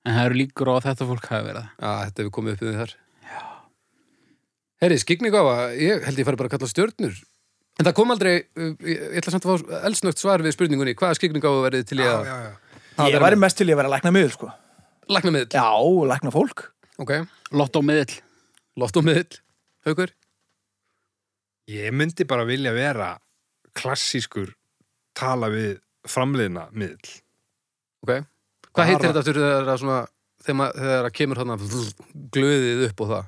S3: en það eru líkur á að þetta fólk hafi verið það.
S5: Já, þetta hefur komið upp yfir þar. Já. Herri, skikningafa, ég held ég fari bara að kalla stjörnur. En það kom aldrei, uh, ég ég ætla samt að fá elsnögt svar við spurningunni, hvaða skikningafa verið til ég að
S4: Já, já.
S1: ég væri mest til ég að vera að lækna miður sko
S5: lagna miðl?
S1: já, lækna fólk
S5: Ok,
S3: Lotto miðl.
S5: loft og miðl, haukur?
S4: Ég myndi bara vilja vera klassískur tala við framleiðina miðl.
S5: Ok. Hvað heitir
S4: Bara-
S5: þetta aftur þegar að svona, þegar, ma- þegar að kemur hann glöðið upp og það?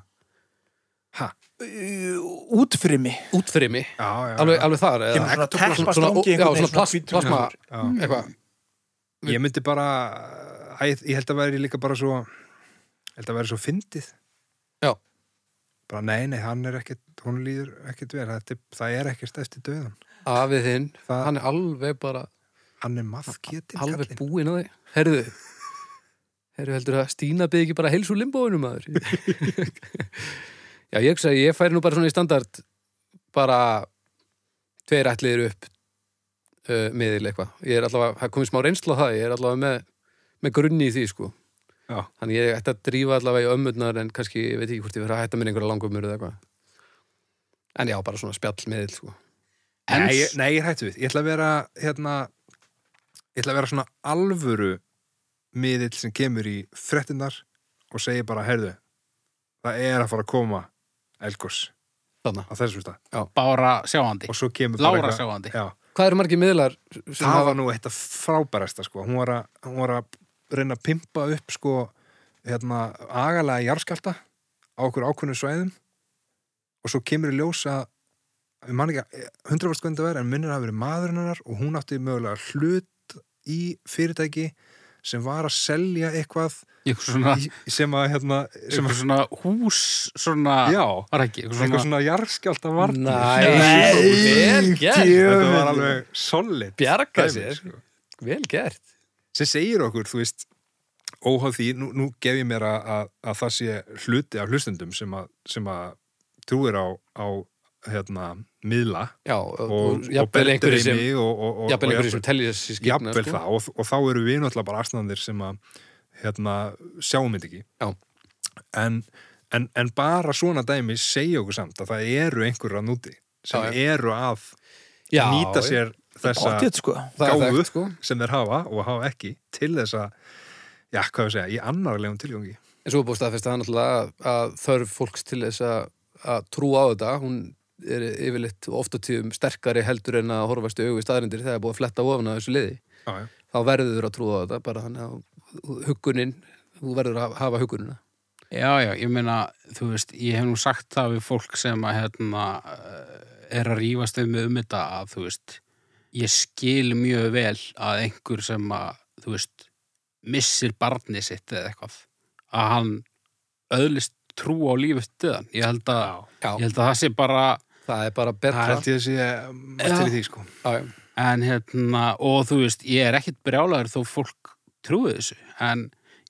S1: útfrimi
S5: Útfrimi,
S4: Já, já, já.
S5: alveg, alveg þar eða?
S1: Kemur svona teppa
S5: svona,
S1: strangi
S5: já,
S1: einhvern
S5: svona
S1: veginn,
S5: plast,
S1: svona
S5: plasma
S4: Já.
S5: eitthvað,
S4: Ég myndi bara, æ, ég held að væri líka bara svo, ég held að væri svo fyndið.
S5: Já.
S4: Bara nei, nei, hann er ekkert, hún líður ekkert vel, það, það er ekkert eftir döðan.
S5: afið þinn
S4: Það-
S5: hann er alveg bara,
S4: Hann er maðkjetinn
S5: alveg
S4: kallinn.
S5: búinn að þig herðu herðu heldur að Stína byggi ekki bara heilsu limbóinu maður já ég hugsa að ég færi nú bara svona í standard bara tveir ætliðir upp uh, miðil eitthvað ég er allavega, það er komið smá reynsla það ég er allavega með, með grunni í því sko
S4: Já.
S5: Þannig ég ætti að drífa allavega í ömmurnar en kannski, ég veit ekki hvort ég verið að hætta mér einhverja langumur eða eitthvað. En já, bara svona spjallmiðil, sko.
S3: En-
S4: Nei, ég- nei, ég er hættu við. Ég ætla að vera, hérna, ég ætla að vera svona alvöru miðill sem kemur í frettinnar og segir bara, herðu, það er að fara að koma elgos
S5: Þarna.
S4: á þessu stað.
S3: Bára sjáandi.
S4: Og svo kemur bara
S3: Lára
S4: eitthvað-
S3: sjáandi.
S4: Já.
S5: Hvað eru margir miðlar sem
S4: það
S5: hafa
S4: var nú eitt af frábærasta sko. hún, var að, hún var að reyna að pimpa upp sko, hérna, agalega jarðskjálta á okkur ákveðnum svæðum og svo kemur í ljós að við mann ekki hundra varst hvernig það verið en minnir að hafa verið maðurinn hennar og hún átti mögulega hlut í fyrirtæki sem var að selja eitthvað
S3: Ykkur svona,
S4: í, sem að hérna, sem
S3: ykkur
S4: að,
S3: svona hús, svona...
S4: já,
S3: Var ekki, ykkur
S4: eitthvað
S3: svona...
S4: svona jarðskjálta varð
S5: Vel gert
S4: þetta var alveg solid
S5: Bjarga
S4: dæmi,
S5: sér
S4: sko.
S5: Vel gert
S4: sem segir okkur, þú veist óháð því, nú, nú gef ég mér að, að, að það sé hluti af hlustendum sem að, sem að trúir á, á hérna, miðla
S5: já,
S4: og, og
S5: jafnvel
S4: bendir
S5: einhverju
S4: í
S5: sem
S4: mig og, og, og,
S5: jafnvel
S4: og
S5: einhverju sem telja þessi skipna sko.
S4: jafnvel það og, og þá eru við náttúrulega bara aðstæðanir sem að hérna, sjáum þetta ekki
S5: Já.
S4: en, en, en bara svona dæmi segja okkur samt að það eru einhverjar að núti sem
S5: Já,
S4: eru að
S5: já,
S4: nýta sér þessa
S1: Pottet, sko.
S5: það er
S4: gáfu
S5: þekkt, sko.
S4: sem þeir hafa og hafa ekki til þess að já, hvað við segja, í annarlegum tilgangi
S5: En svo er búið staðfest að náttúrulega að, að þörf fólks til þess að, að trúa á þetta, hún er yfirleitt oft á tíðum sterkari heldur en að horfast í augu í staðrindir þegar búið að fletta ofan að þessu liði.
S4: já, já.
S5: Þá verður að trúa á þetta, bara þannig að hugunin, þú verður að hafa hugunina.
S3: Já, já, ég meina, þú veist, ég hef nú sagt það við fólk sem að, hérna, eh, er að rífast þau með um þetta að, þú veist, ég skil mjög vel að einhver sem að, þú veist, missir barni sitt eða eitthvað, að hann öðlist trú á lífið stöðan. Ég held að,
S5: Já.
S3: ég held að það sé bara,
S5: Það er bara
S4: það
S5: betra.
S4: held ég að sé margt til í því sko
S5: Já, já.
S3: en hérna, og þú veist, ég er ekkit brjálaður þó fólk trúið þessu, en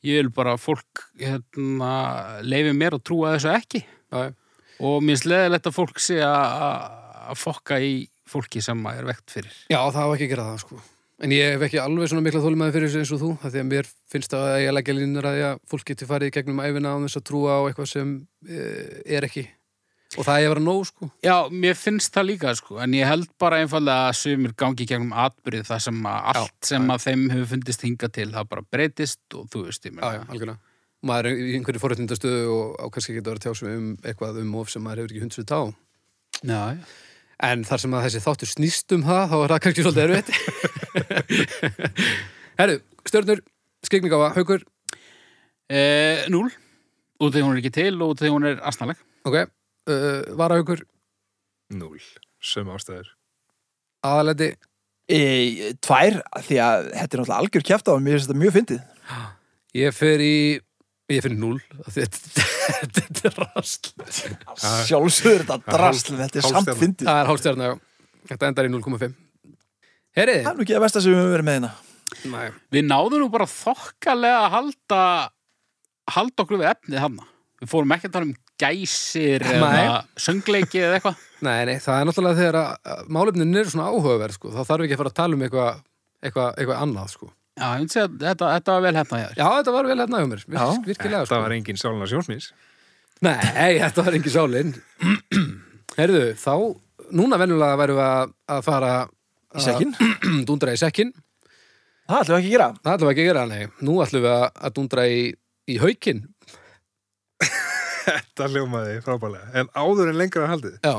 S3: ég vil bara að fólk, hérna, leifi mér að trúa þessu ekki.
S5: Já, já.
S3: og mér sleðilegt að fólk sé að að fokka í fólki sem maður er vekt fyrir
S5: já, það hafa ekki að gera það, sko. En ég hef ekki alveg svona mikla þólimaði fyrir þessu eins og þú, af því að mér finnst að ég leggja línur að ég, fólk geti farið í gegnum æfina á þess að trúa á eitthvað sem eh, er ekki. Og það er að vera nóg, sko.
S3: Já, mér finnst það líka sko en ég held bara einfallega að sumir gangi í gegnum atbyrð það sem að allt sem að þeim hefur fundist hinga til það bara breytist og þú veist, ég
S5: Já, já,
S3: meina
S5: algjörlega. Maður er í einhverju forréttindastöðu og á kannski ekki að vera að tjá sig um eitthvað um of sem maður hefur ekki hundsvið á.
S3: já, já.
S5: En þar sem að þessi þáttur snýst um það, þá er það kannski svolítið erfitt. Herru, stjörnur, skikningafa, haukur,
S3: E, Núl, út af því hún er ekki til og út af því hún er asnaleg
S5: ok, uh, varahaukur,
S4: núl, sem ástæður
S5: aðalendi,
S1: E, tvær, því að þetta er náttúrulega algjör kjæft á mér finnst þetta mjög fyndið
S5: ég fer í, ég finn núl, af því að þetta þetta er rast.
S1: sjálfsögur þetta
S4: það-
S1: drasl en þetta er
S4: hálf-
S1: samt
S4: hálfstjarna.
S1: fyndið
S5: Það er hálfstjörna, já. Þetta endar í 0,5. Herri,
S1: það er nú ekki að versta sem við höfum verið með hérna
S5: næ,
S3: Við náðum nú bara þokkalega að halda halda okkur við efnið hann Við fórum ekki að tala um gæsir eða
S5: Nei.
S3: söngleiki eða eitthvað
S5: Nei, nei, það er náttúrulega þegar að að málefnin er svona áhugaverð, sko, þá þarf ekki að fara að tala um eitthvað eitthva, eitthva annað, sko.
S3: Já, ég myndi segja að þetta, þetta var vel hérna hjá þér.
S5: Já, þetta var vel hérna hjá mér, virk,
S1: Já.
S5: virkilega, sko.
S4: það var engin sjálfna sjónsmís
S5: Nei, þetta var engin sálin. Herðu, þá, núna venjulega værum við að, að fara
S1: í sekkin,
S5: að dundra í sekkin.
S1: það ætlum við ekki að gera
S5: Það ætlum við ekki að gera, nei. Nú ætlum við að, að dundra í, í haukin.
S4: þetta hljómaði frábælega en áður en lengra er haldið
S5: Já,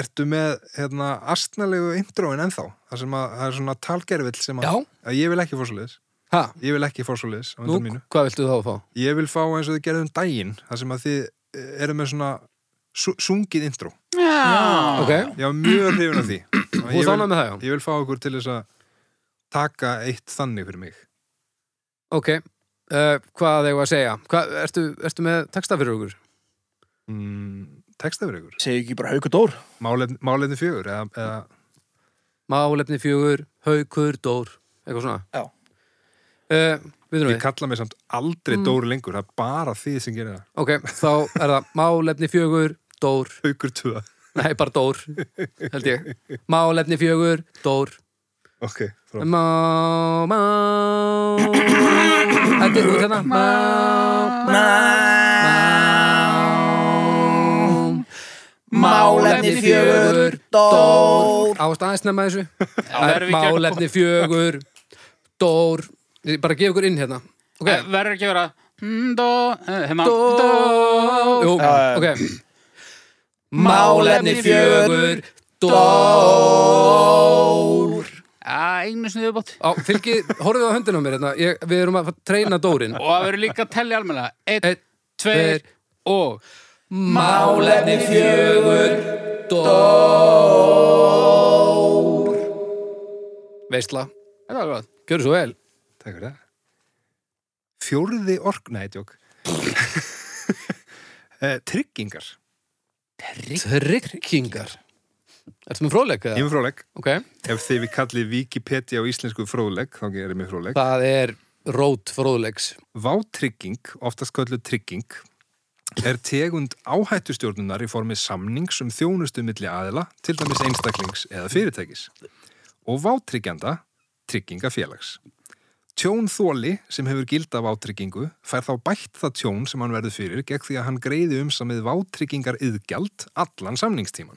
S4: ertu með hérna astnalegu indróin ennþá það sem að það er svona talgerfill sem
S5: já,
S4: að, að ég vil ekki fórsóliðis
S5: ha,
S4: ég vil ekki fórsóliðis á
S5: nú,
S4: undan mínu
S5: hvað viltu þá að fá?
S4: ég vil fá eins og þið gerðum daginn það sem að þið eh, eru með svona su sungið indró
S3: Já.
S5: Ok,
S4: ég var mjög hrifin af því Og
S5: þú
S4: ég
S5: þána
S4: vil,
S5: með það, já.
S4: ég vil fá okkur til þess að taka eitt þannig fyrir mig
S5: Ok, uh, hvað eigum við að segja? Hvað, ertu, ertu með texta fyrir okkur?
S4: mm, texta fyrir ykkur
S1: segju ekki bara hauk og dór
S4: málefni, málefni fjögur eða, eða,
S5: Málefni fjögur, haukur, dór eitthvað svona
S1: Já.
S5: Eh, Við erum
S4: ég
S5: við,
S4: kalla mig samt aldrei Dóri lengur það er bara þið sem gerir það
S5: ok, þá er það málefni fjögur, dór
S4: haukur tuða
S5: nei, bara dór, held ég málefni fjögur, dór
S4: ok, frá
S5: má, má Þetta er út hérna má, má, má
S7: Málefni fjögur, dór.
S5: Ást aðeins nefna þessu
S3: það erum við ekki að-
S5: Málefni fjögur Dór Ég Bara gef ykkur inn hérna Ok
S3: Eh, Verður ekki að vera mm, dó, eh, hérna,
S5: Dór Jú,
S1: Já,
S5: ok
S7: Málefni fjögur,
S5: Dór
S3: Já, einu sinni viðbót
S5: Á, fylgið, horfið á höndinu á mér hérna ég, Við erum að fara að treyna Dórin
S3: Og það verður líka að tellja almenna Einn,
S5: Einn, tveir,
S3: tveir og
S5: Málefni fjögur Dór Veistla,
S3: Þetta var gott
S5: gjörðu svo vel
S4: Takk fyrir það. Fjórði ork... Nei, tjók. Eh, Tryggingar.
S5: Tryggingar Ertu með fróðleik?
S4: Ég er
S5: eða?
S4: með fróðleg.
S5: Ok,
S4: Ef þið við kallið Wikipedia á íslensku fróðleg, þá er ég með fróðleg.
S5: það er rót fróðlegs.
S4: Vátrygging, oftast kölluð trygging, er tegund áhættustjórnunar í formi samnings um þjónustu milli aðila, til dæmis einstaklings eða fyrirtækis. Og vátryggjanda, tryggingafélags. Tjón þóli sem hefur gilda vátryggingu fær þá bætt það tjón sem hann verður fyrir gegn því að hann greiði um samið vátryggingar yðgjald allan samningstíman.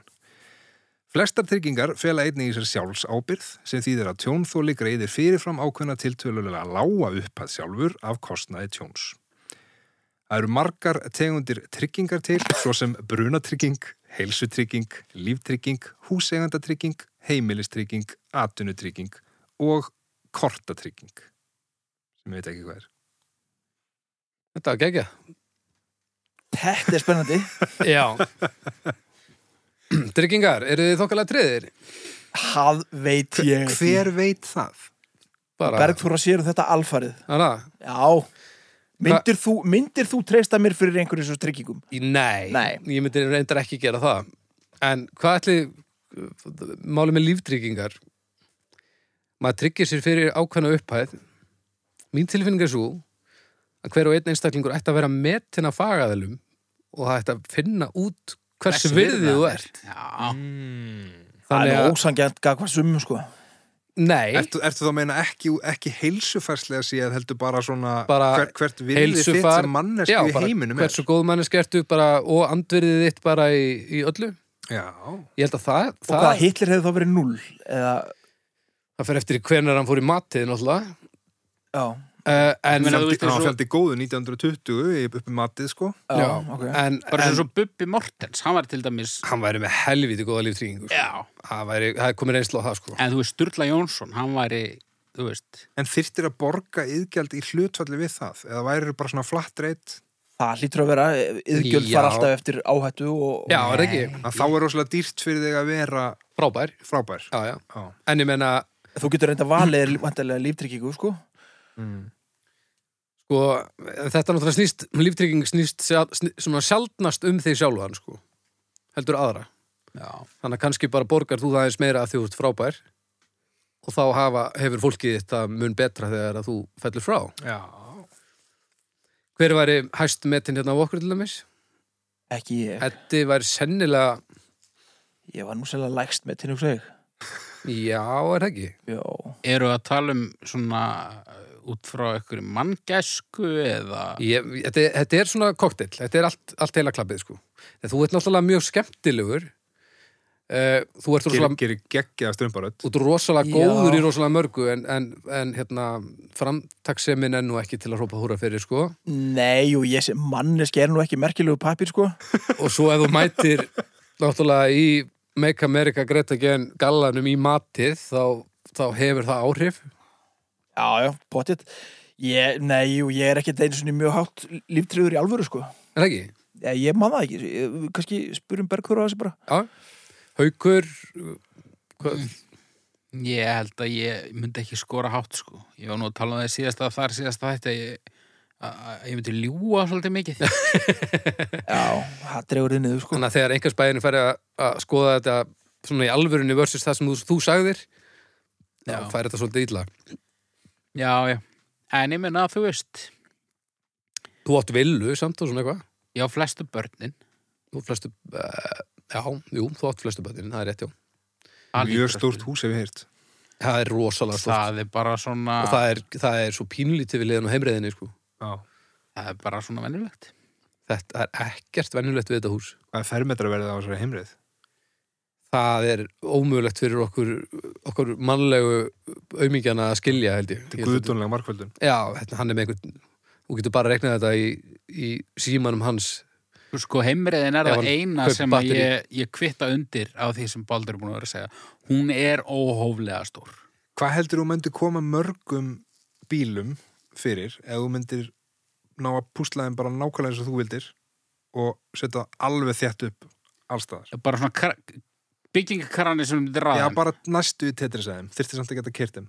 S4: Flestar tryggingar fela einnig í sér sjálfs ábyrð sem þýðir að tjónþóli greiðir fyrirfram ákveðna tiltölulega lága upphæð sjálfur af kostnaði tjóns. Það eru margar tegundir tryggingar til, svo sem brunatrygging, heilsutrygging, líftrygging, húsegandatrygging, heimilistrygging, atunutrygging og kortatrygging. Sem við veit ekki hvað er.
S5: Þetta var gegja.
S1: Þetta er spennandi
S5: Já. Tryggingar, eru þið þokkalega treðir?
S1: Það veit ég ekki.
S4: Hver veit það?
S5: Bara,
S1: Bergþóra sér um þetta alfarið
S5: hana,
S1: Já Myndir þú, myndir þú treysta mér fyrir einhverjum svo tryggingum?
S5: í- nei,
S1: Nei.
S5: ég myndi reyndar ekki gera það. En hvað ætli, málið með líftryggingar, maður tryggir sér fyrir ákveðna upphæð. Mín tilfinning er svo að hver og einn einstaklingur ætti að vera metin að fagaðalum og það ætti að finna út hversu virði þú ert.
S3: Já,
S1: Það
S5: Þannig
S1: er
S5: að-
S1: ósangjant gagvað sumum sko
S5: Nei,
S4: Ertu, ertu þá að meina ekki, ekki heilsufarslega síðan heldur bara svona
S5: Bara
S4: hver, hvert virði þitt
S5: heilsufar-
S4: sem mannesku
S5: Já,
S4: í
S5: bara
S4: heiminum er?
S5: hversu góð manneski ertu bara, og andverðið þitt bara í, í öllu
S4: Já,
S5: ég held að það
S1: Og
S5: það,
S1: hvaða Hitler hefði þá verið null eða,
S5: það fer eftir í hvenar hann fór í matið náttúrulega
S1: já,
S5: uh,
S3: Ég
S5: en,
S3: meina, þú
S4: fjandi,
S3: veist, eins
S4: hann
S3: og-
S4: fjandi góðu 1920 í- upp í matið sko
S1: já, ok
S5: en,
S3: bara sem
S5: en
S3: svo Bubbi Mortens, hann var til dæmis
S5: hann væri með helviti góða líftryggingu sko.
S3: Já,
S5: það, væri, það komir einslu á það sko.
S3: en þú veist, Sturla Jónsson, hann væri, þú veist
S4: En þyrftir að borga yðgjald í hlutfalli við það? Eða væri bara svona flatt reyt?
S1: Það hlýtur að vera, yðgjöld fara
S5: Já.
S1: alltaf eftir áhættu og,
S5: já, er það ekki,
S4: Að þá er rosalega dýrt fyrir þig að vera
S5: frábær
S4: frábær.
S5: já, já.
S4: Já.
S5: en ég menna
S1: og þú getur reynda valið vantarlega líftryggingu sko
S5: sko, þetta náttúrulega snýst líftrygging snýst sjal- sný- svona sjaldnast um þig sjálfan sko. heldur aðra
S3: Já,
S5: þannig að kannski bara borgar þú það eins meira að því þú ert frábær og þá hafa, hefur fólkið þetta mun betra þegar að þú fellur frá
S4: Já.
S5: hver væri hæst metin hérna á okkur til dæmis
S1: Ekki ég,
S5: Eddi væri sennilega
S1: ég var nú sérlega lægst með til hugsa ég
S5: já, er það ekki
S1: Já,
S3: eru að tala um svona uh, út frá einhverju manngæsku eða
S5: Ég, þetta, er- þetta er svona koktel, þetta er allt, allt heila klappið sko. En þú ert náttúrulega mjög skemmtilegur uh, þú ert
S4: Gerir
S5: rosalega,
S4: geri geggjaða strömbaröld.
S5: út rosalega
S1: Já.
S5: góður í rosalega mörgu en, en, en hérna, framtaksemin er nú ekki til að hrópa húra fyrir sko.
S1: nei og ég sé manneski er nú ekki merkilegu pappir sko
S5: og svo ef þú mætir náttúrulega í Make America Great Again gallanum í matið þá, þá hefur það áhrif
S1: Já, já, potið ég, Nei, jú, ég er ekki einu svona mjög hátt líftryggur í alvöru sko
S5: er það ekki?
S1: Já, ég man það ekki, Ég- kannski spurum Bergþóra á þessu bara
S5: Já. Haukur eh, hvað,
S3: ég held að ég myndi ekki skora hátt sko ég var nú að tala um það síðast að þar síðast að þetta ég, að, að, ég myndi ljúga svolítið mikið
S1: Já, það dregur þið niður sko
S5: þannig að þegar einhvers bæðinu færi að, að skoða þetta svona í alvörunni versus það sem þú, þú sagðir þá
S3: Já.
S5: færi þetta svolítið illa
S3: Já, já, en ég menna að þú veist
S5: þú átt villu samt og svona eitthvað
S3: ég á flestu börnin
S5: þú átt flestu, uh, já, jú, þú átt flestu bæðinu það er rétt, já,
S3: Það
S4: Mjög
S3: lítur að
S4: stórt hús hef ég heyrt.
S5: það er rosalega stort
S3: það er bara svona
S5: og
S3: það...
S5: það er, það er svo pínlítið við liðan á heimreiðinni sko.
S4: Já.
S3: er bara svona venjulegt
S5: þetta er ekkert venjulegt við þetta hús
S4: Hvað er fermetra verið á þessari heimrið?
S5: það er ómögulegt fyrir okkur okkur mannlegu aumingjana að skilja held ég, ég
S4: Þetta er
S5: held að-
S4: guðdónlega markvöldun.
S5: já, hérna, hann er með einhvern þú getur bara að rekna þetta í, í símanum hans
S3: Þú sko heimriðin er
S5: Ef
S3: það
S5: hann
S3: eina
S5: kaupir
S3: sem að
S5: batterí.
S3: ég, ég kvitta undir á því sem Baldur er búin að vera að segja hún er óhóflega stór
S4: Hvað heldur þú myndir koma mörgum bílum fyrir ef þú myndir ná að púsla þeim bara nákvæmlega eins og þú vildir og setja alveg þétt upp allstaðar?
S3: bara svona kra- byggingakarani sem myndi
S4: Já,
S3: ræða
S4: bara næstu í tetrisæðum. Þyrftir samt að geta kert þeim.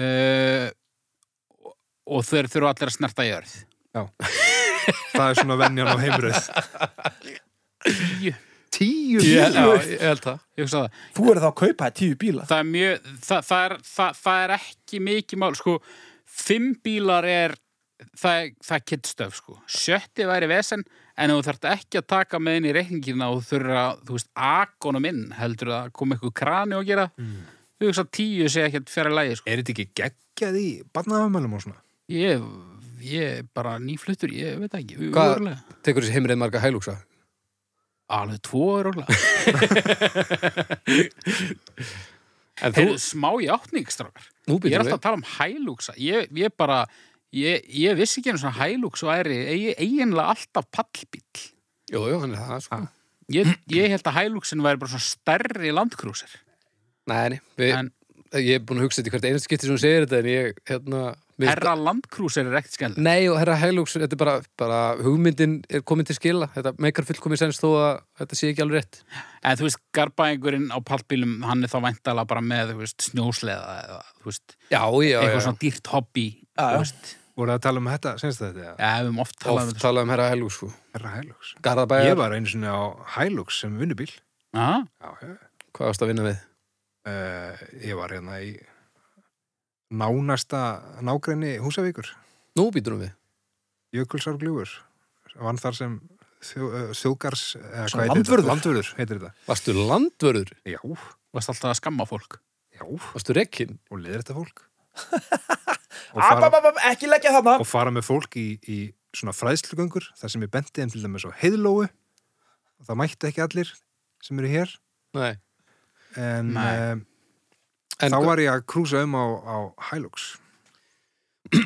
S3: uh, og þeir þurfa allir að snerta jörð
S4: Það er svona venjan á heimrið.
S3: Tíu.
S4: Tíu
S5: ég,
S4: bílum?
S5: já, ég held það
S3: Ég hugsa það.
S1: Þú er þá að kaupa þér tíu bíla
S3: það er mjög það, það, er, það, það er ekki mikið mál sko, fimm bílar er það, það kittstöf sko sjötti væri vesen en þú þarft ekki að taka með inn í reikningina og þú þurfa að, þú veist, akonum inn heldur að koma eitthvað krani og gera
S4: Mm.
S3: þú veist að tíu sé ekkert fjara lægi sko.
S4: Er þetta ekki geggjað í barnaafmælum og svona?
S3: ég, ég er bara nýfluttur ég veit ekki,
S5: Hvað-
S3: örugglega.
S5: Tekur þessi heimrið marga hælúksa?
S3: alveg tvo Ah, er orðlega
S5: En þú,
S3: Heyrðu, sko. smá játning, strákar
S5: nú
S3: Ég er
S5: býtum
S3: alltaf
S5: við.
S3: að tala um hælúksa Ég, ég bara, ég, ég vissi ekki einu svona hælúks væri eigi- eiginlega alltaf pallbíll
S5: Jú, jú, hann er það, sko.
S3: Ég, ég held að hælúksin væri bara svona stærri landkrúsir
S5: Nei, nei, við,
S3: En-
S5: ég er búin að hugsa þetta í hvert einast skipti sem hún segir þetta en ég, hérna... mér-
S3: Herra landkrúsir er ekkert skemmtileg
S5: Nei, og herra hælúks, þetta er bara, bara hugmyndin er komin til skila. Þetta meikar fullkomið sens þó að þetta sé ekki alveg rétt.
S3: En þú veist, garbaðingurinn á pallbílum hann er þá væntalega bara með, þú veist, snjósleða eða, þú veist,
S5: Já, já,
S3: eitthvað
S5: já.
S3: svona dýrt hobby
S1: Já, já.
S3: þú veist,
S4: Voru að tala um þetta, senst þetta? eða?
S3: ja, við höfum oft talað um
S5: Oft
S3: þetta
S5: talað um herra hælúks, sko.
S4: Herra Hilux. Ég
S5: Garðabæjar,
S4: var einu sinni á Hilux sem vinnubíl.
S3: Ha?
S4: Já, já.
S5: hvað varst að vinna við?
S4: Uh, ég var hérna í nánasta nágræni Húsavíkur,
S5: Nú býtum við.
S4: Jökulsárgljúfur. Vann þar sem þjó, uh, þjókars... Uh,
S1: Svona landvörður?
S4: Landvörður heitir þetta.
S5: Varstu landvörður?
S4: Já,
S3: varst alltaf að skamma fólk
S4: já. Og
S5: Varstu rekkinn?
S4: leðir þetta fólk. og,
S1: Ab,
S4: fara,
S1: ab, ab, ekki leggja þarna
S4: og fara með fólk í, í svona fræðslugöngur, þar sem ég benti þeim til dæmis á heiðlóu. Og það mætti ekki allir sem eru hér.
S5: Nei.
S4: En...
S3: Nei.
S4: Um,
S5: En,
S4: Þá var ég að krúsa um á, á Hilux.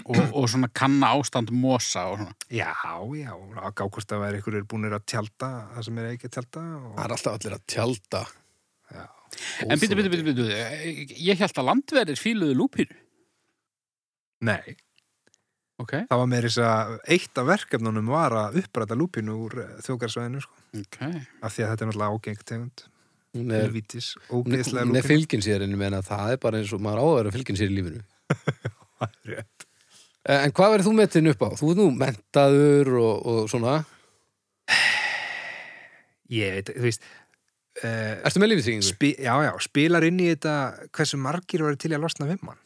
S3: og, og svona kanna ástand mosa og svona
S4: Já, já, að gá hvort að vera ykkur er búinir að tjálta það sem er ekki að tjálta
S5: Það
S4: og
S5: er alltaf allir að tjálta.
S4: Já.
S3: En býtu, býtu, býtu, býtu, ég- ég held að landverðir fíluðu lúpínu.
S4: Nei,
S3: Ok.
S4: það var með þess að eitt af verkefnunum var að uppræta lúpinu úr þjókarsvæðinu sko,
S3: Ok.
S4: af því að þetta er náttúrulega ágengt tegund,
S5: Hún er,
S4: helvítis
S5: hún er-
S4: ógeðslega
S5: hún er
S4: lúpinu
S5: fylgin sér en ég meina það er bara eins og maður á að vera fylgin sér í lífinu.
S4: Rétt.
S5: Eh, En hvað verður þú metin upp á? Þú er nú mentaður og, og svona.
S4: Ég veit, þú veist uh,
S5: Ertu með lífitryggingu?
S4: spi, Já, já, spilar inn í þetta hversu margir var til í að losna við mann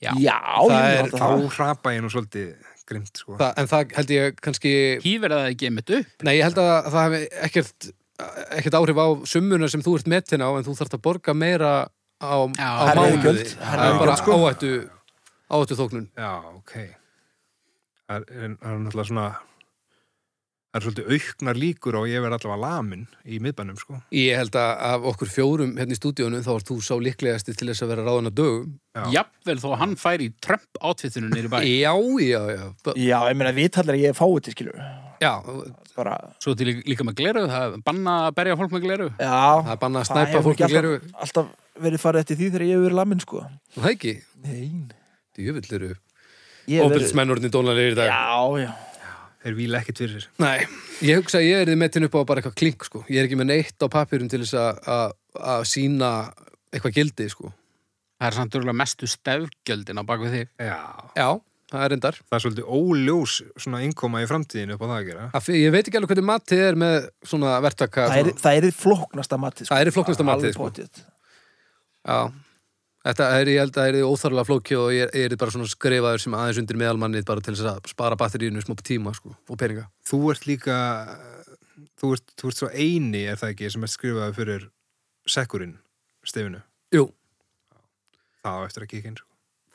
S3: Já.
S1: Já,
S5: Það er-
S4: Þá hrapa ég nú svolítið grimt sko.
S5: Þa, en það held ég kannski...
S3: Hýver að það ekki einmitt upp.
S5: Nei, ég held að það hefði ekkert, ekkert áhrif á summuna sem þú ert metin á en þú þarft að borga meira á,
S3: Já,
S5: á
S3: það er
S5: mánuði.
S1: iðgjöld.
S5: Það er bara
S4: iðgjöld, sko.
S5: áhættu, áhættu þóknun.
S4: Já, ok. Það er, en það er náttúrulega svona, það er svolítið auknar líkur og ég verð allavega lamin í miðbænum, sko.
S5: Ég held að af okkur fjórum hérna í stúdíunum þá ert þú sá líklegasti til þess að vera ráðan að dögum.
S4: Já.
S3: Jafnvel þó að hann færi í Trump átfittinu nýri bæ.
S5: Já, já, já. B
S1: Já, ég meina vitallar ég er fáið til skilur
S5: já,
S1: bara,
S3: Svo til lí- líka með gleru, það er banna að berja fólk með gleru.
S1: já,
S5: það er bannað
S1: það
S5: að snæpa
S1: hefur
S5: fólk
S1: ekki
S5: með gleru.
S1: alltaf, alltaf verið farið eftir því þegar ég hef verið lamin sko
S5: Það ekki,
S1: Nein
S5: djöfull eru
S1: Ég hef verið
S5: ofbilsmennurinn í dónalegir í dag.
S1: Já, já
S4: Þeir víla ekkert fyrir sér.
S5: Nei, ég hugsa að ég er þið metin upp á bara eitthvað klink sko. Ég er ekki með neitt á papirum til þess að- að að sína eitthvað gildi sko.
S3: Það er samt örgulega mestu stefgjöldin á bakvið þig.
S4: Já.
S5: Já, það er reyndar.
S4: Það er svolítið óljós svona innkoma í framtíðinu upp á það að gera.
S5: Af því- Ég veit ekki alveg hvernig matið er með svona verktaka. sko.
S1: Það er,
S5: svona-
S1: það er flóknasta matið sko.
S5: það er í flokknasta matið
S1: Alveg
S5: sko.
S1: pottþétt.
S5: Já. Þetta er, ég held að það er óþarlega flóki og ég, ég er bara svona skrifaður sem aðeins undir meðalmannið bara til þess að spara batterínu smá tíma sko og peninga.
S4: Þú ert líka, þú ert, þú ert svo eini, er það ekki, sem ert skrifaði fyrir sekkurinn, stefinu.
S5: Jú,
S4: Það á eftir að kíkja inn, sko.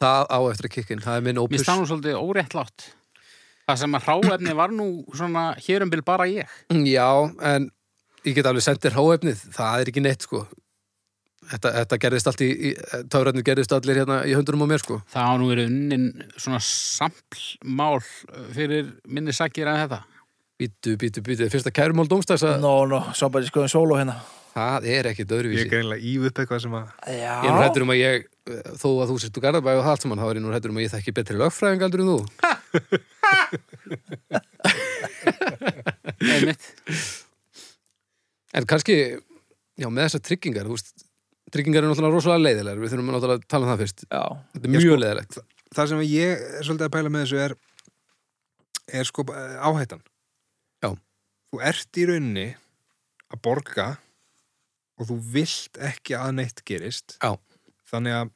S5: það á eftir að kikkin. Það er minn
S3: Mér
S5: opus.
S3: stannum svolítið óréttlátt. Það sem að hráefni var nú svona hér um bil bara ég.
S5: Já, en ég get alveg sendir háefnið, það er ekki neitt sko Þetta, þetta gerðist allt í, í töfrarnir gerðist allir hérna í höndunum á mér sko
S3: Það á nú verið unnin svona samplmál uh, fyrir minni sakir en þetta.
S5: Bítu, bítu, bítu, fyrst að kærumál dómstæðs að
S1: No, no, svo bara skoðum sóló hérna
S5: það er ekki
S4: Ég er
S5: döðruvísi Ég
S4: greinlega íf upp eitthvað sem að,
S1: Já
S5: er nú hættur um að ég, eh, þó að þú sérst úr Garðabæ og það allt saman, þá er ég nú hættur um að ég þekki betri lögfræðing aldrei en þú
S3: Einmitt.
S5: En kannski, já, með þessar tryggingar, þú veist Tryggingar eru náttúrulega rosalega leiðilegar, við þurfum náttúrulega að tala um það fyrst
S1: Já,
S5: Þetta er mjög
S4: sko-
S5: leiðilegt
S4: það sem ég er svolítið að pæla með þessu er, er sko eh, áhættan.
S5: Já.
S4: Þú ert í rauninni að borga og þú vilt ekki að neitt gerist.
S5: Já.
S4: Þannig að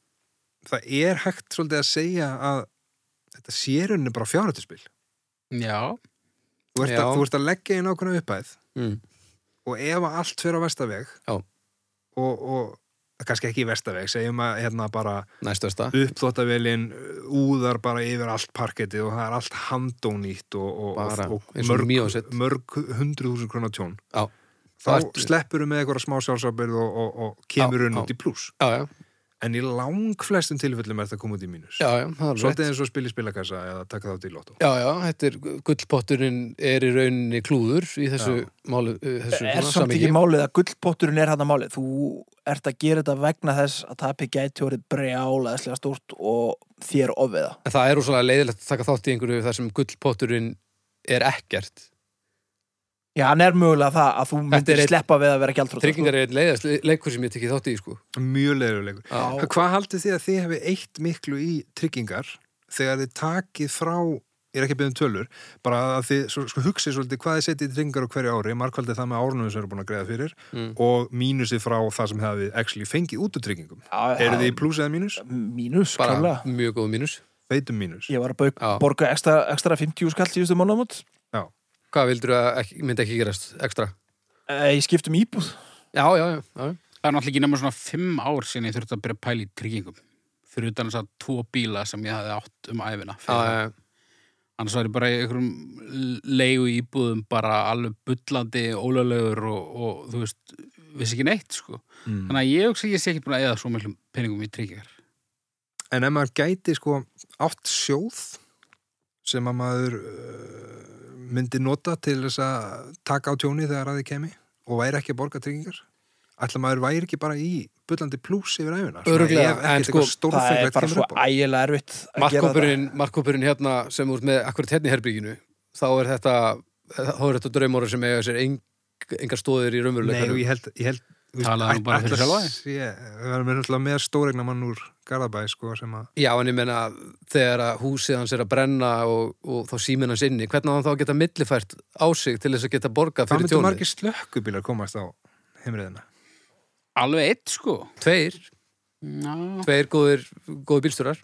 S4: það er hægt svolítið að segja að þetta sérunni bara fjárhættuspil
S3: Já,
S4: þú ert,
S5: Já.
S4: að, þú ert að leggja inn ákveðna uppæð
S5: Mm.
S4: og ef að allt fyrir á vestaveg
S5: Já.
S4: og, og kannski ekki í vestaveg segjum að hérna bara
S5: næstversta
S4: uppþóttavélin úðar bara yfir allt parkettið og það er allt handónýtt og, og,
S5: Bara,
S4: og,
S5: eins og
S4: og mörg,
S5: Mýóset.
S4: mörg hundruð þúsund krónar tjón
S5: Já.
S4: þá
S5: Það ertu-
S4: sleppur með eitthvað smá sjálfsabyrð og, og, og kemur
S5: Já,
S4: hún
S5: já.
S4: út í pluss
S5: Já, já,
S4: en í lang flestum tilfellum er það komið út í mínus
S5: já, já, það er
S4: svolítið
S5: alveg rétt.
S4: eins og að spila í spilakassa eða taka þátt í lotto
S5: Já, já, þetta er, gullpotturinn er í rauninni klúður í þessu
S4: Já.
S5: máli, uh, þessu
S1: er
S5: svona
S1: samt ekki
S5: samhengi.
S1: málið að gullpotturinn er hann að málið þú ert að gera þetta vegna þess að tapi gæti orðið brjálaðislega stórt og þér ofviða
S5: En það er úslega leiðilegt að taka þátt í einhverju þar sem gullpotturinn er ekkert.
S1: já, hann er mögulega það að þú
S5: er
S1: myndir
S5: einn-
S1: sleppa við að vera sko. gjaldrútt
S5: Tryggingar er einn leiðast leikur sem ég tekið þátt í, sko.
S4: mjög leiðulegur
S5: Já.
S4: hvað haldið þið að þið hefði eitt miklu í tryggingar þegar þið takið frá ég er ekki að byggja um tölur bara að þið svo- sko, hugsið svolítið hvað þið setjið í tryggingar á hverju ári markvaldið það með árunum sem eru búin að greiða fyrir
S5: Mm.
S4: og mínusið frá það sem hefði actually fengið út úr tryggingum
S1: er
S4: eru þið í pluss eða mínus?
S1: mínus,
S5: Bara
S1: klálega
S5: mjög góð mínus.
S4: veitum mínus
S1: ég var að bauk,
S5: Já.
S1: borga ekstra, ekstra 50 skall síðustu mánamót
S5: Hvað vildur að ekki, myndi ekki gerast ekstra?
S1: Eh, ég skiptum íbúð
S5: Já, já, já. já.
S3: það er náttúrulega ekki nema svona fimm ár sinni ég þurfti að byrja að pæla í tryggingum fyrir utan þess að tvo bíla sem ég hafði átt um
S5: Já,
S3: æfina fyrir.
S5: já, já.
S3: annars var ég bara í einhverjum leigu íbúðum bara alveg bullandi ólöglegur og, og þú veist vissi ekki neitt sko
S4: mm.
S3: þannig að ég hugsa að ég sé ekki búin að eða svo miklum peningum í tryggingar
S4: en ef maður gæti sko átt sjóð sem að maður uh, myndi nota til þess að taka á tjóni þegar að þið kemi og væri ekki að borga tryggingar ætla maður væri ekki bara í bullandi pluss yfir æfina Svona
S5: Örugglega,
S4: ef
S5: en
S4: ekkert
S5: sko,
S1: það er
S4: eitthvað stórfenglegt
S1: bara
S4: kemur
S1: svo
S4: upp á
S1: ægilega erfitt að gera það
S5: Markkópurinn, markkópurinn hérna sem úr með akkurat hérna í herbygginu, þá er þetta, þá er þetta draumóra sem eiga sér eng, engar stóðir í
S4: nei
S5: raunveruleikanum.
S4: og ég held, ég held þú veist,
S3: Talaðu nú bara fyrir
S4: ætla
S3: sjálfa þig.
S4: sé- eh, við erum alltaf með stóregna mann úr Garðabæ sko sem að
S5: Já, en ég meina þegar að húsið hans er að brenna og, og þá síminn hans inni, hvernig á hann þá að geta millifært á sig til þess að geta borgað
S4: það
S5: fyrir
S4: myndu
S5: tjónið?
S4: margir slökkubílar komast á heimriðina
S3: alveg eitt sko
S5: Tveir,
S3: Ná.
S5: tveir góðir, góðir bílstúrar.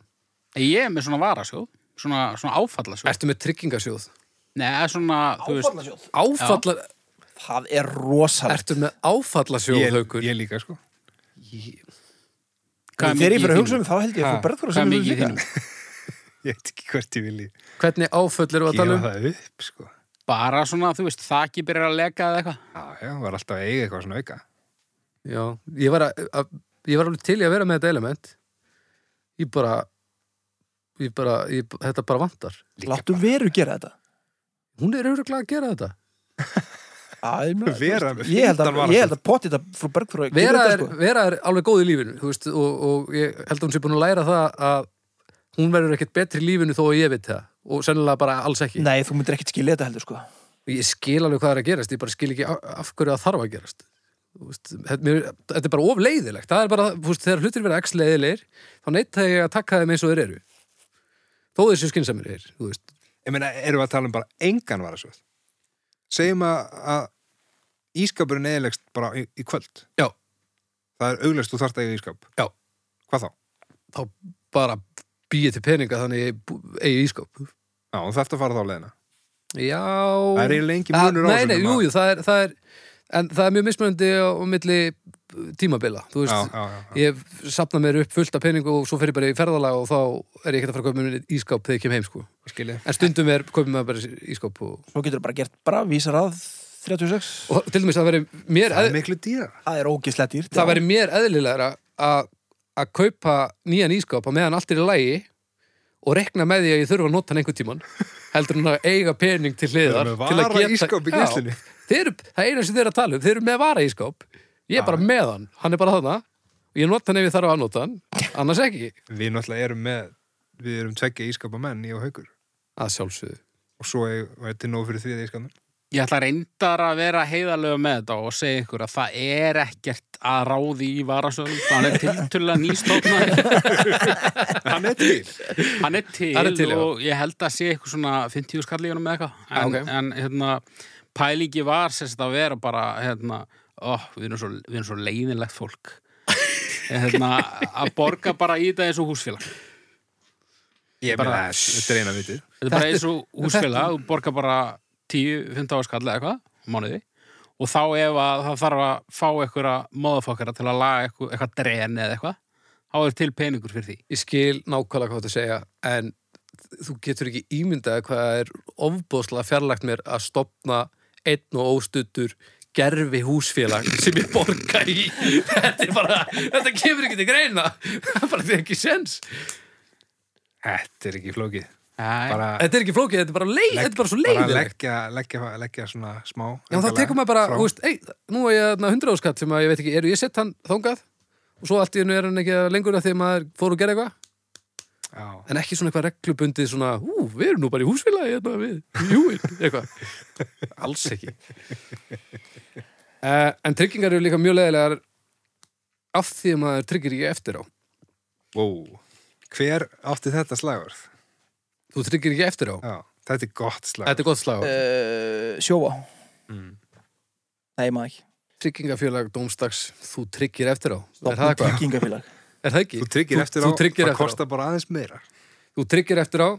S3: ég er með svona varasjóð svona, svona áfallasjóð
S5: Ertu með tryggingasjóð?
S3: neða svona þú
S1: Áfallasjóð.
S3: veist
S5: Áfalla,
S1: það er rosalegt
S5: ertu með áfallasjóð,
S4: ég,
S5: haukur?
S4: ég líka sko
S3: hvað
S1: þegar
S3: er
S1: ég
S3: mikið
S1: fyrir
S3: í
S1: að hugsa um þá held ég að
S4: Ha,
S1: þú berður að
S3: hvað er
S1: sem
S3: mikið í
S1: líka
S3: þínum
S4: ég veit ekki hvert ég vilji
S5: Hvernig áföll eru að tala um?
S4: gefa það upp sko
S3: bara svona þú veist þakki byrjar að leka eða eitthvað
S4: Já, já, var alltaf að eiga eitthvað svona auka.
S5: Já, ég var, að, að, ég var alveg til í að vera með þetta element. Ég bara, ég bara, ég, þetta bara vantar.
S1: láttu veru gera þetta
S5: Hún er auðvitað að gera þetta.
S1: Æ, ég meina, þú
S4: Vera
S1: veist,
S4: með
S1: ég held að,
S4: fylgdarvara.
S1: ég held að potið þetta frú Bergþóra gerir
S5: Vera
S1: þetta,
S5: er,
S1: sko.
S5: vera er alveg góð í lífinu þú veist, og, og ég held að hún sé búin að læra það að hún verður ekkert betri í lífinu þó að ég veit það og sennilega bara alls ekki
S1: sko. Nei, þú myndir ekkert skilja þetta heldur sko
S5: ég skil alveg hvað er að gerast, ég bara skil ekki af af hverju það þarf að gerast Þú veist, þetta, mér, þetta er bara of leiðilegt það er bara, þú veist, þegar hlutir vera x leiðilegir þá neyta ég að taka þeim eins og þeir eru þó þeir séu skynsamenir er, þú veist
S4: Ég meina, erum við að tala um bara engan varasjóð? Segjum að, að ískapurinn eðilegst bara í, í kvöld.
S5: Já.
S4: Það er auglöst, þú þarft að eiga ískap.
S5: Já.
S4: Hvað þá?
S5: bara býja til peninga þannig ég bú- eigi ískap
S4: Já, þú þarft að fara þá leðina.
S5: já
S4: Það er eiginlega engin
S5: Ah,
S4: munur á
S5: Nei, nei,
S4: nema-
S5: jú, jú, það er, það er en það er mjög mismunandi á, á milli tímabila, þú
S4: Já,
S5: veist
S4: já, já, já.
S5: ég sapna mér upp fullt af peningu og svo fer ég bara í ferðalag og þá er ég ekkert að fara að kaupa mér ískáp þegar ég kem heim, sko
S4: Skilji.
S5: en stundum er, kaupa mér bara ískáp og,
S1: Svo getur bara gert bara vísar að 36
S5: og til dæmis það veri mér
S4: Það
S5: eð,
S4: er miklu dýrar.
S1: Það er ógislega dýrt
S5: það
S1: já.
S5: veri mér eðlilegra að að kaupa nýjan ískáp að meðan allt er í lægi og rekna með því að ég þurfa að nota hann einhvern tíman heldur hann að eiga pening til hliðar
S4: Við erum með
S5: til að
S4: vara
S5: geta-
S4: ísskáp í
S5: Já.
S4: geislunni.
S5: Þeir eru, það er eina sem þeir eru að tala um, þeir eru með vara ískáp ég er bara með hann, hann er bara þarna og ég nota hann ef ég þarf að nota hann annars ekki,
S4: Við náttúrulega erum með, við erum tveggja ískapamenn í og haukur.
S5: að sjálfsögðu
S4: Og svo er er til nóg fyrir þriðið ískapnum.
S3: Ég ætla reyndar að vera heiðarlega með þetta og segja ykkur að það er ekkert að ráði í varasöðum hann er tiltölulega nýstofna
S4: Hann er til.
S3: hann er til,
S5: Hann er til, já.
S3: og ég held að sé eitthvað svona 50 skall í honum með eitthvað en,
S5: Já, ok.
S3: en hérna, pælingi var sérst að vera bara hérna, ó, við erum svo, við erum svo leiðinlegt fólk En hérna, að borga bara í þetta eins og húsfélag.
S4: Ég meina, þetta er eina vitið.
S3: Þetta er bara eins og húsfélag, þú borgar bara 10-15 áskall eða eitthvað, á mánuði. Og þá ef að það þarf að fá einhverja móðafokkara til að laga eitthvað, eitthvað dren eða eitthvað, þá er til peningur fyrir því.
S5: Ég skil nákvæmlega hvað þú segja, en þú getur ekki ímyndað hvað það er ofbóðslega fjarlægt mér að stopna einn og óstuttur gerfi húsfélag sem ég borga í. þetta er bara, þetta kemur ekki til greina. Það er bara þetta er ekki sens.
S4: Þetta er ekki flókið.
S3: Æ,
S4: Bara,
S5: Þetta er ekki flókið, þetta er bara leið, þetta er bara svo leiðilegt.
S4: Bara leggja, leggja, leggja svona smá.
S5: Já, þá
S4: endalega
S5: tekur maður bara,
S4: frá.
S5: þú veist, ei, nú er ég þarna 100 áskatt sem að ég veit ekki, eru ég sett hann þangað og svo allt í hennu er hann ekki lengur að því að maður fór og gera eitthvað,
S4: Já.
S5: en ekki svona eitthvað reglubundið svona, ú, við erum nú bara í húsfélagi hérna við, júin, eitthvað alls ekki uh, En tryggingar eru líka mjög leðilegar af því að maður tryggir ekki eftir á
S4: Vó. Hver átti þetta slagurð?
S5: Þú tryggir ekki eftir á,
S4: Já. Þetta er gott slagurð.
S5: þetta er gott slag
S1: uh, sjóa
S5: Mm.
S1: Nei, maður ekki
S5: Tryggingafélag dómstags, þú tryggir eftir á Er það
S1: Stofnum
S5: eitthvað?
S1: tryggingafélag
S5: Er það ekki?
S4: Þú tryggir eftir á,
S5: þú tryggir
S4: það
S5: eftir á.
S4: kostar bara aðeins meira.
S5: þú tryggir eftir á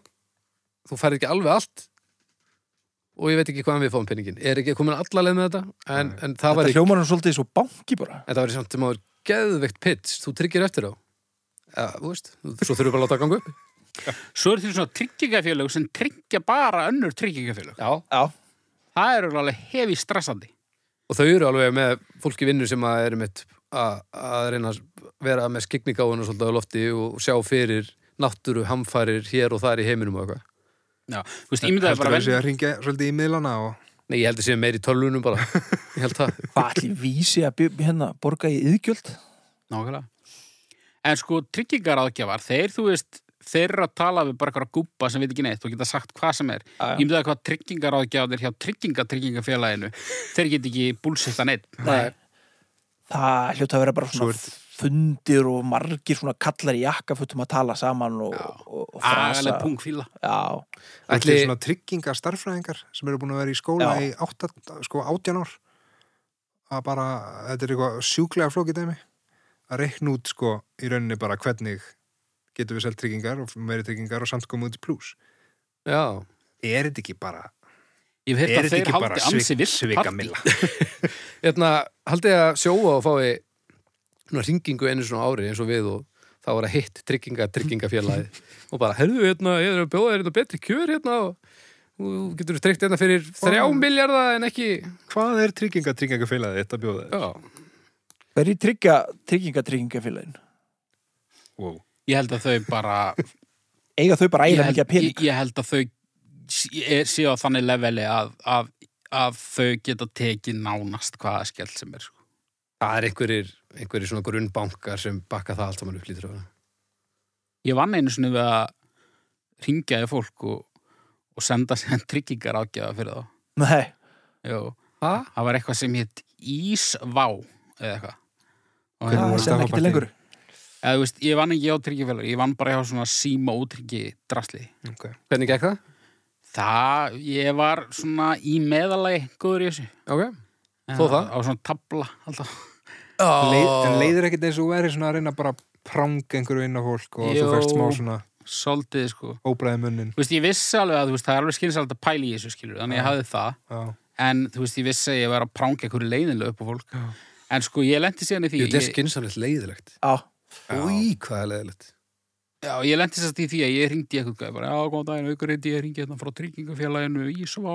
S5: þú færð ekki alveg allt og ég veit ekki hvaðan við fáum penningin er ekki komin allaleg með þetta en, en það var
S1: Þetta
S5: ekki,
S1: hljómar hann svolítið svo banki bara
S5: en það var samt sem áður geðveikt pitch, þú tryggir eftir á ja, þú veist, svo þurfum við bara að láta að ganga upp
S3: svo er til svona tryggingafélög sem tryggja bara önnur tryggingafélög.
S5: já,
S1: Já,
S3: Það er alveg hefi stressandi.
S5: og þau eru alveg með fólki vinnu sem að erum mitt að að reyna að vera með skikningáinu svolítið á lofti og sjá fyrir náttúru hamfarir hér og þar í heiminum og eitthvað.
S3: Já, þú veist, ímyndaði
S4: Heldur
S3: bara
S4: að við
S3: vel
S4: séum að ringja svolítið í miðlana og...
S5: Nei, ég held að sé meir í tölvunum bara. Ég held það.
S1: hvað allir vísi að by- hérna, borga í yðgjöld
S3: Nákvæmlega. En sko, tryggingaraðgjafar, þeir, þú veist, þeir eru að tala við bara eitthvað gúppa sem veit ekki neitt og geta sagt hvað sem er.
S1: Já, já.
S3: Ég myndi að hvað tryggingaraðgjafarnir hjá tryggingatryggingafélaginu, þeir get ekki búlsetta neitt.
S1: Nei. Það hljóta að vera bara
S4: Svo
S1: svona
S4: er-
S1: fundir og margir svona kallar í jakkafutum að tala saman og, og, og frasa
S3: Agalega pungfíla.
S1: Já,
S4: Ætli...
S5: Ætli-
S4: svona tryggingar starffræðingar sem eru búin að vera í skóla
S1: Já.
S4: í átta, sko, átján ár að bara, þetta er eitthvað sjúklega flókið dæmi að reikna út sko í rauninni bara hvernig getum við selt tryggingar og meiri tryggingar og samt komum út í plús
S5: Já.
S4: er þetta ekki bara,
S3: Ég hef heyrt
S4: er
S3: að
S4: þetta
S3: þeir
S4: ekki bara
S3: haldi ansi vilt partí.
S4: svikamilla
S5: Hérna, haldið þið að sjóa og fái svona ringingu einu svona ári eins og við og það var að hitt trygginga, tryggingafélagið og bara, herðu, hérna, ég er að bjóða þér hérna betri kjör hérna og og þú getur tryggt hérna fyrir þrjá miljarda en ekki já,
S4: hvað er tryggingar tryggingafélagið þetta bjóða þér?
S1: hverju tryggja trygginga tryggingafélagin?
S4: Wow.
S3: Ég held að þau bara...
S1: Eiga þau bara
S3: Ég
S1: ægilega
S3: held,
S1: mikið að pening?
S3: ég, ég held að þau sí- er- séu á þannig leveli að, að, að þau geta tekið nánast hvaða skell sem er. Sko.
S5: það er einhverjir, einhverjir svona grunnbankar sem bakka það allt saman upp lítur á það
S3: Ég vann einu sinni við að ringja í fólk og, og senda sér tryggingar ágjafa fyrir þá.
S1: Nei,
S3: Jó.
S5: Ha?
S3: Það var eitthvað sem hétt Ísvá eða eitthvað. Og hérna-
S4: Hvernig
S1: það
S4: voru
S1: er senn Ah,
S4: þetta
S1: ekki
S4: partí?
S1: til lengur
S3: eða, þú veist, ég vann ekki á tryggjafélag, ég vann bara hjá svona síma útryggi drasli.
S4: okay.
S5: hvernig gekk það?
S3: Það, ég var svona í meðalagi góður í þessu.
S5: ok, Þó það?
S3: Á svona tabla alltaf. Oh.
S4: Leið, en leiðir ekkert eins og verið svona að reyna bara að pranga einhverju inn á fólk og
S3: Jú.
S4: þú fært smá svona
S3: Svolítið sko.
S4: óbræði munnin
S3: Þú veist, ég vissi alveg að þú veist, það er alveg skynsælt að pæla í þessu skilur, þannig ég hafði það,
S4: Já.
S3: en þú veist, ég vissi að ég var að pranga einhverju leiðinlega upp á fólk, en sko, ég lendi síðan í því,
S5: ég les skynsamlega leiðilegt
S1: Já,
S5: úi, hvað er leiðilegt
S3: já, ég lendi síðan í því að ég ringdi eitthvað, gæði bara, já, góðan daginn, aukur reyndi, ég ringi hérna frá tryggingafélaginu, Ísvá,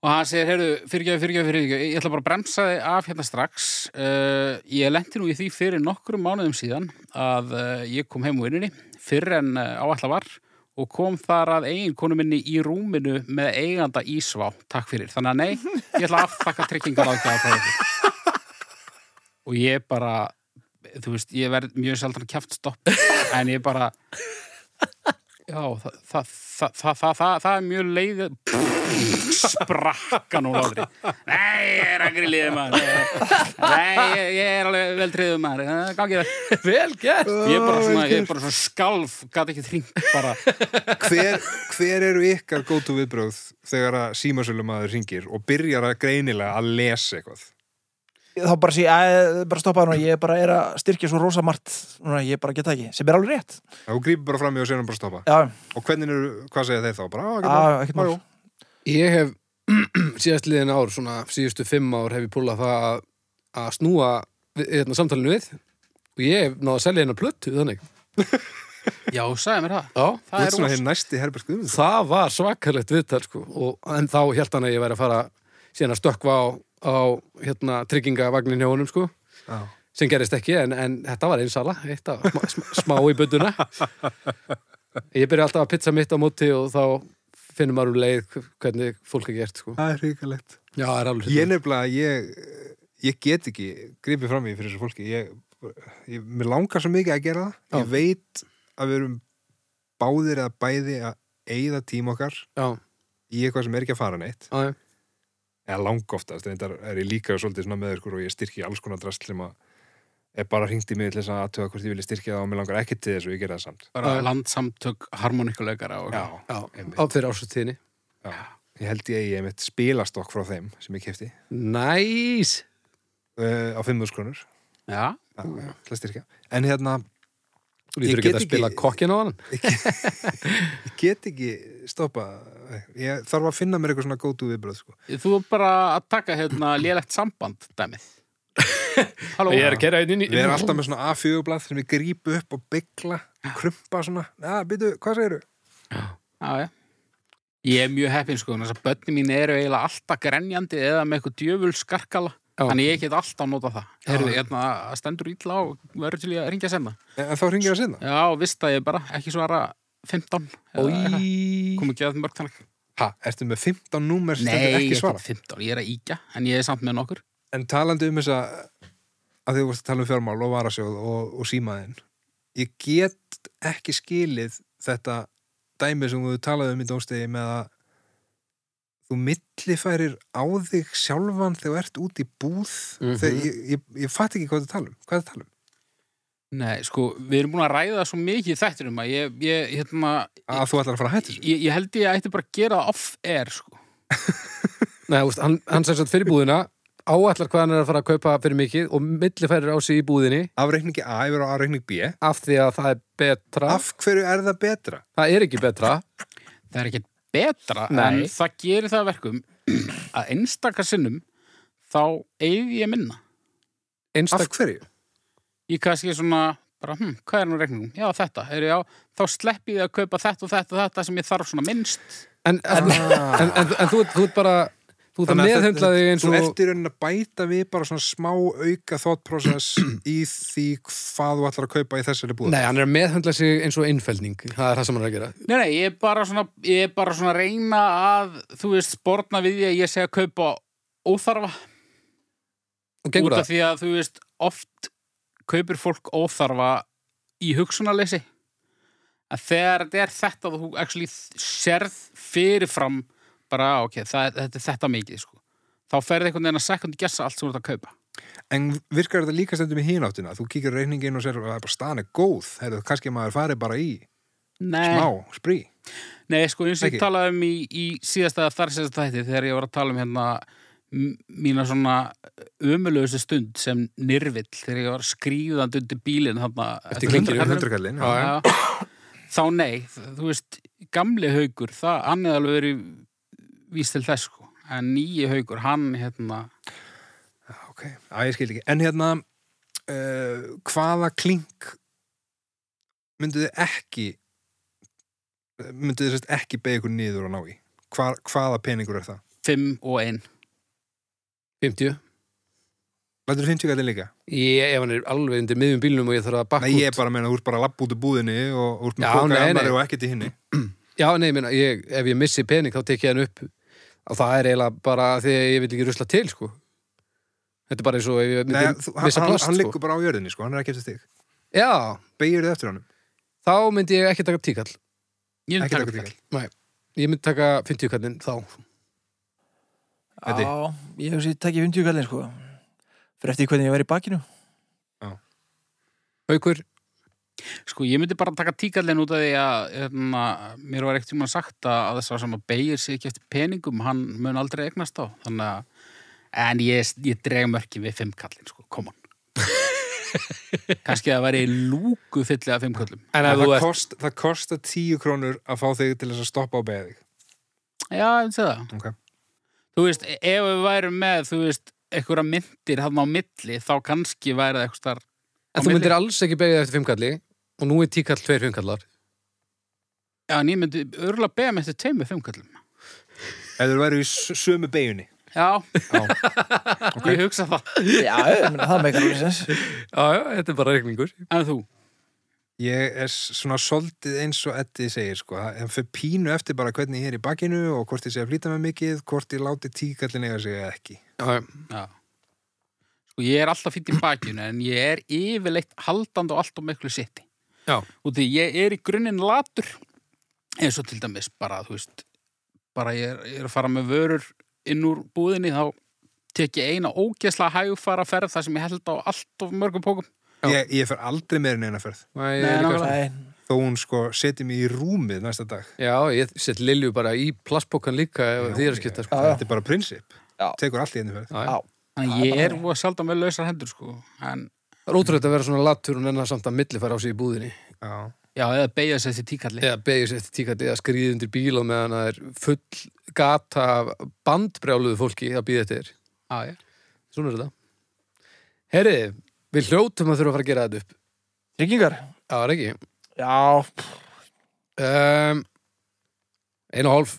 S3: og hann segir, heyrðu, fyrirgjöf, fyrirgjöf, fyrirgjöf, ég ætla bara að bremsa þig af hérna strax, uh, ég lendi nú í því fyrir nokkrum mánuðum síðan að uh, ég kom heim úr vinninni, fyrr en uh, áallar var og kom þar að eigin konu minni í rúminu með eiganda Ísvá, takk fyrir. Þannig að nei, ég ætla að aftakka tryggingar ágæða frá þetta. Og ég bara, þú veist, ég verð mjög sjaldan kjaft stopp, en ég bara, já, það, það, það, það, það, það, það er mjög leið, sprakka nú láðri. Nei, ég er að grilliðið maður. Nei, ég, ég er alveg vel triðið maður. Gangið það.
S5: vel gert
S3: Ég er bara svona, ég er bara svona skalf, gæti ekki þringt bara.
S4: hver, hver eru ykkar gótu viðbröð þegar að símasölumæður ringir og byrjar að greinilega að lesa eitthvað
S1: þá bara sé ég, bara stoppa hann og ég bara er að styrkja svo rosa margt núna, ég bara geta ekki, sem er alveg rétt
S4: Þú grýpur bara fram í og sér hann bara stoppa
S1: já,
S4: Og hvernig eru, hvað segja þeir þá? Bara, á,
S1: á,
S4: ekki
S1: ekkert
S4: Ah,
S1: mál
S4: mál. Já, já.
S5: Ég hef síðast liðin ár, svona síðustu fimm ár hef ég púlað það að- að snúa við- hérna, samtalinu við og ég hef náða að selja hérna plötu þannig.
S3: Já, sagði mér það.
S5: Já.
S4: Þú
S3: Það
S4: ert
S3: er
S4: svona
S3: rosa.
S4: hinn næsti Herbert Guðmunds
S5: Það var svakalegt viðtal sko og, en þá held hann að ég væri að fara síðan að stökkva á, á hérna, tryggingavagnin hjá honum sko
S4: Já.
S5: sem gerist ekki en, en þetta var einsala eitt að smá, sm- smá í budduna Ég byrja alltaf að pizza mitt á móti og þá finnum maður um leið hvernig fólk er gert sko
S4: Það er hrigalegt
S5: Já, það er alveg
S4: Ég nefnilega, ég, ég get ekki gripið fram í fyrir þessu fólki ég, ég, Mér langar svo mikið að gera það Ég veit að við erum báðir eða bæði að eigða tíma okkar
S5: Já,
S4: í eitthvað sem er ekki að fara neitt
S5: já, já.
S4: eða langoftast, reyndar er ég líka svolítið svona með ykkur og ég styrki alls konar drast sem að er bara hringt í mig til þess að aðtöga hvort ég vilja styrkja það og mér langar ekki til þess og ég gera það samt
S3: Bara landsamtök harmoníkuleikara og...
S4: Já,
S5: já. á fyrir ásuttíðinni
S4: já. Ég held ég að ég mitt spilastokk frá þeim sem ég kefti
S5: Næs!
S4: uh, á 5.000 krónur
S3: Já.
S4: Já, já, til að styrkja En hérna,
S5: Þú
S4: Ég
S5: lítur
S4: get
S5: ekki að
S4: ekki-
S5: spila kokkin á hann
S4: ég get ekki stoppa, ég þarf að finna mér eitthvað svona gótu viðbröð sko.
S3: Þú er bara að taka hérna lélegt samband, dæmið. Halló.
S5: Ég er að gera einn inn í
S4: Við erum alltaf með svona A4-blað sem ég grípu upp og byggla, krumpa svona Já, býtu, hvað segirðu?
S3: Já, já. Ég er mjög heppinn sko, þess að börni mín eru eiginlega alltaf grenjandi eða með eitthvað djöful skarkala.
S5: Já.
S3: Þannig ég get alltaf notað það. Herðu,
S5: Já.
S3: hérna, það stendur ítla á og verður til í að ringja senna.
S4: En þá hringir það sinna
S3: Já, vist að ég bara ekki svara 15. eða eitthvað. Kom ekki að það mörg þannig.
S4: Ha, ertu með 15 númer sem stendur
S3: Nei,
S4: ekki
S3: ég er
S4: svara?
S3: 15, ég er að íkja, en ég er samt með nokkur.
S4: En talandi um þess að að því þú vorst að tala um fjármál og varasjóð og, og símaðinn ég get ekki skilið þetta dæmi sem þú talaði um í dómstegi með að þú millifærir á þig sjálfan þegar þú ert út í búð
S5: Mhm.
S4: þegar ég, ég, ég fatt ekki hvað það tala um hvað það tala um?
S3: Nei, sko, við erum búin að ræða svo mikið þættir um að ég, ég hérna,
S4: Að þú ætlar að fara að hættu þessu?
S3: ég, ég held ég ætti bara að gera það off-air, sko.
S5: Nei, úst, hann, hann sem sagt fyrir búðina áallar hvað hann er að fara að kaupa fyrir mikið og millifærir á sig í búðinni
S4: Af reikningi A yfir á af reikning B
S5: af því að það er betra
S4: Af hverju er það betra?
S5: það er ekki betra
S3: það er ekkert betra
S5: Nei.
S3: en það gerir það að verkum að einstakar sinnum þá eigi ég minna
S4: Af
S5: einstak,
S4: hverju?
S3: ég kannski svona bara, hm, hvað er nú regningum? Já, þetta, er, já, þá sleppi ég að kaupa þetta og þetta og þetta sem ég þarf svona minnst
S5: en, en, en, en, en þú, ert- þú ert bara þú ert að
S4: Ah. að
S5: meðhundla
S4: þetta-
S5: þig eins
S4: Þú
S5: og
S4: ert í raunin að bæta við bara svona smá auka thought process í því hvað þú ætlar að kaupa í þessari búð
S5: Nei, hann er að meðhundla sig eins og innfældning það er það sem hann er að gera
S3: Nei, nei, ég er bara svona, ég er bara svona að reyna að, þú veist, sporna við því að ég sé að kaupa óþarfa
S5: og gengur
S3: út af
S5: það,
S3: því að, þú veist, oft kaupir fólk óþarfa í hugsunarleysi að þegar þetta er þetta þú actually sérð fyrirfram bara, "Ah, ok, það, þetta er þetta mikið, sko þá ferði einhvern veginn að second guessa allt sem þú ert að kaupa
S4: En virkar þetta líka stendum í hináttina? Þú kíkir reyningin og sér að það er bara staðan er góð. Heyrðu, kannski maður fari bara í
S3: Nei,
S4: smá, sprý.
S3: Nei, sko, eins og ég
S4: Ekki?
S3: talaði um í, í síðasta eða þar síðasta þætti þegar ég var að tala um hérna m- mína svona ömulögustu stund sem nirvill þegar ég var skríðandi undir bílinn þarna
S5: Eftir klinginu,
S3: hundraðkallinum.
S4: Hundrakallin.
S5: Já,
S3: Já. Þá nei, þ- þú veist, gamli haugur, það hann er alveg verið víst til þess, sko. En nýji haugur, hann, hérna,
S4: Ok, Æ, ég skil ekki. En hérna, uh, hvaða klink mynduð þið ekki mynduð þið sérst ekki beða ykkur niður að ná í? Hva, hvaða peningur er það?
S3: 5 og 1.
S5: 50
S4: Lætur 50 kallin líka?
S5: ég, ef hann er alveg undir miðjum bílnum og ég þarf að bakka
S4: Nei, ég er
S5: út
S4: bara að meina, þú ert bara að labba út úr búðinni og þú ert
S5: Já,
S4: með kóka
S5: nei,
S4: ammari
S5: nei.
S4: og ekkert í hinni.
S5: já, nei, ég meina, ég, ef ég missi pening þá tek ég hann upp og það er eiginlega bara því að ég vil ekki rusla til sko. þetta er bara eins og ef ég myndi
S4: Nei, þú, hann,
S5: missa
S4: hann,
S5: plast
S4: hann
S5: sko.
S4: liggur bara á jörðinni, sko, hann er ekki eftir stig.
S5: Já,
S4: Beigir þið eftir honum?
S5: þá myndi ég ekki taka tíkall
S3: Ég
S4: Ekki
S3: takk
S4: taka tíkall.
S5: Ég myndi taka 50 kallinn þá
S4: Eddi?
S1: já, ég hef sér tekið 50 kallin sko fyrir eftir því hvernig ég var í bakinu
S5: Haukur,
S3: Sko, ég myndi bara taka tíkallin út af því að hérna, mér var ekkert tímann sagt að, að þess að sem að beigir sig ekki eftir peningum, hann mun aldrei egnast á. Þannig að en ég, ég dreg mörki við fimmkallin, sko, come on. Kannski það væri lúku fyllið af fimmkallum.
S5: En ef
S4: það,
S5: þú ert
S4: kost, það kosta tíu krónur að fá þig til þess að stoppa á beðið
S3: Já, ég sé það.
S4: okay.
S3: Þú veist, ef við værum með, þú veist, einhverja myndir hann á milli, þá kannski væri það eitthvað starf.
S5: En þú myndir alls ekki beðið eftir fimmkalli og nú er tíkall tveir fimmkallar.
S3: Já, en ég myndi örgulega beða með þetta teimu fimmkallum.
S4: Ef þú væri í s- sömu beginni
S3: Já, ég hugsa það.
S1: Já, ég meina, það meikar alveg sens
S5: Já, já, þetta er bara reikningur.
S3: En þú?
S4: Ég er s- svona soldið eins og Eddi segir sko, en fyrir pínu eftir bara hvernig ég er í bakinu og hvort ég sé að flýta með mikið, hvort ég láti tíkallin eiga sig eða ekki.
S5: Já, já.
S3: Já. Sko, ég er alltaf fýtt í bakinu, en ég er yfirleitt haldandi og allt og miklu sitti.
S5: Já.
S3: Og því ég er í grunninn latur, eins og til dæmis bara, þú veist, bara ég er, ég er að fara með vörur inn úr búðinni, þá tek ég eina ógesla hægfara ferð þar sem ég held á allt of mörgum pókum.
S4: Ég, ég fer aldrei meira en eina ferð,
S5: Nei, ég
S3: Nei,
S5: er líka-
S1: Nei,
S3: nákvæmlega.
S4: þó hún sko seti mig í rúmið næsta dag.
S5: já, ég set Lilju bara í plastbókan líka ef því er að skipta. Sko.
S1: já, já.
S4: Þetta er bara prinsip, tekur allt í einu ferð.
S5: Já, já.
S1: Já.
S3: Þannig ég er voða sjaldan með lausar hendur, sko. En,
S5: Það er ótrúlega að vera svona latur og nennar samt að millifæra á sig í búðinni.
S4: Já.
S3: já, eða beigja sér til tíkalli.
S5: Eða beðið sér eftir tíkalli eða skrýði undir bíl og meðan það er full gata af bandbrjáluðu fólki að býða eftir. þér.
S3: Já, já.
S5: Svona er þetta. Herri, við hljótum að þurfa að fara að gera þetta upp.
S1: tryggingar
S5: Já, það er ekki.
S1: Já, pff,
S5: Um, einu og hálf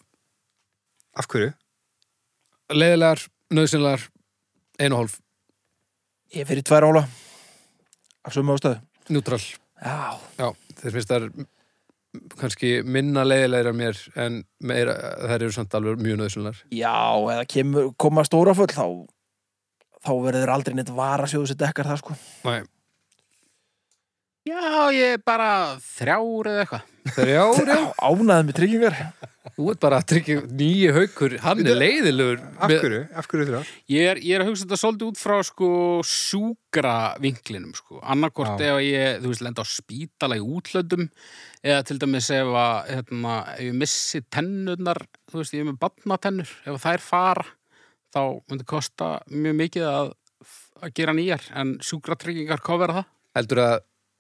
S4: Af hverju?
S5: leiðilegar, nöðsynlegar einu og hálf,
S1: ég fyrir tvær óla af sömu ástöðu
S5: njútrál
S1: Já,
S5: já, þeir finnst þær kannski minna leiðilegar mér en meira, þær eru samt alveg mjög nöðsynlegar
S1: já, eða kemur, koma stóra full þá, þá verður aldrei neitt varasjóðu sem dekkar það sko
S5: Nei,
S3: Já, ég er bara þrjár eða eitthvað.
S5: þrjár, já,
S1: Ánaðið með tryggingar
S5: þú ert bara að tryggja nýju haukur, hann er leiðilegur
S4: Af hverju? Af hverju þrjá?
S3: Ég er, ég er að hugsa þetta svolítið út frá sko sjúkra vinklinum sko. Annarkort ef ég, þú veist, lenda á spítala í útlöndum eða til dæmis ef að, hérna, ef ég missi tennurnar, þú veist, ég er með batnatennur, ef þær fara þá myndi kosta mjög mikið að, að gera nýjar en sjúkratryggingar kofera það.
S5: heldur að,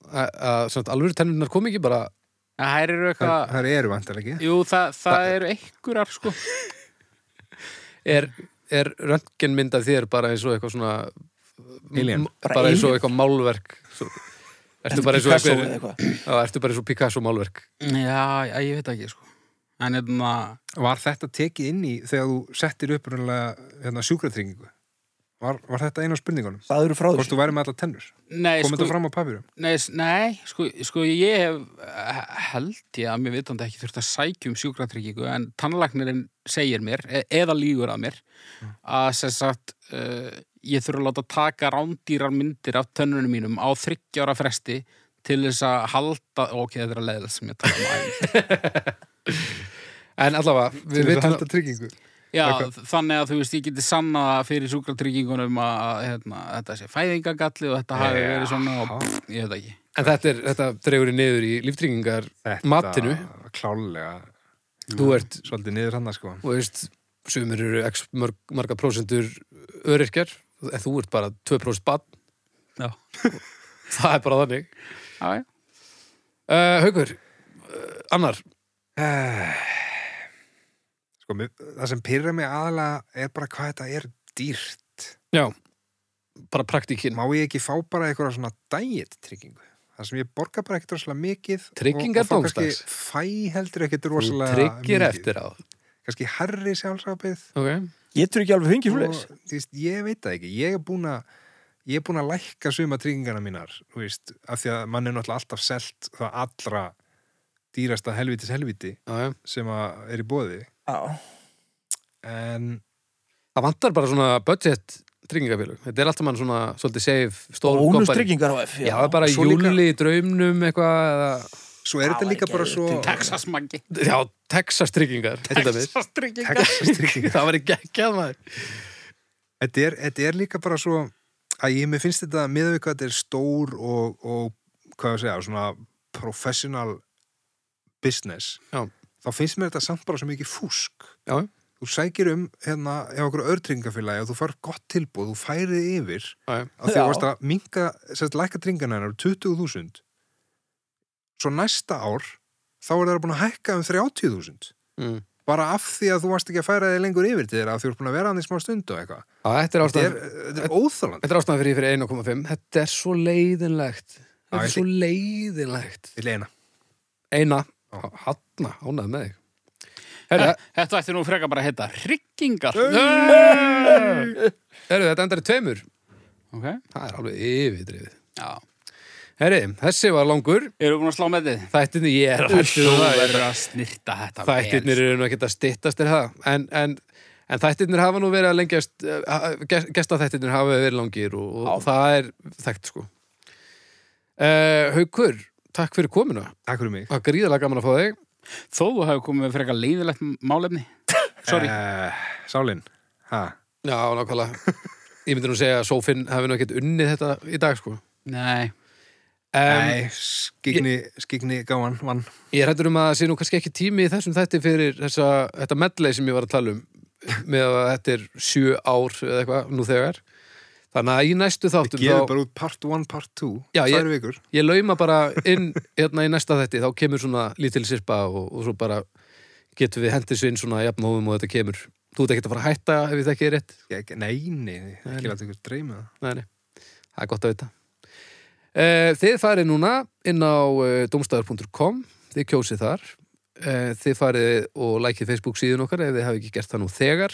S5: að, að samt alveg tennurnar kom ekki bara
S3: En þær eru eitthvað,
S4: Það eru vantar ekki.
S3: jú, það, það eru einhverjar sko.
S5: er, er röntgenmynd af þér bara eins og eitthvað svona m-
S4: Alien.
S5: bara eins og eitthvað málverk svo, ertu bara eins og
S1: Picasso
S5: eitthvað
S1: eða eitthvað.
S5: Já, ertu bara eins og Picasso málverk
S3: Já, já, ég veit það ekki sko. En hérna,
S4: Var þetta tekið inn í þegar þú settir upprunnilega hérna, sjúkratryggingu? Var, var þetta eina af spurningunum?
S1: Það eru frá
S4: Hvort
S1: þessu
S4: þú væri með alla tennur?
S3: nei, sko,
S4: Komið þetta
S5: sko,
S4: fram á papirum?
S3: Nei, s- nei sko, sko ég hef eh, held ég að mér vitandi ekki þurft að sækja um sjúkratryggingu en tannlagnirinn segir mér e- eða lígur að mér að sem sagt uh, ég þurfa að láta taka rándýrar myndir af tönnunum mínum á 30 ára fresti til þess að halda ok, þetta er að leiða sem ég tala um aðeins.
S5: en allavega,
S4: Til
S5: við
S4: þess að
S5: vitum
S4: halda tryggingu?
S3: Já, þannig að þú veist, ég geti sanna fyrir sjúkratryggingunum að, að hérna, þetta sé fæðingagalli og þetta hafi verið svona og pff, ég veit það ekki
S5: En þetta, er, þetta dregur í niður í líftryggingar matinu.
S4: Klálega,
S5: Þú ert,
S4: svolítið niður hann sko.
S5: þú veist, sumir eru x mörg, marga prósentur öryrkjar, en þú ert bara 2% bann.
S3: Já.
S5: Það er bara þannig.
S3: Já, já.
S5: Uh, Haukur, uh, annar,
S4: Ah. Sko, mér, það sem pyrra mig aðalega er bara hvað þetta er dýrt.
S5: já, bara praktíkin.
S4: Má ég ekki fá bara eitthvað svona dæjit tryggingu? Það sem ég borga bara ekkert rosalega mikið
S5: Tryggingar
S4: og, og þá
S5: dómsdags.
S4: kannski fæ heldur ekkert
S5: Þú
S4: rosalega
S5: tryggir eftir á.
S4: Kannski herri sjálfsafið
S5: Ok,
S1: Getur ekki alveg fengið
S4: og,
S1: fleis
S4: þú veist, ég veit það ekki ég er búin að ég er búin að lækka suma tryggingana mínar þú veist, af því að mann er náttúrulega alltaf selt það allra dýrasta helvitis helviti
S5: já, já.
S4: sem að er í bóði
S1: Já,
S4: en
S5: Það vantar bara svona budget tryggingafélug. Þetta er alltaf mann svona, svolítið safe, stór
S1: bónus
S5: kompani.
S1: tryggingar á F
S5: Já, það er bara
S4: Svo líka-
S5: júli í draumnum eitthvað, eða...
S4: svo er
S1: Það
S4: þetta
S1: var
S4: líka
S1: ekki
S4: bara
S1: að-
S4: svo
S3: Texas mangi
S5: Já, Texas tryggingar, til dæmis.
S3: Texas tryggingar
S4: Texas tryggingar.
S5: Það var ekki ekki að maður.
S4: þetta, er, þetta er líka bara svo að ég mér finnst þetta miðað við hvað þetta er stór og, og hvað ég segja, svona professional business
S5: Já.
S4: þá finnst mér þetta samt bara svo mikið fúsk
S5: Já,
S4: þú sækir um hérna ef okkur örtringafélagi og þú far gott tilbúð þú færið yfir
S5: Já, já.
S4: að því
S1: Já.
S4: að varst að minka, sérst lækka tringana hennar um 20.000 svo næsta ár þá er það búin að hækka um 30.000
S5: Mm.
S4: bara af því að þú varst ekki að færa þig lengur yfir til þeirra af því að þú ert búin að vera hann í smá stund og eitthvað
S5: Já, þetta er
S4: þetta
S5: ástæðan
S4: er, þetta er óþáland
S5: Þetta er ástæðan fyrir, fyrir 1,5 Þetta er svo leiðinlegt Þetta
S4: Já,
S5: er
S4: ég
S5: svo leiðinlegt
S4: til eina
S5: Eina,
S4: Já. Eh.
S5: hanna, ánað með þig Herru,
S3: Þetta ætti nú frekar bara að heita Riggingar
S5: herru, þetta endar í tveimur
S3: Ok,
S5: Það er alveg yfirdrifið
S3: já
S5: Herri, þessi var langur
S3: Erum við búin að slá með þið?
S5: Þættinni ég er að hættu
S3: Þú
S5: það
S3: verður að snirta þetta
S5: Þættirnir eru nú ekkert að styttast er það en, en, en þættirnir hafa nú verið að lengjast eh, ha- ges- gestaþættirnir hafa verið langir og, og það er þekkt sko uh, Haukur, takk fyrir komuna
S4: Takk fyrir mig
S5: Það var gríðalega gaman að fá þig
S3: vel. Þó þú hefur komið með frekar leiðilegt málefni Sorry,
S4: uh, Sálin, ha?
S5: Já, nákvæmlega Ég myndi nú segja að Sófinn hafi nú ekkert unnið þetta í dag sko
S3: nei
S5: um,
S4: Nei, skikni, skikni gáan vann
S5: Ég er hættur um að það sé nú kannski ekki tími í þessum þætti fyrir þessa, þetta medley sem ég var að tala um með að þetta er sjö ár eða eitthvað nú þegar Þannig að í næstu þáttum
S4: Gefur
S5: þá-
S4: bara út part 1, part 2
S5: Já, ég-
S4: Tvær vikur
S5: ég lauma bara inn hérna í næsta þetti, þá kemur svona lítil sirpa og, og svo bara getum við hendis inn svona jafnóðum og þetta kemur þú ert ekkert að fara að hætta ef við þekki er rétt
S4: Ég- Nei, nei, nei, ekki láta ykkur dreyma það
S5: nei, nei. það er gott að vita Eh, þið farið núna inn á eh, domstæður.com þið kjósið þar Eh, þið farið og lækið Facebook síðun okkar ef þið hafi ekki gert það nú þegar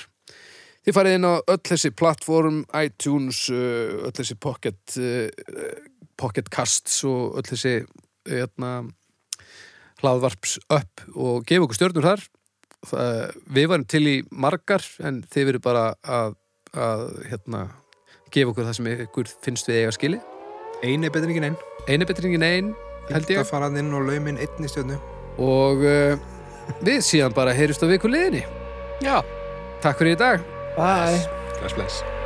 S5: þið farið inn á öll þessi plattform iTunes, eh, öll þessi pocket eh, pocket casts og öll þessi hérna, hlaðvarps upp og gefa okkur stjörnur þar Það- við varum til í margar en þið verið bara að, að hérna, gefa okkur það sem ykkur finnst við eiga skili
S4: Ein er betur en ekki neinn
S5: einu betri en ein, held
S4: Þetta
S5: ég
S4: fara hann inn og laumin einn í stjórnu
S5: og uh, við síðan bara heyrjumst á viku liðinni
S3: Já
S5: takk fyrir í dag
S1: Bye
S4: Bless, bless